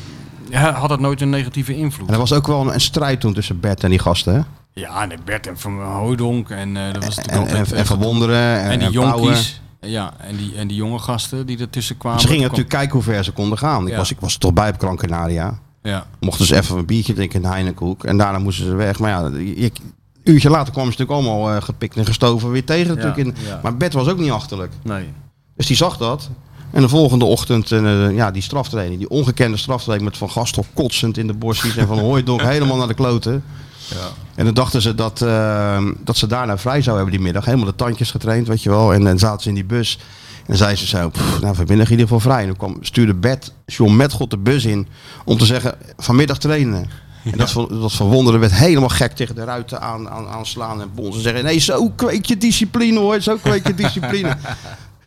ja, had dat nooit een negatieve invloed.
En er was ook wel een, een strijd toen tussen Bert en die gasten. Hè?
Ja, en Bert en Van Hooydonk en eh, dat was
En,
natuurlijk
en,
altijd...
en Van Wonderen en,
en die
en Pauwen.
jonkies. Ja, en die, en die jonge gasten die ertussen kwamen.
Ze gingen
Toen kwam-
natuurlijk kijken hoe ver ze konden gaan. Ik,
Ja.
was, ik was er toch bij op Gran Canaria.
Ja.
Mochten ze even een biertje drinken in de Heinekenhoek. En daarna moesten ze weg. Maar ja, ik, een uurtje later kwamen ze natuurlijk allemaal eh, gepikt en gestoven weer tegen.
Ja,
Natuurlijk in,
ja.
Maar Bert was ook niet achterlijk.
Nee.
Dus die zag dat. En de volgende ochtend, eh, ja, die straftraining, die ongekende straftraining met Van Gastel kotsend in de borstjes en Van Hooijdonk helemaal naar de kloten. En dan dachten ze dat, eh, dat ze daarna vrij zou hebben die middag. Helemaal de tandjes getraind, weet je wel. En dan zaten ze in die bus. En dan zeiden ze zo, "Pff, nou vanmiddag in ieder geval vrij. En toen kwam, stuurde Bert, John Metgod de bus in om te zeggen, vanmiddag trainen. En dat, van- dat van Wonderen werd helemaal gek tegen de ruiten aan, aan, aanslaan en bonzen. En zeggen, nee, zo kweek je discipline hoor, zo kweek je discipline.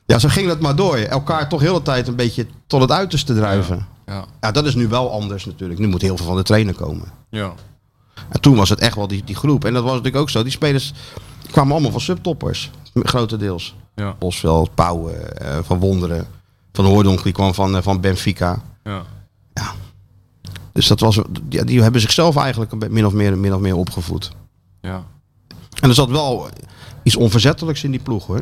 Ja, zo ging dat maar door. Elkaar toch heel de tijd een beetje tot het uiterste drijven. Ja.
Ja.
dat is nu wel anders natuurlijk. Nu moet heel veel van de trainer komen.
Ja.
En toen was het echt wel die, die groep. En dat was natuurlijk ook zo. Die spelers kwamen allemaal van subtoppers. Grotendeels.
Ja.
Bosveld, Pauwen, eh, Van Wonderen. Van Hoordonk, die kwam van, eh, van Benfica.
Ja.
Dus dat was, ja, die hebben zichzelf eigenlijk een be- min of, meer, min of meer opgevoed.
Ja.
En er zat wel iets onverzettelijks in die ploeg hoor.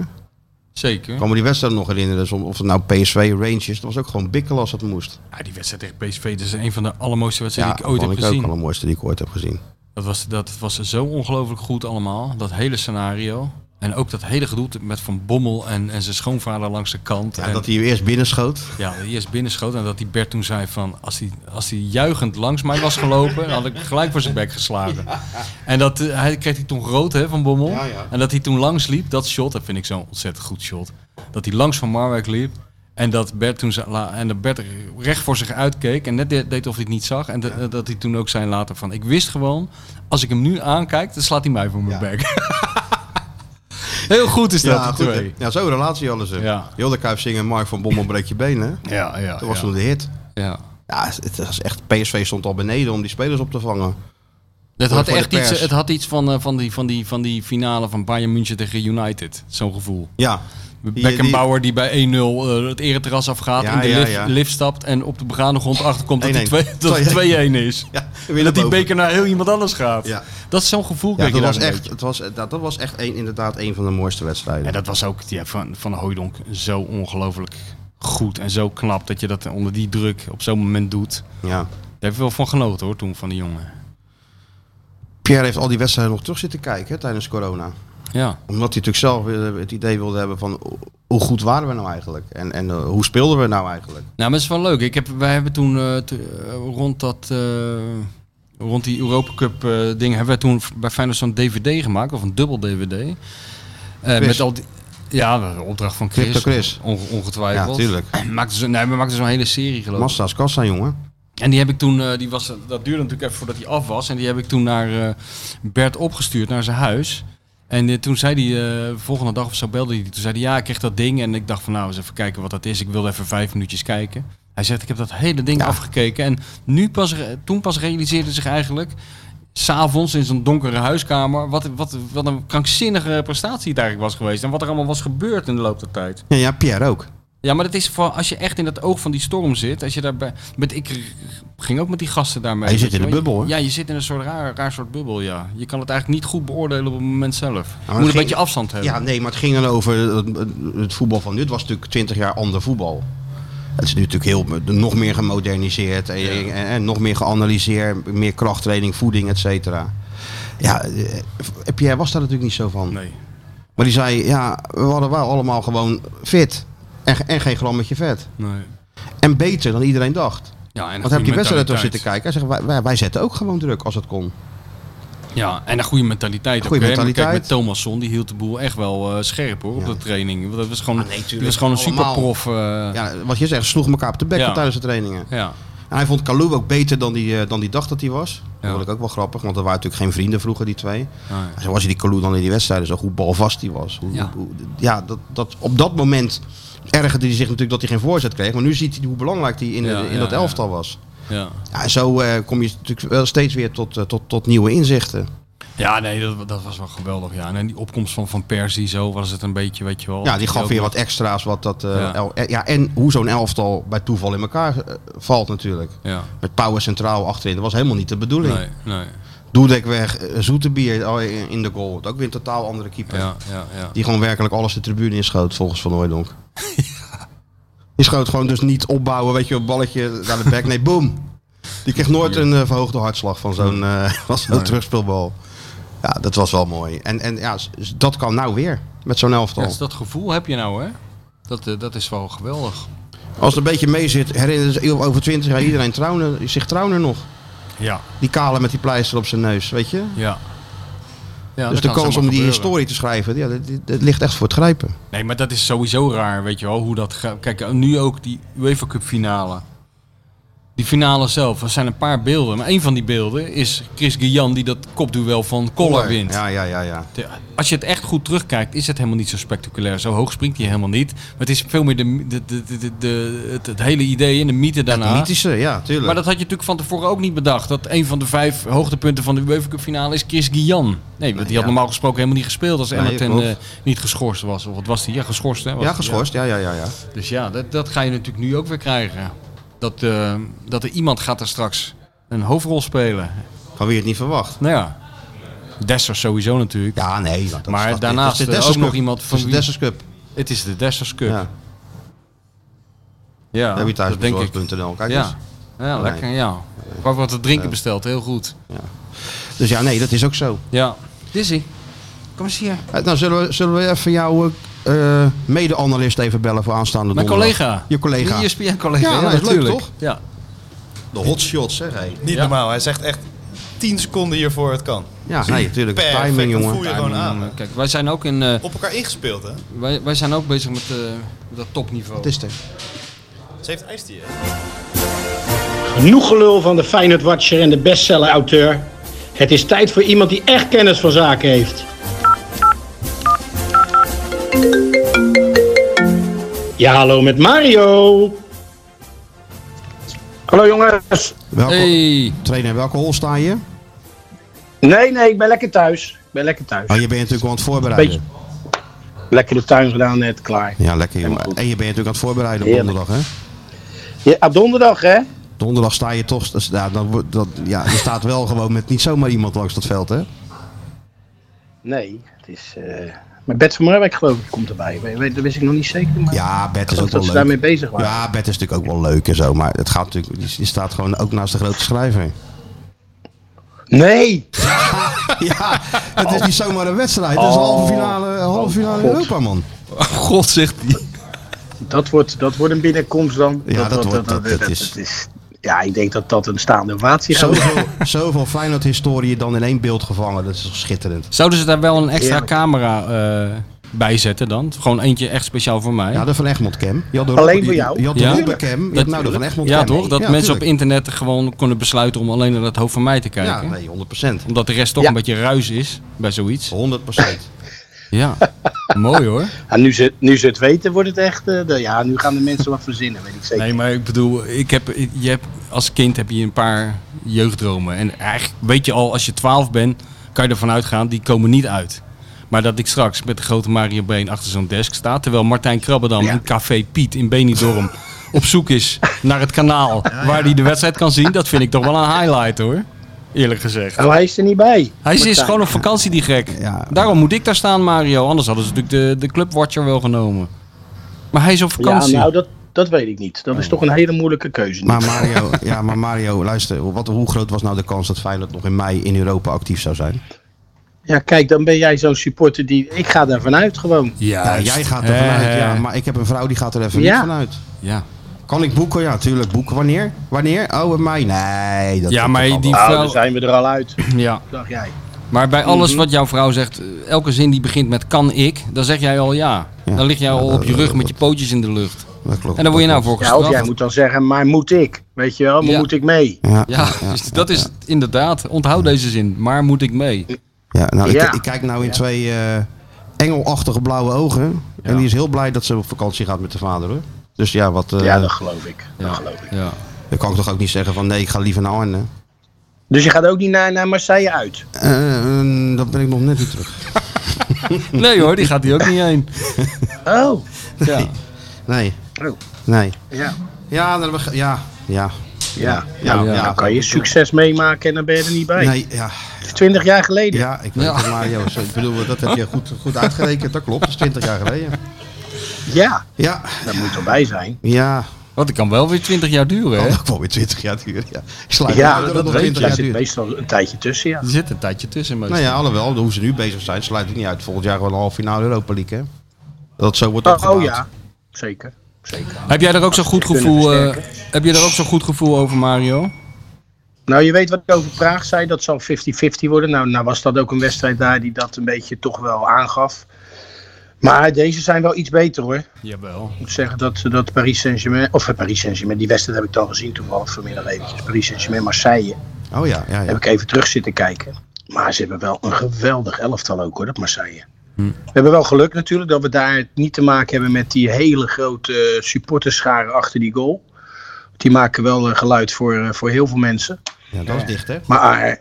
Zeker.
Ik kan me die wedstrijd nog herinneren. Dus of of het nou PSV, Rangers. Dat was ook gewoon bikkelen als het moest.
Ja, Ah, die wedstrijd tegen PSV dat is een van de allermooiste wedstrijden die ik ooit
vond
heb
ik ook wel
gezien.
de mooiste die ik ooit heb gezien.
Dat was, dat was zo ongelooflijk goed allemaal. Dat hele scenario. En ook dat hele gedoe met Van Bommel en, en zijn schoonvader langs de kant.
Ja,
en,
dat hij hem eerst binnenschoot.
ja, die eerst binnenschoot. En dat die Bert toen zei van... Als hij als hij juichend langs mij was gelopen... dan had ik gelijk voor zijn bek geslagen. En dat eh, hij kreeg hij toen rood hè, van Bommel.
Ja, ja.
En dat hij toen langs liep. Dat shot, dat vind ik zo'n ontzettend goed shot. Dat hij langs van Marwijk liep. En dat Bert toen zei- la- en dat Bert recht voor zich uitkeek en net de- deed of hij het niet zag. En dat- dat hij toen ook zei later van, ik wist gewoon, als ik hem nu aankijk, dan slaat hij mij voor mijn
Ja.
bek. Heel goed is dat,
Ja,
die
goed, hè.
twee.
ja, zo'n relatie hadden ze.
Ja.
Hilde Cruijff zingen, Mark van Bommel breekt je benen.
Ja, ja,
Dat was
ja.
toen de hit.
ja.
Ja, het was echt, PSV stond al beneden om die spelers op te vangen.
Het
Voor-
had
voor de
echt iets,
pers.
het had iets van, eh, van, die, van, die, van die finale van Bayern München tegen United. Zo'n gevoel.
Ja. Die-
Beckenbauer die bij 1-0 eh, het ereterras afgaat,
Ja,
in de
ja,
lift,
ja.
lift stapt en op de begane grond achterkomt dat
1-1.
die twee- dat het 2-1 is.
Ja,
En dat die
boven.
beker naar heel iemand anders gaat.
Ja.
Dat is zo'n gevoel.
Ja,
krijg
dat
je
was,
daar een
echt,
beetje.
het was, dat, dat was echt een, inderdaad een van de mooiste wedstrijden.
En dat was ook ja, van, van Hooijdonk zo ongelooflijk goed en zo knap dat je dat onder die druk op zo'n moment doet.
ja.
Daar heb ik wel van genoten hoor, toen van die jongen.
Pierre heeft al die wedstrijden nog terug zitten kijken hè, tijdens corona.
Ja.
Omdat hij natuurlijk zelf eh, het idee wilde hebben van ho- hoe goed waren we nou eigenlijk? En, en eh, hoe speelden we nou eigenlijk?
Nou, maar het is wel leuk. Ik heb, wij hebben toen eh, te- eh, rond dat. eh, Rond die Europa Cup eh, ding hebben wij toen bij Feyenoord zo'n DVD gemaakt, of een dubbel DVD. Eh,
Chris.
met al die, ja, de opdracht van Chris.
Crypto Chris.
onge-
Ja,
ongetwijfeld.
tuurlijk.
Maakte zo, nee, we maakten zo'n hele serie geloof ik.
Massa's kassa, jongen.
En die heb ik toen, eh, die was, dat duurde natuurlijk even voordat hij af was. En die heb ik toen naar eh, Bert opgestuurd, naar zijn huis. En eh, toen zei hij, eh, de volgende dag of zo belde hij. Toen zei hij, ja, ik kreeg dat ding. En ik dacht van, nou, eens even kijken wat dat is. Ik wilde even vijf minuutjes kijken. Hij zegt, ik heb dat hele ding
Ja.
afgekeken. En nu pas, re- toen pas realiseerde zich eigenlijk, s'avonds in zo'n donkere huiskamer, wat, wat, wat een krankzinnige prestatie het eigenlijk was geweest. En wat er allemaal was gebeurd in de loop der tijd.
Ja, ja Pierre ook.
Ja, maar dat is voor als je echt in dat oog van die storm zit. Als je daarbij. Met, ik r- ging ook met die gasten daarmee.
Ja, je zit
weet
in
wel.
een bubbel, hè?
Ja, je zit in een soort raar, raar soort bubbel, ja. Je kan het eigenlijk niet goed beoordelen op het moment zelf. je moet
het
een
ging-
beetje afstand hebben.
Ja, nee, maar het ging dan over het, het voetbal van nu. Het was natuurlijk 20 jaar ander voetbal. Het is nu natuurlijk heel, nog meer gemoderniseerd en, en, en nog meer geanalyseerd. Meer krachttraining, voeding, et cetera. Ja, eh, Pierre was daar natuurlijk niet zo van.
Nee.
Maar die zei, ja, we hadden wel allemaal gewoon fit. En, ge- en geen grammetje vet.
nee.
En beter dan iedereen dacht.
Ja, en een
Want heb je
goede
wedstrijd toch zitten
mentaliteit.
kijken? Hij zegt, wij, wij, wij zetten ook gewoon druk als het kon.
Ja, en een goede mentaliteit.
Goede
ook, hè. Maar kijk,
mentaliteit.
met Thomasson, die hield de boel echt wel eh, scherp hoor, op
Ja.
de training. Want dat was gewoon,
Ah, nee, tuurlijk.
die was gewoon een
Allemaal.
superprof. eh, ja.
Ja, wat je zegt, sloeg elkaar op de bek
Ja.
tijdens de trainingen.
Ja.
En hij vond Kalou ook beter dan die, eh, dan die dacht dat hij was.
Ja.
Dat vond ik ook wel grappig, want er waren natuurlijk geen vrienden vroeger, die twee.
ja.
Hij zei, was je die Kalou dan in die wedstrijden zag, hoe balvast hij was. Hoe,
Ja.
hoe- ja, dat, dat, op dat moment ergerde hij zich natuurlijk dat hij geen voorzet kreeg. Maar nu ziet hij hoe belangrijk hij in,
Ja,
in
ja,
dat
ja.
elftal was. Ja, en zo eh, kom je natuurlijk wel steeds weer tot, eh, tot, tot nieuwe inzichten.
Ja, nee, dat, dat was wel geweldig. Ja. En dan die opkomst van Van Persie, zo was het een beetje, weet je wel.
Ja, die
ook
gaf weer
nog-
wat extra's. Wat dat, eh,
Ja.
el- eh, ja, en hoe zo'n elftal bij toeval in elkaar eh, valt natuurlijk.
Ja.
Met power centraal achterin. Dat was helemaal niet de bedoeling.
Nee, nee.
Doedek weg, eh, Zoetebier al in in de goal. Ook weer een totaal andere keeper.
Ja, ja, ja.
Die gewoon werkelijk alles de tribune inschoot volgens Van Hooijdonk. Die schoot gewoon dus niet opbouwen, weet je, een balletje naar de bek. Nee, boom. Die kreeg nooit een eh, verhoogde hartslag van zo'n eh, van zo'n terugspeelbal. Ja, dat was wel mooi. En, en ja, s- s- dat kan nou weer met zo'n elftal.
Ja, dus dat gevoel heb je nou, hè? Dat, eh, dat is wel geweldig.
Als het een beetje mee zit, herinneren ze over 20 jaar iedereen Trauner, zich Trauner nog.
Ja.
Die kale met die pleister op zijn neus, weet je?
Ja. ja
dus
dat
de
kan
kans om
zomaar
die
gebeuren.
historie te schrijven, ja, dat, dat- dat ligt echt voor het grijpen.
Nee, maar dat is sowieso raar, weet je wel, hoe dat gaat. Kijk, eh, nu ook die UEFA Cup finale. Die finale zelf, er zijn een paar beelden. Maar een van die beelden is Chris Guillan die dat kopduel van Collar wint.
Ja, ja, ja, ja.
De- Als je het echt goed terugkijkt, is het helemaal niet zo spectaculair. Zo hoog springt hij helemaal niet. Maar het is veel meer de, de, de, de, de- het, het hele idee en de mythe daarna.
Het mythische, ja, tuurlijk.
Maar dat had je natuurlijk van tevoren ook niet bedacht. Dat een van de vijf hoogtepunten van de UEFA Cup finale is Chris Guillan. Nee, want die had
ja.
normaal gesproken helemaal niet gespeeld als
Nee,
Emmerton
klopt.
eh, niet geschorst was. Of wat was die? Ja, geschorst hè? was
ja,
die,
geschorst, ja, ja, ja. ja.
ja. Dus ja, dat, dat ga je natuurlijk nu ook weer krijgen. Dat, eh, dat er iemand gaat er straks een hoofdrol spelen.
Van wie het niet verwacht.
Nou ja, Dessers sowieso natuurlijk.
Ja, nee. Dat,
Maar
dat-
daarnaast,
dat is de
eh, ook
Dessers
nog
Cup.
iemand
Dat
van
is de
wie-
Dessers Cup.
Het is de Dessers Cup.
Ja,
Ja, ja
heb je thuis
dat denk ik.
bezorgd.nl. Kijk
Ja. ja,
Nee.
lekker. Ja. Ik heb wat te drinken besteld, heel goed.
eens. Dus ja, nee, dat is ook zo.
Ja. Dizzy, kom eens hier.
Eh, Nou, zullen we, zullen we even jouw eh, eh, mede-analyst even bellen voor aanstaande
Mijn
donderdag?
collega. E
Je collega.
Je ESPN-collega.
Ja,
Ja,
nou, is leuk,
natuurlijk.
toch?
Ja.
De hotshots, zeg hé.
Niet
Ja.
normaal. Hij zegt echt 10 seconden hiervoor het kan.
Ja, nee, natuurlijk.
Perfect,
Timing,
dat
jongen.
voel je gewoon aan. hè.
Nou, Kijk, wij zijn ook, in, eh,
Op elkaar ingespeeld, hè?
wij, wij zijn ook bezig met eh, met dat topniveau.
Het is er.
Ze heeft ijstie, hè?
Genoeg gelul van de Feyenoord Watcher en de bestseller-auteur. Het is tijd voor iemand die echt kennis van zaken heeft. Ja, hallo met Mario.
Hallo jongens,
Welke,
hey.
Trainer, welke hol sta je?
Nee, nee, ik ben lekker thuis. Ik ben lekker thuis.
Maar Oh, je bent natuurlijk wel aan het voorbereiden.
Lekker de tuin gedaan, net klaar.
Ja, lekker jongen. En je bent natuurlijk aan het voorbereiden op
Heerlijk.
donderdag, hè?
Ja, op donderdag, hè?
Donderdag sta je toch... dus Ja, dan, wordt- dat, ja, je staat wel gewoon met niet zomaar iemand langs dat veld, hè?
Nee, het is. eh, maar Bert van Marwijk, geloof ik, komt erbij. We- we- Dat wist ik nog niet zeker. Maar
Ja, Bert
ik
is
geloof
ook
dat
wel
ze
leuk.
daarmee bezig waren.
Ja, Bert is natuurlijk ook wel leuk en zo. Maar het gaat natuurlijk... die- Die staat gewoon ook naast de grote schrijver.
Nee!
Ja, het is niet zomaar een wedstrijd. Het is een halve finale, een halve finale
Oh. God.
Europa, man.
God, zegt die.
Dat wordt, dat wordt een binnenkomst dan.
Ja, dat wordt- dat- dat is-
Ja, ik denk dat dat een staande ovatie gaat worden.
Zoveel, zoveel Feyenoord-historie dan in één beeld gevangen. Dat is toch schitterend.
Zouden ze daar wel een extra
Heerlijk.
camera eh, bij zetten dan? Gewoon eentje echt speciaal voor mij.
Ja,
Ja,
de Van Egmond Cam. Je had de
Alleen
Robbe-
voor
je-
jou?
Je had de
Ja.
Robbe Cam. Je
Dat-
had nou de Van Egmond Cam.
toch? Dat
Ja,
mensen op
tuurlijk.
internet gewoon konden besluiten om alleen naar dat hoofd van mij te kijken.
Ja, nee, 100 procent.
Omdat de rest toch
Ja.
een beetje ruis is bij zoiets.
100 procent.
Ja, mooi hoor.
En nu ze, nu ze het weten, wordt het echt. eh, de- ja, nu gaan de mensen wat verzinnen, weet ik zeker.
Nee, maar ik bedoel, ik heb, je hebt, als kind heb je een paar jeugddromen. En eigenlijk weet je al, als je 12 bent, kan je ervan uitgaan, die komen niet uit. Maar dat ik straks met de grote Mario Been achter zo'n desk sta, terwijl Martijn Krabbedam in Café Piet in Benidorm op zoek is naar het kanaal waar hij de wedstrijd kan zien, dat vind ik toch wel een highlight hoor. Eerlijk gezegd.
Oh, hij is er niet bij.
Hij is, is
Martijn.
gewoon op vakantie, die gek.
Ja.
Daarom moet ik daar staan, Mario. Anders hadden ze natuurlijk de, de clubwatcher wel genomen. Maar hij is op vakantie.
Ja, nou, dat, dat weet ik niet. Dat is toch een hele moeilijke keuze.
Maar Mario, ja, maar Mario, luister. Wat, hoe groot was nou de kans dat Feyenoord nog in mei in Europa actief zou zijn?
Ja, kijk, dan ben jij zo'n supporter die. Ik ga daarvan uit gewoon.
Ja,
Juist.
jij gaat er vanuit,
Eh,
ja. Maar ik heb een vrouw die gaat er even
Ja.
niet vanuit.
ja.
Kan ik boeken? Ja, tuurlijk. Boeken. Wanneer? Wanneer? Oh, in mei. Nee. Dat
Ja,
komt
maar
toch
die-
allemaal.
Nou,
vrouw-
dan zijn we er al uit,
ja.
dacht jij.
Maar bij alles wat jouw vrouw zegt, eh, elke zin die begint met kan ik, dan zeg jij al ja.
Ja.
Dan lig jij al
Ja,
op je
dat-
rug
dat-
met je pootjes in de lucht.
Dat klopt.
En daar word je nou
dat
voor
Ja, of jij
gestraft.
moet dan zeggen, maar moet ik? Weet je wel, maar
Ja.
moet ik mee?
klopt. Ja.
Ja, dus dat is het inderdaad. Onthoud deze zin. Maar moet ik mee?
Ja, nou, ik,
Ja.
ik kijk nou in twee eh, engelachtige blauwe ogen. En die is heel blij dat ze op vakantie gaat met de vader, hoor. Dus ja, wat... eh,
Ja, dat geloof ik. Dat
Ja.
geloof ik.
Ja.
Dan kan ik toch ook niet zeggen van nee, ik ga liever naar Arnhem.
Dus je gaat ook niet naar, naar Marseille uit.
Eh, eh, dat ben ik nog net niet terug.
Nee hoor, die gaat die ook niet heen.
Oh,
Ja.
Nee,
Oh,
nee.
ja.
Ja, dan hebben we ge- ja, ja.
Ja,
Ja,
nou,
ja.
nou kan je succes meemaken en dan ben je er niet bij.
Nee, ja.
Het is 20 jaar geleden.
Ja, ik weet
Ja.
het, Mario. Zo, Ik bedoel, dat heb je goed, goed uitgerekend. Dat klopt, dat is 20 jaar geleden.
Ja,
Ja,
daar moet er bij zijn.
ja.
Want het kan wel weer 20 jaar duren, hè?
Oh, dat kwam weer 20 jaar duur. Ja, ik sluit
Ja,
niet uit
dat
het
weet je.
20
Daar
jaar
zit
duurt.
meestal een tijdje tussen, ja.
Er zit een tijdje tussen.
Nou
meestal.
ja, alhoewel, hoe ze nu bezig zijn, sluit het niet uit. Volgend jaar gewoon een halve finale Europa League, hè? Dat zo wordt
Oh,
opgebouwd.
oh ja, zeker. Zeker.
Heb jij er ook zo'n goed
kunnen
gevoel, eh,
versterken.
heb je er ook zo'n goed gevoel over, Mario?
Nou, je weet wat ik over Praag zei. Dat zal 50-50 worden. Nou, nou was dat ook een wedstrijd daar die dat een beetje toch wel aangaf. Maar deze zijn wel iets beter hoor. Ik
Jawel.
moet zeggen dat, dat Paris Saint-Germain... Of eh, Paris Saint-Germain, die wedstrijd heb ik dan gezien toevallig vanmiddag eventjes. Paris Saint-Germain, Marseille.
Oh ja, ja, ja.
Heb ik even terug zitten kijken. Maar ze hebben wel een geweldig elftal ook hoor, dat Marseille.
Hm.
We hebben wel geluk natuurlijk dat we daar niet te maken hebben met die hele grote eh, supporterscharen achter die goal. Die maken wel eh, geluid voor, eh, voor heel veel mensen.
Ja, dat is dicht, hè?
Maar eh,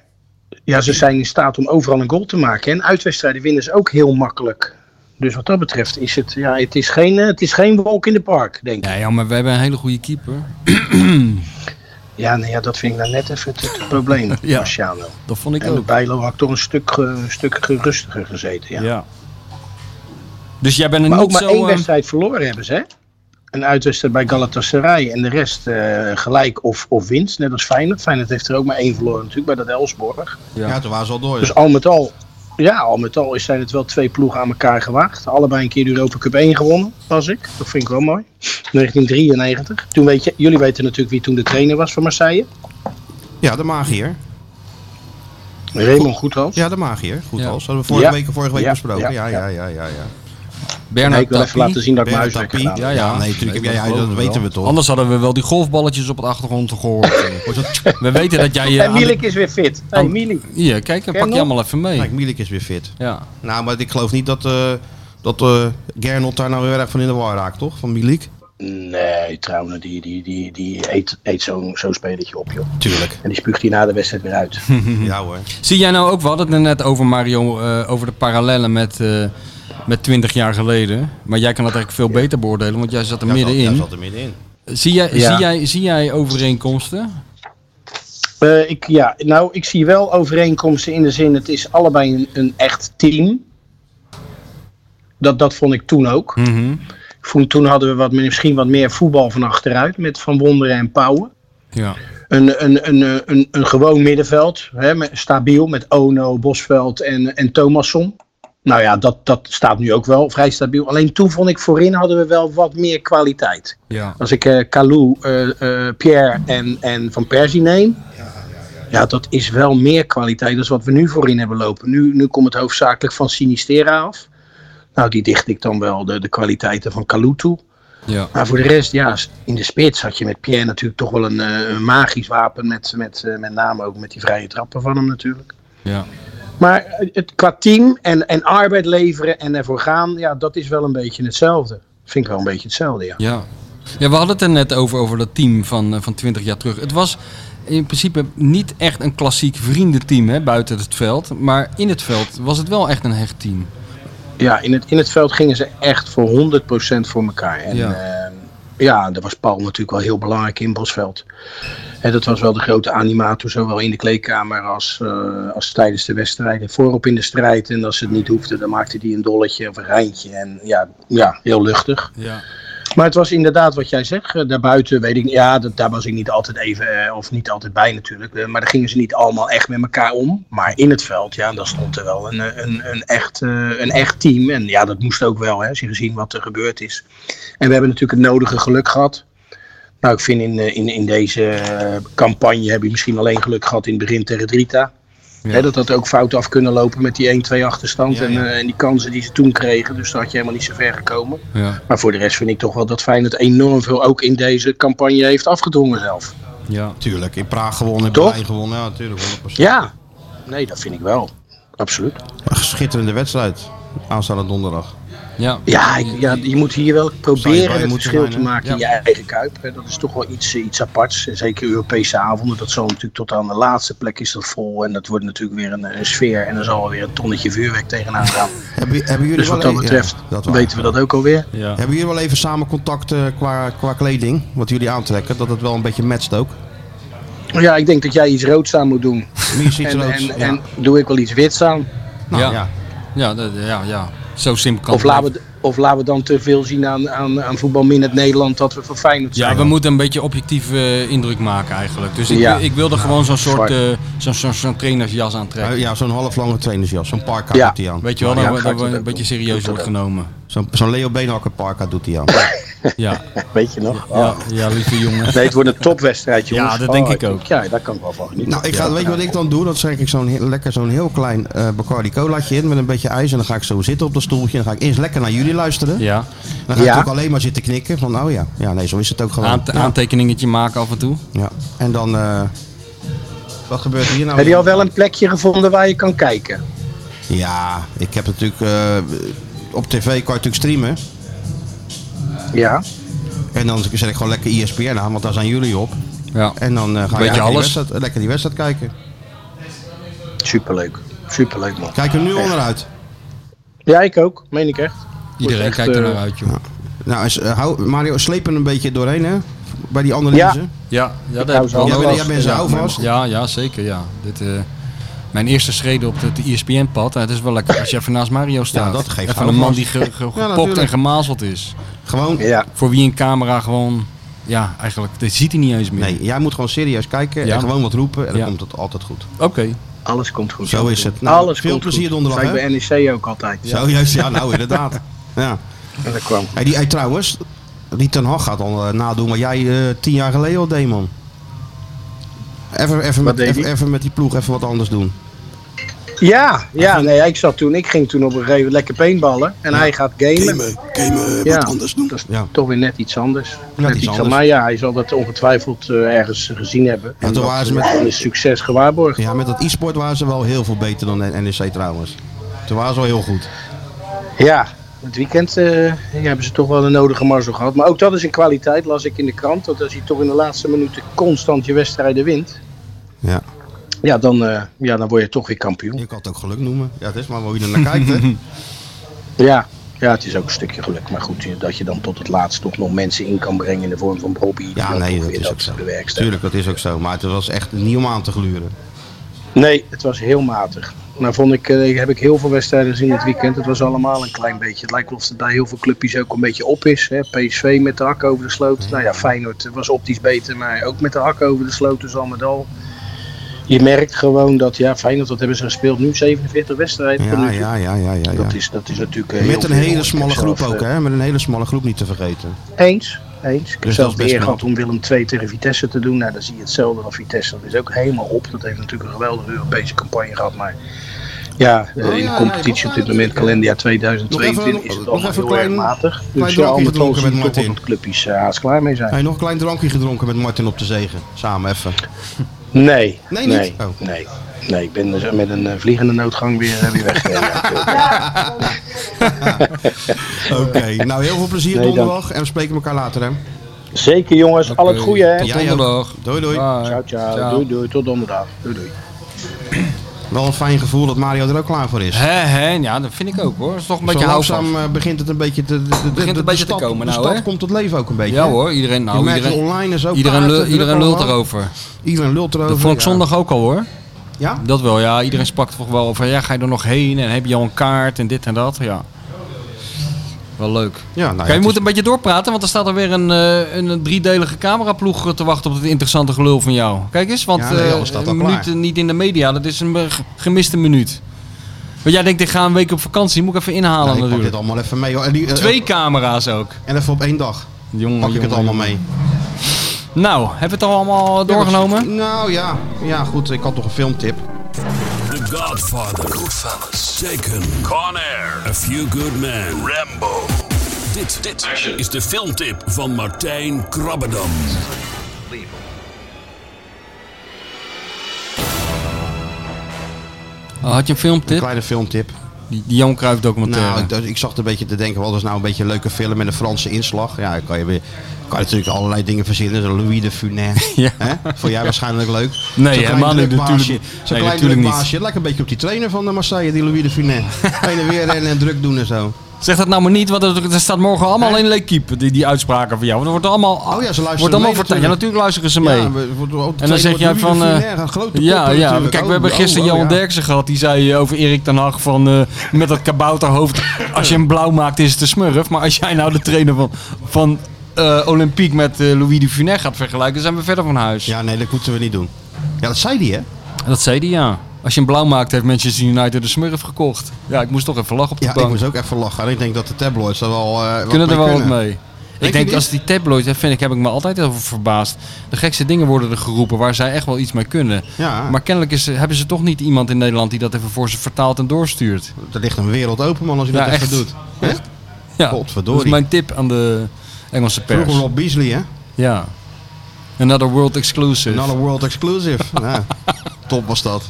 ja, ze zijn in staat om overal een goal te maken. En uitwedstrijden winnen ze ook heel makkelijk. Dus wat dat betreft is het, ja, het, is geen, eh, het is geen walk in the park, denk ik.
Ja, ja, maar we hebben een hele goede keeper.
Ja, nee, ja dat vind ik nou net even het, het probleem,
Ja.
Marciano.
Dat vond ik
En
ook.
Bijlo had toch een stuk, eh, een stuk gerustiger gezeten. Ja.
Dus jij bent er
Maar ook
niet
maar
zo...
één
eh,
wedstrijd verloren hebben ze, hè? Een uitwedstrijd bij Galatasaray en de rest eh, gelijk of, of winst. Net als Feyenoord. Feyenoord heeft er ook maar één verloren natuurlijk, bij dat Elsborg.
Ja,
Ja.
toen waren ze al door.
Dus al met al, ja, al met al is- zijn het wel twee ploegen aan elkaar gewaagd. Allebei een keer de Europa Cup 1 gewonnen, was ik. Dat vind ik wel mooi. 1993. Toen weet je, jullie weten natuurlijk wie toen de trainer was van Marseille.
Ja, de magier.
Raymond Goethals.
Ja, de magier. Goed
Ja.
als. Hadden we vorige
Ja.
week, vorige week
Ja.
besproken. Ja, ja,
Ja.
ja, ja. ja.
Nee,
Bernard
ik wil even
Tapie.
laten zien dat ik mijn
Bernard
huiswerk
Tapie.
gedaan heb.
Ja, ja.
Ja, nee, natuurlijk heb jij- ja,
geloof
dat
ik
weten
wel.
we toch.
Anders hadden we wel die golfballetjes op de achtergrond gehoord. we weten dat jij... eh,
En
aan de-
Milik is weer fit. Hey,
aan-
Milik.
Hier, kijk, dan
Ken
pak je
nog?
allemaal even mee.
Kijk, Milik is weer fit.
Ja.
Nou, maar ik geloof niet dat, eh dat eh Gernot daar nou heel erg van in de war raakt, toch? Van Milik.
Nee, trouwens, die, die, die, die eet, eet zo'n zo'n spelletje op, joh.
Tuurlijk.
En die spuugt die na de wedstrijd weer uit.
Mhm.
Ja hoor.
Zie jij nou ook, we hadden het er net over Mario, eh, over de parallellen met, eh, met 20 jaar geleden. Maar jij kan dat eigenlijk veel beter beoordelen, want jij zat er
Jij zat-
middenin.
Jij zat er middenin.
Zie, jij,
Ja.
zie, jij, zie jij overeenkomsten?
Eh, ik, ja, nou, ik zie wel overeenkomsten in de zin, het is allebei een, een echt team. Dat, dat vond ik toen ook.
Hm. Mhm.
Ik vond, toen hadden we wat, misschien wat meer voetbal van achteruit met Van Wonderen en Pauwen.
Ja.
Een, een, een, een, een, een gewoon middenveld, hè, met- stabiel met Ono, Bosveld en, en Thomasson. Nou ja, dat, dat staat nu ook wel vrij stabiel. Alleen toen vond ik voorin hadden we wel wat meer kwaliteit.
ja.
Als ik eh Kalou, eh, eh, Pierre en, en Van Persie neem. Ja, dat is wel meer kwaliteit dan wat we nu voorin hebben lopen. Nu, nu komt het hoofdzakelijk van Sinistera af. Nou, die dicht ik dan wel de, de kwaliteiten van Kalou toe.
Ja.
Maar voor de rest, ja, in de spits had je met Pierre natuurlijk toch wel een eh, een magisch wapen. Met, met, eh, met name ook met die vrije trappen van hem natuurlijk.
Ja.
Maar het, qua team en, en arbeid leveren en ervoor gaan, ja, dat is wel een beetje hetzelfde. Vind ik wel een beetje hetzelfde, ja.
Ja. ja, we hadden het er net over, over dat team van, eh, van 20 jaar terug. Het was in principe niet echt een klassiek vriendenteam hè, buiten het veld. Maar in het veld was het wel echt een hecht team.
Ja, in het, in het veld gingen ze echt voor 100% voor elkaar. En
Ja.
ja. ja, daar was Paul natuurlijk wel heel belangrijk in Bosveld. En dat was wel de grote animator, zowel in de kleedkamer als, eh, als tijdens de wedstrijden. Voorop in de strijd en als ze het niet hoefden, dan maakte hij een dolletje of een rijntje. En ja, ja, heel luchtig.
Ja.
Maar het was inderdaad wat jij zegt. eh, Daarbuiten weet ik, ja, dat, daar was ik niet altijd even, eh, of niet altijd bij natuurlijk. Eh, maar daar gingen ze niet allemaal echt met elkaar om. Maar in het veld, ja, daar stond er wel een, eh, een, een, echt, eh, een echt team. En ja, dat moest ook wel, hè, als je gezien wat er gebeurd is. En we hebben natuurlijk het nodige geluk gehad. Nou, ik vind in, eh, in, in deze eh, campagne heb je misschien alleen geluk gehad in het begin tegen Drita. Hè, dat had ook fout af kunnen lopen met die 1-2 achterstand En, eh, en die kansen die ze toen kregen. Dus daar had je helemaal niet zo ver gekomen.
Ja.
Maar voor de rest vind ik toch wel dat Feyenoord enorm veel ook in deze campagne heeft afgedwongen zelf.
ja.
Tuurlijk. In Praag gewonnen, in
Toch?
Berlijn gewonnen. Ja, natuurlijk. 100%.
Ja, nee, dat vind ik wel. Absoluut.
Een schitterende wedstrijd. Aanstaande donderdag.
Ja.
Ja, ik- ja je moet hier wel
bij
proberen het
moeten
verschil
zijn,
te
hè?
maken in je eigen kuip. hè. Dat is toch wel iets, eh, iets aparts. En Zeker Europese avonden. Dat zal natuurlijk tot aan de laatste plek is dat vol. En dat wordt natuurlijk weer een, een sfeer. En er zal weer een tonnetje vuurwerk tegenaan gaan.
Hebben, hebben jullie
Dus
wel
wat dat
e- ja,
betreft
dat waar.
weten we dat ook alweer.
Ja.
Hebben jullie wel even samen contact eh, qua, qua kleding? Wat jullie aantrekken? Dat het wel een beetje matcht ook?
Ja, ik denk dat jij iets roods aan moet doen.
Meer ziet
En,
er ook.
en,
ja.
en doe ik wel iets wits aan.
Nou,
Ja.
ja.
Ja, dat- ja, ja. Zo simpel kan
Of
het
laten, we, of laten we dan te veel zien aan, aan, aan voetbal min het Nederland dat we voor Feyenoord
Ja,
zijn.
we moeten een beetje objectief eh, indruk maken eigenlijk. Dus ik,
Ja.
ik wilde gewoon zo'n soort
zwart.
eh zo'n zo'n zo'n trainersjas aantrekken.
Eh, ja, zo'n halflange trainersjas. Zo'n parka
Ja.
doet hij aan.
Weet je wel,
Ja,
dat-
ga ik
dat
dat
we een
ook
beetje
doen.
serieus
Doe
wordt
dat
genomen.
Zo'n zo'n Leo Beenhakker parka doet hij aan.
Ja,
Weet je nog? Oh.
ja, ja, lieve jongen.
Nee, het wordt een topwedstrijd, jongens.
Ja, dat denk
Oh,
ik ook.
Ja, daar kan ik wel van genieten.
nou, ik ga,
Ja.
weet je wat ik dan doe? Dan schenk ik zo'n heel- lekker zo'n heel klein eh Bacardi colaatje in met een beetje ijs. En dan ga ik zo zitten op dat stoeltje. En dan ga ik eerst lekker naar jullie luisteren.
Ja,
Dan ga
Ja.
ik ook alleen maar zitten knikken. Van, oh ja. Ja, nee, zo is het ook gewoon.
Aant-
Oh. ja.
aantekeningetje maken af en toe.
Ja. En dan... eh, wat gebeurt hier nou?
Heb je al wel een plekje gevonden waar je kan kijken?
Ja, ik heb natuurlijk... eh, op tv kan je natuurlijk streamen.
Ja.
En dan zet ik gewoon lekker E ESPN aan, want daar zijn jullie op.
Ja.
En dan eh, ga
Weet
je
je
lekker die,
alles?
wedstrijd, lekker die wedstrijd kijken.
Superleuk. Superleuk, man.
Kijk er nu al naar uit.
Ja, ik ook. Meen ik echt.
Iedereen
Wordt echt,
kijkt er
eh,
naar uit, joh.
Nou, is, eh, hou, Mario, sleep er een beetje doorheen, hè? Bij die analyse.
Ja.
Ja, ja
hou ze
ik
Jij
wel.
allemaal
bent,
was-
jij bent zo
ja,
houvast.
Ja, ja, zeker, ja. Dit, eh, mijn eerste schreden op het E ESPN-pad. eh, Het is wel lekker als je even naast Mario staat.
dat geeft
Even een
houvast.
man die ge- ge- gepokt en
natuurlijk.
gemazeld is.
Gewoon,
Ja.
Voor wie een camera gewoon... Ja, eigenlijk, dit ziet hij niet eens meer.
nee, jij moet gewoon serieus kijken
Ja.
en gewoon wat roepen. En dan
Ja.
komt het altijd goed.
Oké.
Alles komt goed.
Zo is het. Nou,
Alles
veel
komt
plezier
goed.
donderdag,
Dat zei
hè?
ik bij NEC ook altijd.
Zo juist, ja, nou inderdaad. Ja.
En dat kwam.
Hey, die, hey, trouwens, die Ten Hag gaat al eh, nadoen wat jij eh, tien jaar geleden al deed, man. Even, even, met,
deed
even,
hij?
even met die ploeg even wat anders doen.
Ja, ja, nee, ik zat toen, ik ging toen op een gegeven moment lekker paintballen. En hij gaat gamen. Ja. wat anders
doen.
Dat is
Ja.
toch weer net iets anders. net
iets anders.
iets anders. Maar ja, hij zal dat ongetwijfeld eh, ergens gezien hebben.
toen
dat,
waren ze
eh,
met-
dan is succes gewaarborgd.
Ja, met dat E e-sport waren ze wel heel veel beter dan NEC trouwens. Toen waren ze wel heel goed.
Ja, Het weekend eh, hebben ze toch wel een nodige marge gehad. Maar ook dat is een kwaliteit, las ik in de krant. Dat als je toch in de laatste minuten constant je wedstrijden wint.
Ja.
Ja, dan, eh, ja, dan word je toch weer kampioen.
Je kan het ook geluk noemen. Ja, het is maar hoe je er naar kijkt. Hè.
Ja, ja het is ook een stukje geluk. Maar goed, eh, dat je dan tot het laatst toch nog mensen in kan brengen in de vorm van Bobby. die
Ja,
dan
nee,
toch
dat
weer
is ook zo.
bewerkstelligen.
Tuurlijk, dat is ook zo. Maar het was echt niet om aan te gluren.
Nee, het was heel matig. Nou vond ik, eh, heb ik heel veel wedstrijden gezien dit weekend. Het was allemaal een klein beetje. Het lijkt wel of het bij heel veel clubjes ook een beetje op is. Hè. PSV met de hak over de sloot. Nou ja, Feyenoord was optisch beter, maar ook met de hak over de sloot. Dus al met al. Je merkt gewoon dat, ja, Feyenoord, dat hebben ze gespeeld nu 47 wedstrijden. tot nu
Ja,
toe.
ja, ja, ja, ja. ja.
Dat, is, dat is natuurlijk. eh, heel
Met een
veel. Ik
hele
heb
smalle
zelf,
groep ook,
eh,
hè? Met een hele smalle groep niet te vergeten.
Eens, eens. Ik
Dus
heb
dat
zelf
is
de
best
eer
knap.
gehad om Willem II tegen Vitesse te doen. Nou, dan zie je hetzelfde dan Vitesse. Dat is ook helemaal op. Dat heeft natuurlijk een geweldige Europese campagne gehad. Maar ja, eh,
Oh, ja,
in de
ja,
competitie
ja,
op dit
ja.
moment, kalenderjaar
Nog even-
2022, is
nog
het allemaal
even
heel
klein-
erg matig.
klein
Dus ja, al
drankje
met al
gedronken
zie
met
je toch wel
Martin.
dat clubjes eh, haast klaar mee zijn.
Heb je nog een klein drankje gedronken met Martin op de zegen? Samen even.
Nee,
Nee,
nee,
niet?
nee,
Oh.
nee. ik ben dus met een eh, vliegende noodgang weer, eh, weer weg. ja.
Oké, nou heel veel plezier
Nee, dank.
donderdag en we spreken elkaar later, hè?
Zeker jongens, al het
Oké,
goede hè.
Tot
Jij ook.
donderdag.
Doei, doei.
Bye.
Ciao, ciao.
Ciao.
Doei, doei. Tot donderdag. Doei, doei.
Wel een fijn gevoel dat Mario er ook klaar voor is.
Hè, hè, ja, dat vind ik ook hoor. Dat is toch een
Zo
beetje houvast.
langzaam eh, begint het een beetje te, de, de- de-
een
de
beetje te
stad-
komen
De
nou,
stad
hè?
komt tot leven ook een beetje.
Ja hoor, iedereen,
Je
nou,
merkt
iedereen,
online is ook
iedereen,
kaarten,
lul- iedereen
drukken
lult
allemaal.
erover.
Iedereen lult erover.
Dat vond ik
ja.
zondag ook al hoor.
Ja?
Dat wel, ja. Iedereen sprak toch wel van, ja, ga je er nog heen en heb je al een kaart en dit en dat. Ja. Wel leuk.
Ja, nou ja,
Kijk,
het
je moet
is-
een beetje doorpraten, want er staat er weer een, eh, een driedelige cameraploeg te wachten op het interessante gelul van jou. Kijk eens, want
Ja, nee,
eh,
alles staat al
een
klaar.
minuut niet in de media, dat is een eh, ge- gemiste minuut. Want jij denkt, ik ga een week op vakantie, moet ik even inhalen
Nou, ik pak dit
natuurlijk.
allemaal even mee. hoor. En, die, eh,
Twee camera's ook.
en even op één dag
Jongen,
pak ik het
jongen,
allemaal
jongen.
mee.
Nou, hebben we het al allemaal
Ja,
doorgenomen?
dat- nou ja. ja, goed. Ik had nog een filmtip.
The Godfather. Goodfellas. Taken. Con Air. A Few Good Men. Rambo. Dit, dit is de filmtip van Martijn Krabbedam.
Oh, had je een filmtip?
Kleine filmtip.
Die, die Jan Cruijff documentaire.
Nou, dat- ik zat een beetje te denken, wat is nou een beetje een leuke film met een Franse inslag? Ja, dan kan je weer... Kan je natuurlijk allerlei dingen verzinnen. Zo'n Louis de Funès.
Ja.
Hè? Vond jij waarschijnlijk leuk?
Nee,
Zo'n klein
helemaal niet,
drukbaasje.
natuurlijk-
Zo'n
nee,
klein
natuurlijk niet.
drukbaasje. Het lijkt een beetje op die trainer van de Marseille, die Louis de Funès. Heen en weer rennen en druk doen en zo.
Zeg dat nou maar niet, want er, er staat morgen allemaal in L'Equipe, die, die uitspraken van jou. Want er wordt allemaal,
Oh ze luisteren
wordt
mee
allemaal verteld.
natuurlijk.
Ja, natuurlijk luisteren ze mee.
Ja,
Ja,
we- we- we-
En dan zeg jij
Louis de
van,
Funès,
eh,
een grote kop
ja,
natuurlijk.
kijk, we hebben
Oh,
gisteren
oh, oh,
Johan
ja.
Derksen gehad. Die zei eh, over Erik ten Hag van, eh, met dat kabouterhoofd. Als je hem blauw maakt is het een smurf. Maar als jij nou de trainer van, van eh, Olympique met eh, Louis de Funès gaat vergelijken, zijn we verder van huis.
Ja, nee, dat moeten we niet doen. Ja, dat zei die, hè?
Dat zei hij, ja. Als je hem blauw maakt, heeft Manchester United de smurf gekocht. Ja, ik moest toch even lachen op de
Ja, ik
bank.
moest ook even lachen. En ik denk dat de tabloids er wel eh, wat
kunnen er wel wat
kunnen.
mee.
je
ik denk
niet?
als die tabloids, dat vind ik, heb ik me altijd over verbaasd. De gekste dingen worden er geroepen waar zij echt wel iets mee kunnen.
Ja.
Maar kennelijk is, hebben ze toch niet iemand in Nederland die dat even voor ze vertaalt en doorstuurt.
Er ligt een wereld open, man, als je
Ja,
dat even
echt.
doet. Hè?
Ja,
Godverdorie.
dat is mijn tip aan de Engelse pers.
Vroeger Rob Beasley, hè?
Ja. Another world exclusive.
Another world exclusive. ja, top was dat.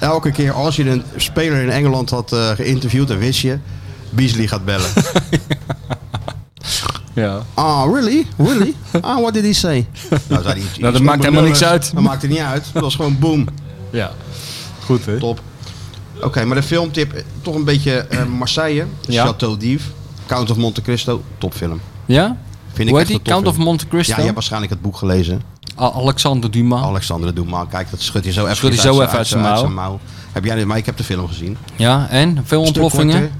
Elke keer als je een speler in Engeland had eh, geïnterviewd, dan wist je... Beasley gaat bellen.
Ja.
Ah, really? Really? Ah, what did he say? Nou, zei hij iets-
dat
iets
maakt helemaal niks uit.
Dat maakt er niet uit. Dat was gewoon boom.
ja. Goed, hè?
Top. Oké, maar de filmtip, eh, toch een beetje eh, Marseille.
Ja.
Chateau d'If, Count of Monte Cristo, topfilm.
Ja?
Vind ik
Hoe
echt
heet
een
die? Count of
topfilm.
Monte Cristo? Oh.
Ja, je hebt waarschijnlijk het boek gelezen.
A- Alexander Dumas.
Alexander de maar Kijk, dat schudt hij zo even,
Schudt hij zo even uit zijn mouw.
Heb jij dit? Maar ik heb de film gezien.
ja, en? Veel ontploffingen?
Stuk korter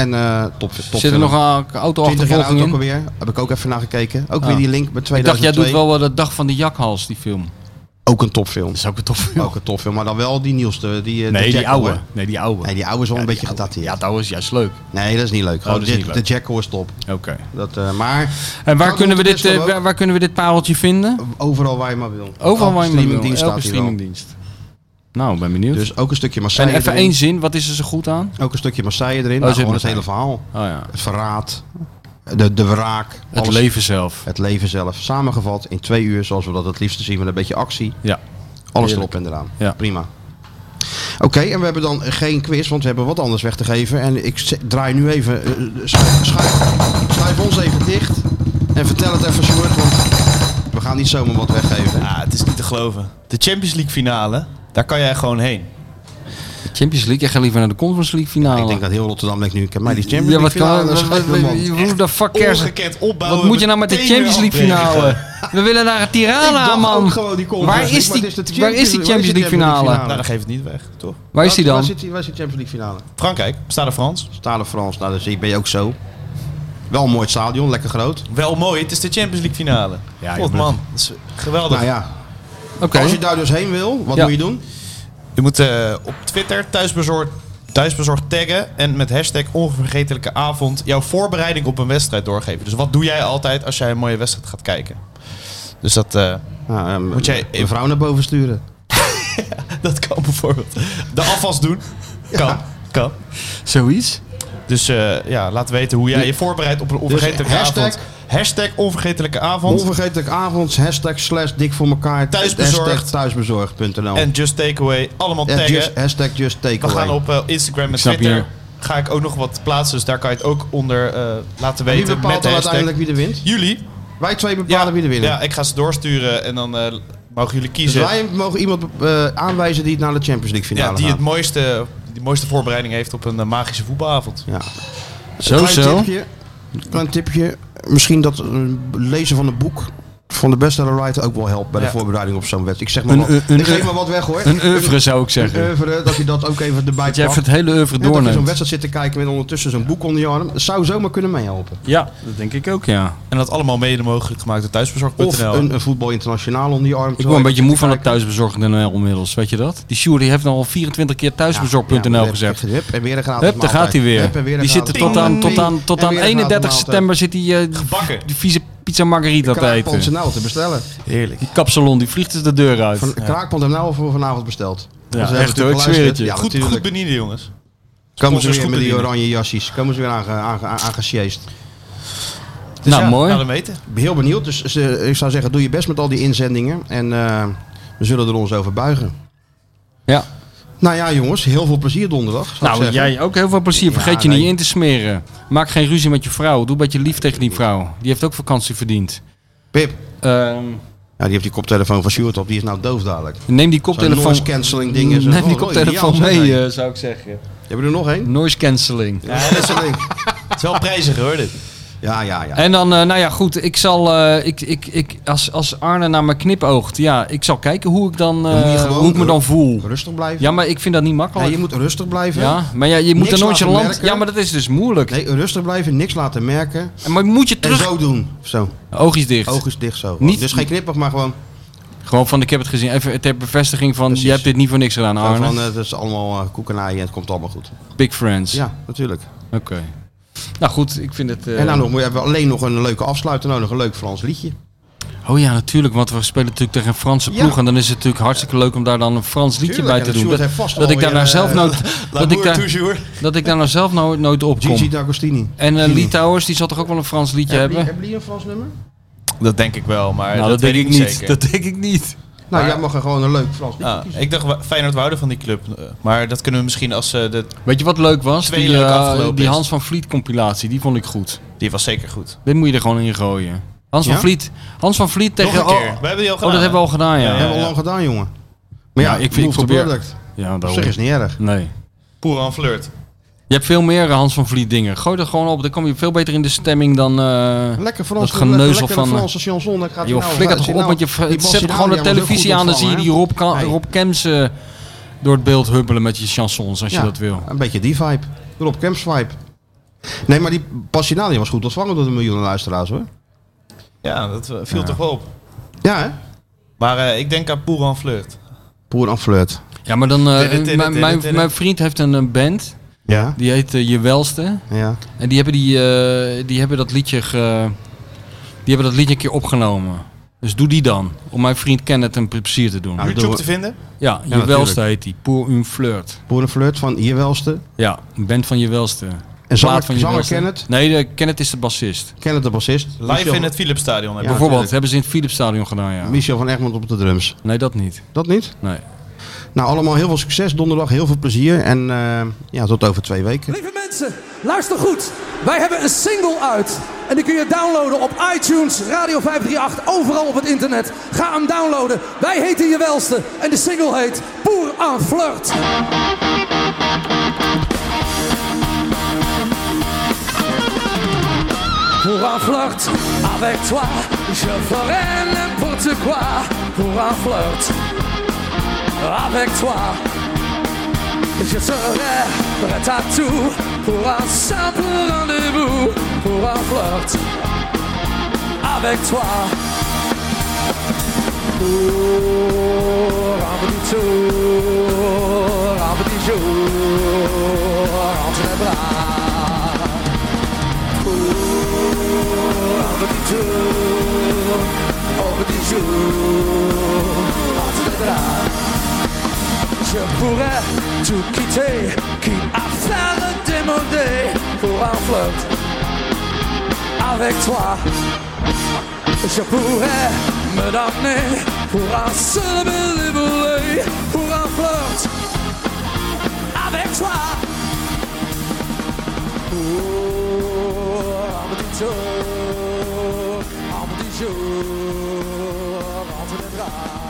En eh top, top
Zit er nog een
twintig jaar oud
auto-achtervolging
ook
in?
alweer. Heb ik ook even naar gekeken. Ook
Ah.
weer die link met
Ik dacht,
2002.
jij doet wel eh, de dag van die jakhals, die film.
Ook een topfilm.
is ook een tof
Ook een topfilm, maar dan wel die nieuwste. Die, eh, de Jackal, hè.
Nee, die oude.
Nee, die oude is wel een beetje gedateerd.
Ja, dat is juist leuk.
Nee, dat is niet leuk. Gewoon
dat is
dit-
niet
De
leuk.
Jackal is top.
Oké.
Dat, eh, maar
En waar
Count
kunnen, we
of
dit,
Monte
eh,
Cristo
waar, waar kunnen we dit pareltje vinden?
ook. Overal waar je maar wil.
Overal
Elke
waar je maar wil.
streamingdienst
Elke
staat hier wel.
streamingdienst. Nou, ben benieuwd.
Dus ook een stukje
en
Marseille
even
erin.
één zin, wat is er zo goed aan?
Ook een stukje Marseille erin.
Oh,
nou,
zit
gewoon het hele
Marseille.
verhaal.
Oh ja.
Het verraad. De, de wraak.
Het
alles.
leven zelf.
Het leven zelf. Samengevat in twee uur, zoals we dat het liefste zien, met een beetje actie.
Ja.
Alles
Heerlijk.
erop en eraan.
Ja.
Prima. Oké, Oké, en we hebben dan geen quiz, want we hebben wat anders weg te geven. En ik z- draai nu even. eh, schuif, schuif, schuif ons even dicht. En vertel het even, Sjoerd, want we gaan niet zomaar wat weggeven.
Ah, het is niet te geloven. De Champions League finale, daar kan jij gewoon heen.
Champions League, jij gaat liever naar de Conference Leaague finale.
Ik denk dat heel Rotterdam denkt nu, ik heb mij die Champions
ja,
League
wat
finale,
kan...
dat
Wat,
schijnt
wat,
me, man.
hoe de fuck cares...
Ongekend opbouwen.
Wat moet je nou met de
meteen
Champions
weer
League finale? We willen naar het Tirana,
Ik dacht
man.
ook gewoon die Conference
waar, is
League,
die,
maar het is de
waar is die
Champions- waar is
Champions
die
League finale?
Champions League
Nou, dan geef je het niet weg, toch?
Waar is die
Waar
dan?
zit die, waar zit die Champions League finale?
Frankrijk, staat er Frans.
Stalen Frans, nou, dat ben je ook zo. Wel een mooi stadion, lekker groot.
Wel mooi, het is de Champions League finale. Ja, God, man. Dat is geweldig.
Nou ja,
Oké.
als je daar dus heen wil, wat
Ja.
moet je doen?
Je moet eh, op Twitter thuisbezorgd, thuisbezorgd taggen en met hashtag onvergetelijke avond jouw voorbereiding op een wedstrijd doorgeven. Dus wat doe jij altijd als jij een mooie wedstrijd gaat kijken? Dus dat, eh,
Nou, ehm,
Moet jij-
een vrouw naar boven sturen.
dat kan bijvoorbeeld. De afwas doen. Kan. Kan.
Zoiets?
Dus eh, ja, laat weten hoe jij je voorbereidt op een onvergetelijke
Dus hashtag-
avond. Hashtag onvergetelijke avond.
Onvergetelijk avonds, hashtag slash dik voor elkaar.
Thuisbezorgd.
Hashtag thuisbezorgd.nl.
en just takeaway. Allemaal
Ja,
taggen.
just, hashtag just
We
takeaway.
gaan op eh, Instagram en
snap
Twitter.
hier.
Ga ik ook nog wat plaatsen, dus daar kan je het ook onder eh, laten
Wie
weten.
bepaalt
met de
dan
hashtag.
uiteindelijk wie er wint?
Jullie.
Wij twee bepalen wie er winnen.
Ja, ik ga ze doorsturen en dan eh, mogen jullie
dus
kiezen.
wij mogen iemand eh, aanwijzen die het naar de Champions League finale
ja, die
gaat.
het mooiste, die mooiste voorbereiding heeft op een eh, magische voetbalavond.
Ja.
Zo,
klein
zo.
Tipje, klein tipje. Misschien dat een lezen van een boek van de bestseller writer ook wel helpt bij
Ja.
de voorbereiding op zo'n wedstrijd. Ik zeg maar
Een-
wat,
een-
ik geef
een-
maar wat weg hoor.
Een oeuvre zou ik
Een
zeggen.
oeuvre, dat je dat ook even erbij
Dat jij
pakt.
even het hele oeuvre
En dat je zo'n
doorneemt.
wedstrijd zit te kijken met ondertussen zo'n boek onder je arm. Dat zou zomaar kunnen meehelpen.
Ja, dat denk ik ook, ja.
En dat allemaal mede mogelijk gemaakt door
Of
thuisbezorg.nl.
een, een voetbal internationaal onder je arm.
Ik word een beetje moe van het thuisbezorgd.nl inmiddels, weet je dat? Die Sjoerd die heeft nou al 24 keer thuisbezorgd.nl gezegd.
Hup, en weer een gratis
Hup, daar
maaltijd.
gaat hij weer.
Hup, en een
Die zitten
gratis
tot aan,
maaltijd.
tot aan, tot
En
aan
weer een gratis
31
maaltijd.
september zit die, eh,
Bakken.
die vieze pizza margarita te
Kraakpont
eten.
NL te bestellen.
Heerlijk.
Die kapsalon, die vliegt dus de deur uit.
Van, Kraakpont NL voor vanavond besteld.
Ja,
Dus we hebben
echt hoor,
natuurlijk
ik zweer het je.
geluisterd. Ja, natuurlijk.
goed,
Nou,
goed bedienen, jongens.
Komen ze
Sponsors
weer
goed
met die
bedienen.
oranje jassies. Komen ze weer aange- aange- aangesjeest.
Dus
nou,
ja,
mooi.
Laat hem weten.
Ik ben heel benieuwd. Dus eh, ik zou zeggen, doe je best met al die inzendingen. En eh, we zullen er ons over buigen.
ja.
Nou ja, jongens. Heel veel plezier donderdag. zou ik
Nou,
zeggen.
jij ook heel veel plezier. Vergeet je
nee.
niet in te smeren. Maak geen ruzie met je vrouw. Doe een beetje lief tegen die vrouw. Die heeft ook vakantie verdiend.
Pip.
Ehm,
Ja, die heeft die koptelefoon van Sjoerd op. Die is nou doof dadelijk.
neem die
Telefoon.
koptelefoon,
Noise cancelling dingen. zo.
neem die
Oh, oh,
koptelefoon
ideaal, zeg,
mee,
hey.
eh, zou ik zeggen.
Hebben we er nog één?
Noise cancelling.
Ja, dat is een ding.
Het is wel prijzig hoor, dit.
Ja, ja, ja.
En dan, eh, nou ja, goed. Ik zal, eh, ik, ik, ik, als, als Arne naar me knipoogt, ja, ik zal kijken hoe ik dan,
Dan moet je
eh,
gewoon
hoe ik me dan
doen.
voel.
Rustig blijven.
Ja, maar ik vind dat niet
Nee,
makkelijk.
je moet rustig blijven.
Ja, maar ja, je moet
Niks
dan nooit je
laten
land.
merken.
Ja, maar dat is dus moeilijk.
Nee, rustig blijven. Niks laten merken.
Maar moet je
En
terug.
zo doen. Zo.
Oogjes dicht.
Oogjes dicht zo.
Niet-
Dus geen knippig, maar gewoon...
Gewoon van, ik heb het gezien. Even ter bevestiging van,
Precies.
je hebt dit niet voor niks gedaan,
Gewoon
Arne.
Van, eh, het is allemaal uh, koekenaaien en het komt allemaal goed.
Big friends.
Ja, natuurlijk.
Oké. Nou goed, ik vind het... eh,
En dan nog, moet- hebben we alleen nog een leuke afsluiter nodig. Een leuk Frans liedje.
Oh ja, natuurlijk, want we spelen natuurlijk tegen een Franse
Ja.
ploeg. En dan is het natuurlijk hartstikke leuk om daar dan een Frans liedje
Tuurlijk,
bij
en
te
dat
doen.
Sjoerd
Dat,
heeft vast
dat ik
alweer,
daar nou
eh,
zelf nooit... dat, ik daar,
toujours.
dat ik daar nou zelf nooit, nooit op kom.
Gigi D'Agostini.
En eh,
Gigi.
Litouwers, die zal toch ook wel een Frans liedje
Hebben
hebben?
jullie- hebben jullie een Frans nummer? Nou,
Dat denk ik wel, maar
nou,
dat,
dat,
weet
denk ik niet.
zeker.
Dat denk ik niet.
Nou, jij mag er gewoon een leuk Frans liedje
Ah,
kiezen.
ik dacht, wa- Feyenoord wouden van die club. eh, Maar dat kunnen we misschien als... eh, de,
Weet je wat leuk was?
Twee
Die,
leuk
eh,
afgelopen
die
is.
Hans van Vliet compilatie, die vond ik goed.
die was zeker goed.
Dit moet je er gewoon in gooien. Hans van
Ja?
Vliet. Hans van Vliet
Nog
tegen...
een keer.
Oh,
We hebben die al
oh,
gedaan.
dat hebben we al gedaan, ja.
Ja,
Dat
ja,
hebben we al lang gedaan, jongen. Maar ja,
Ja, ik-
ik, vind
ik
het
probeer- Oh.
product. Op
daarom.
zich is niet erg.
Nee.
Poeran flirt.
Je hebt veel meer eh, Hans van Vliet dingen. Gooi er gewoon op. Dan kom je veel beter in de stemming dan... eh,
Lekker Frans.
Dat geneuzel
lekker lekkere
van, eh,
Franse chanson. Dan gaat nou, eh,
joh, flikker toch op, want je v- zet gewoon de televisie aan. Dan zie je die Rob, Ka- Rob Kems eh, door het beeld huppelen met je chansons, als je dat wil.
Een beetje die vibe. Rob Kemps vibe. Nee, maar die Passionalia was goed ontvangen door de miljoenen luisteraars hoor.
Ja, dat eh, viel toch wel op.
Ja hè?
Maar eh, ik denk aan Poeran flirt.
Poer en flirt.
Ja, maar dan... eh,
Dit, dit, dit,
mijn-
dit,
mijn-
dit.
Mijn vriend heeft een eh, band.
Ja.
Die heet eh, Je Welste.
Ja.
En die hebben, die, eh, die hebben dat liedje ge- die hebben dat liedje een keer opgenomen. Dus doe die dan. Om mijn vriend Kenneth een plezier te doen.
dat doen
YouTube
we.
te vinden.
Ja, Je
natuurlijk.
Welste heet die. Pour une flirt.
Poer en flirt van Je Welste.
Ja, een band van Je Welste.
En
Plaat
zanger,
van Je
zanger
Welste.
Kenneth.
Nee, de, Kenneth is de bassist.
Kenneth de bassist.
Live
Michel-
in het Philipsstadion.
Ja.
hebben we.
natuurlijk.
Bijvoorbeeld, hebben ze in het Philipsstadion gedaan, ja.
Michel van Egmond op de drums.
Nee, dat niet.
Dat niet?
Nee.
Nou, allemaal heel veel succes donderdag. Heel veel plezier. En eh, ja, tot over twee weken.
Lieve mensen, luister goed. Wij hebben een single uit. En die kun je downloaden op iTunes, Radio 538, overal op het internet. Ga hem downloaden. Wij heten je welste. En de single heet Pour en Flirt. Pour un flirt avec toi, je ferai n'importe quoi. Pour un flirt avec toi. Je serai prêt à tout pour un simple rendez-vous, pour un flirt avec toi. Pour un petit tour, un petit jour entre les bras. Pour un petit tour, un petit jour entre les bras. Je pourrais tout quitter, quitte à faire le démodé pour un flirt avec toi. Je pourrais me donner pour un seul baiser, pour un flirt avec toi. Pour un petit tour, un petit jour entre les bras.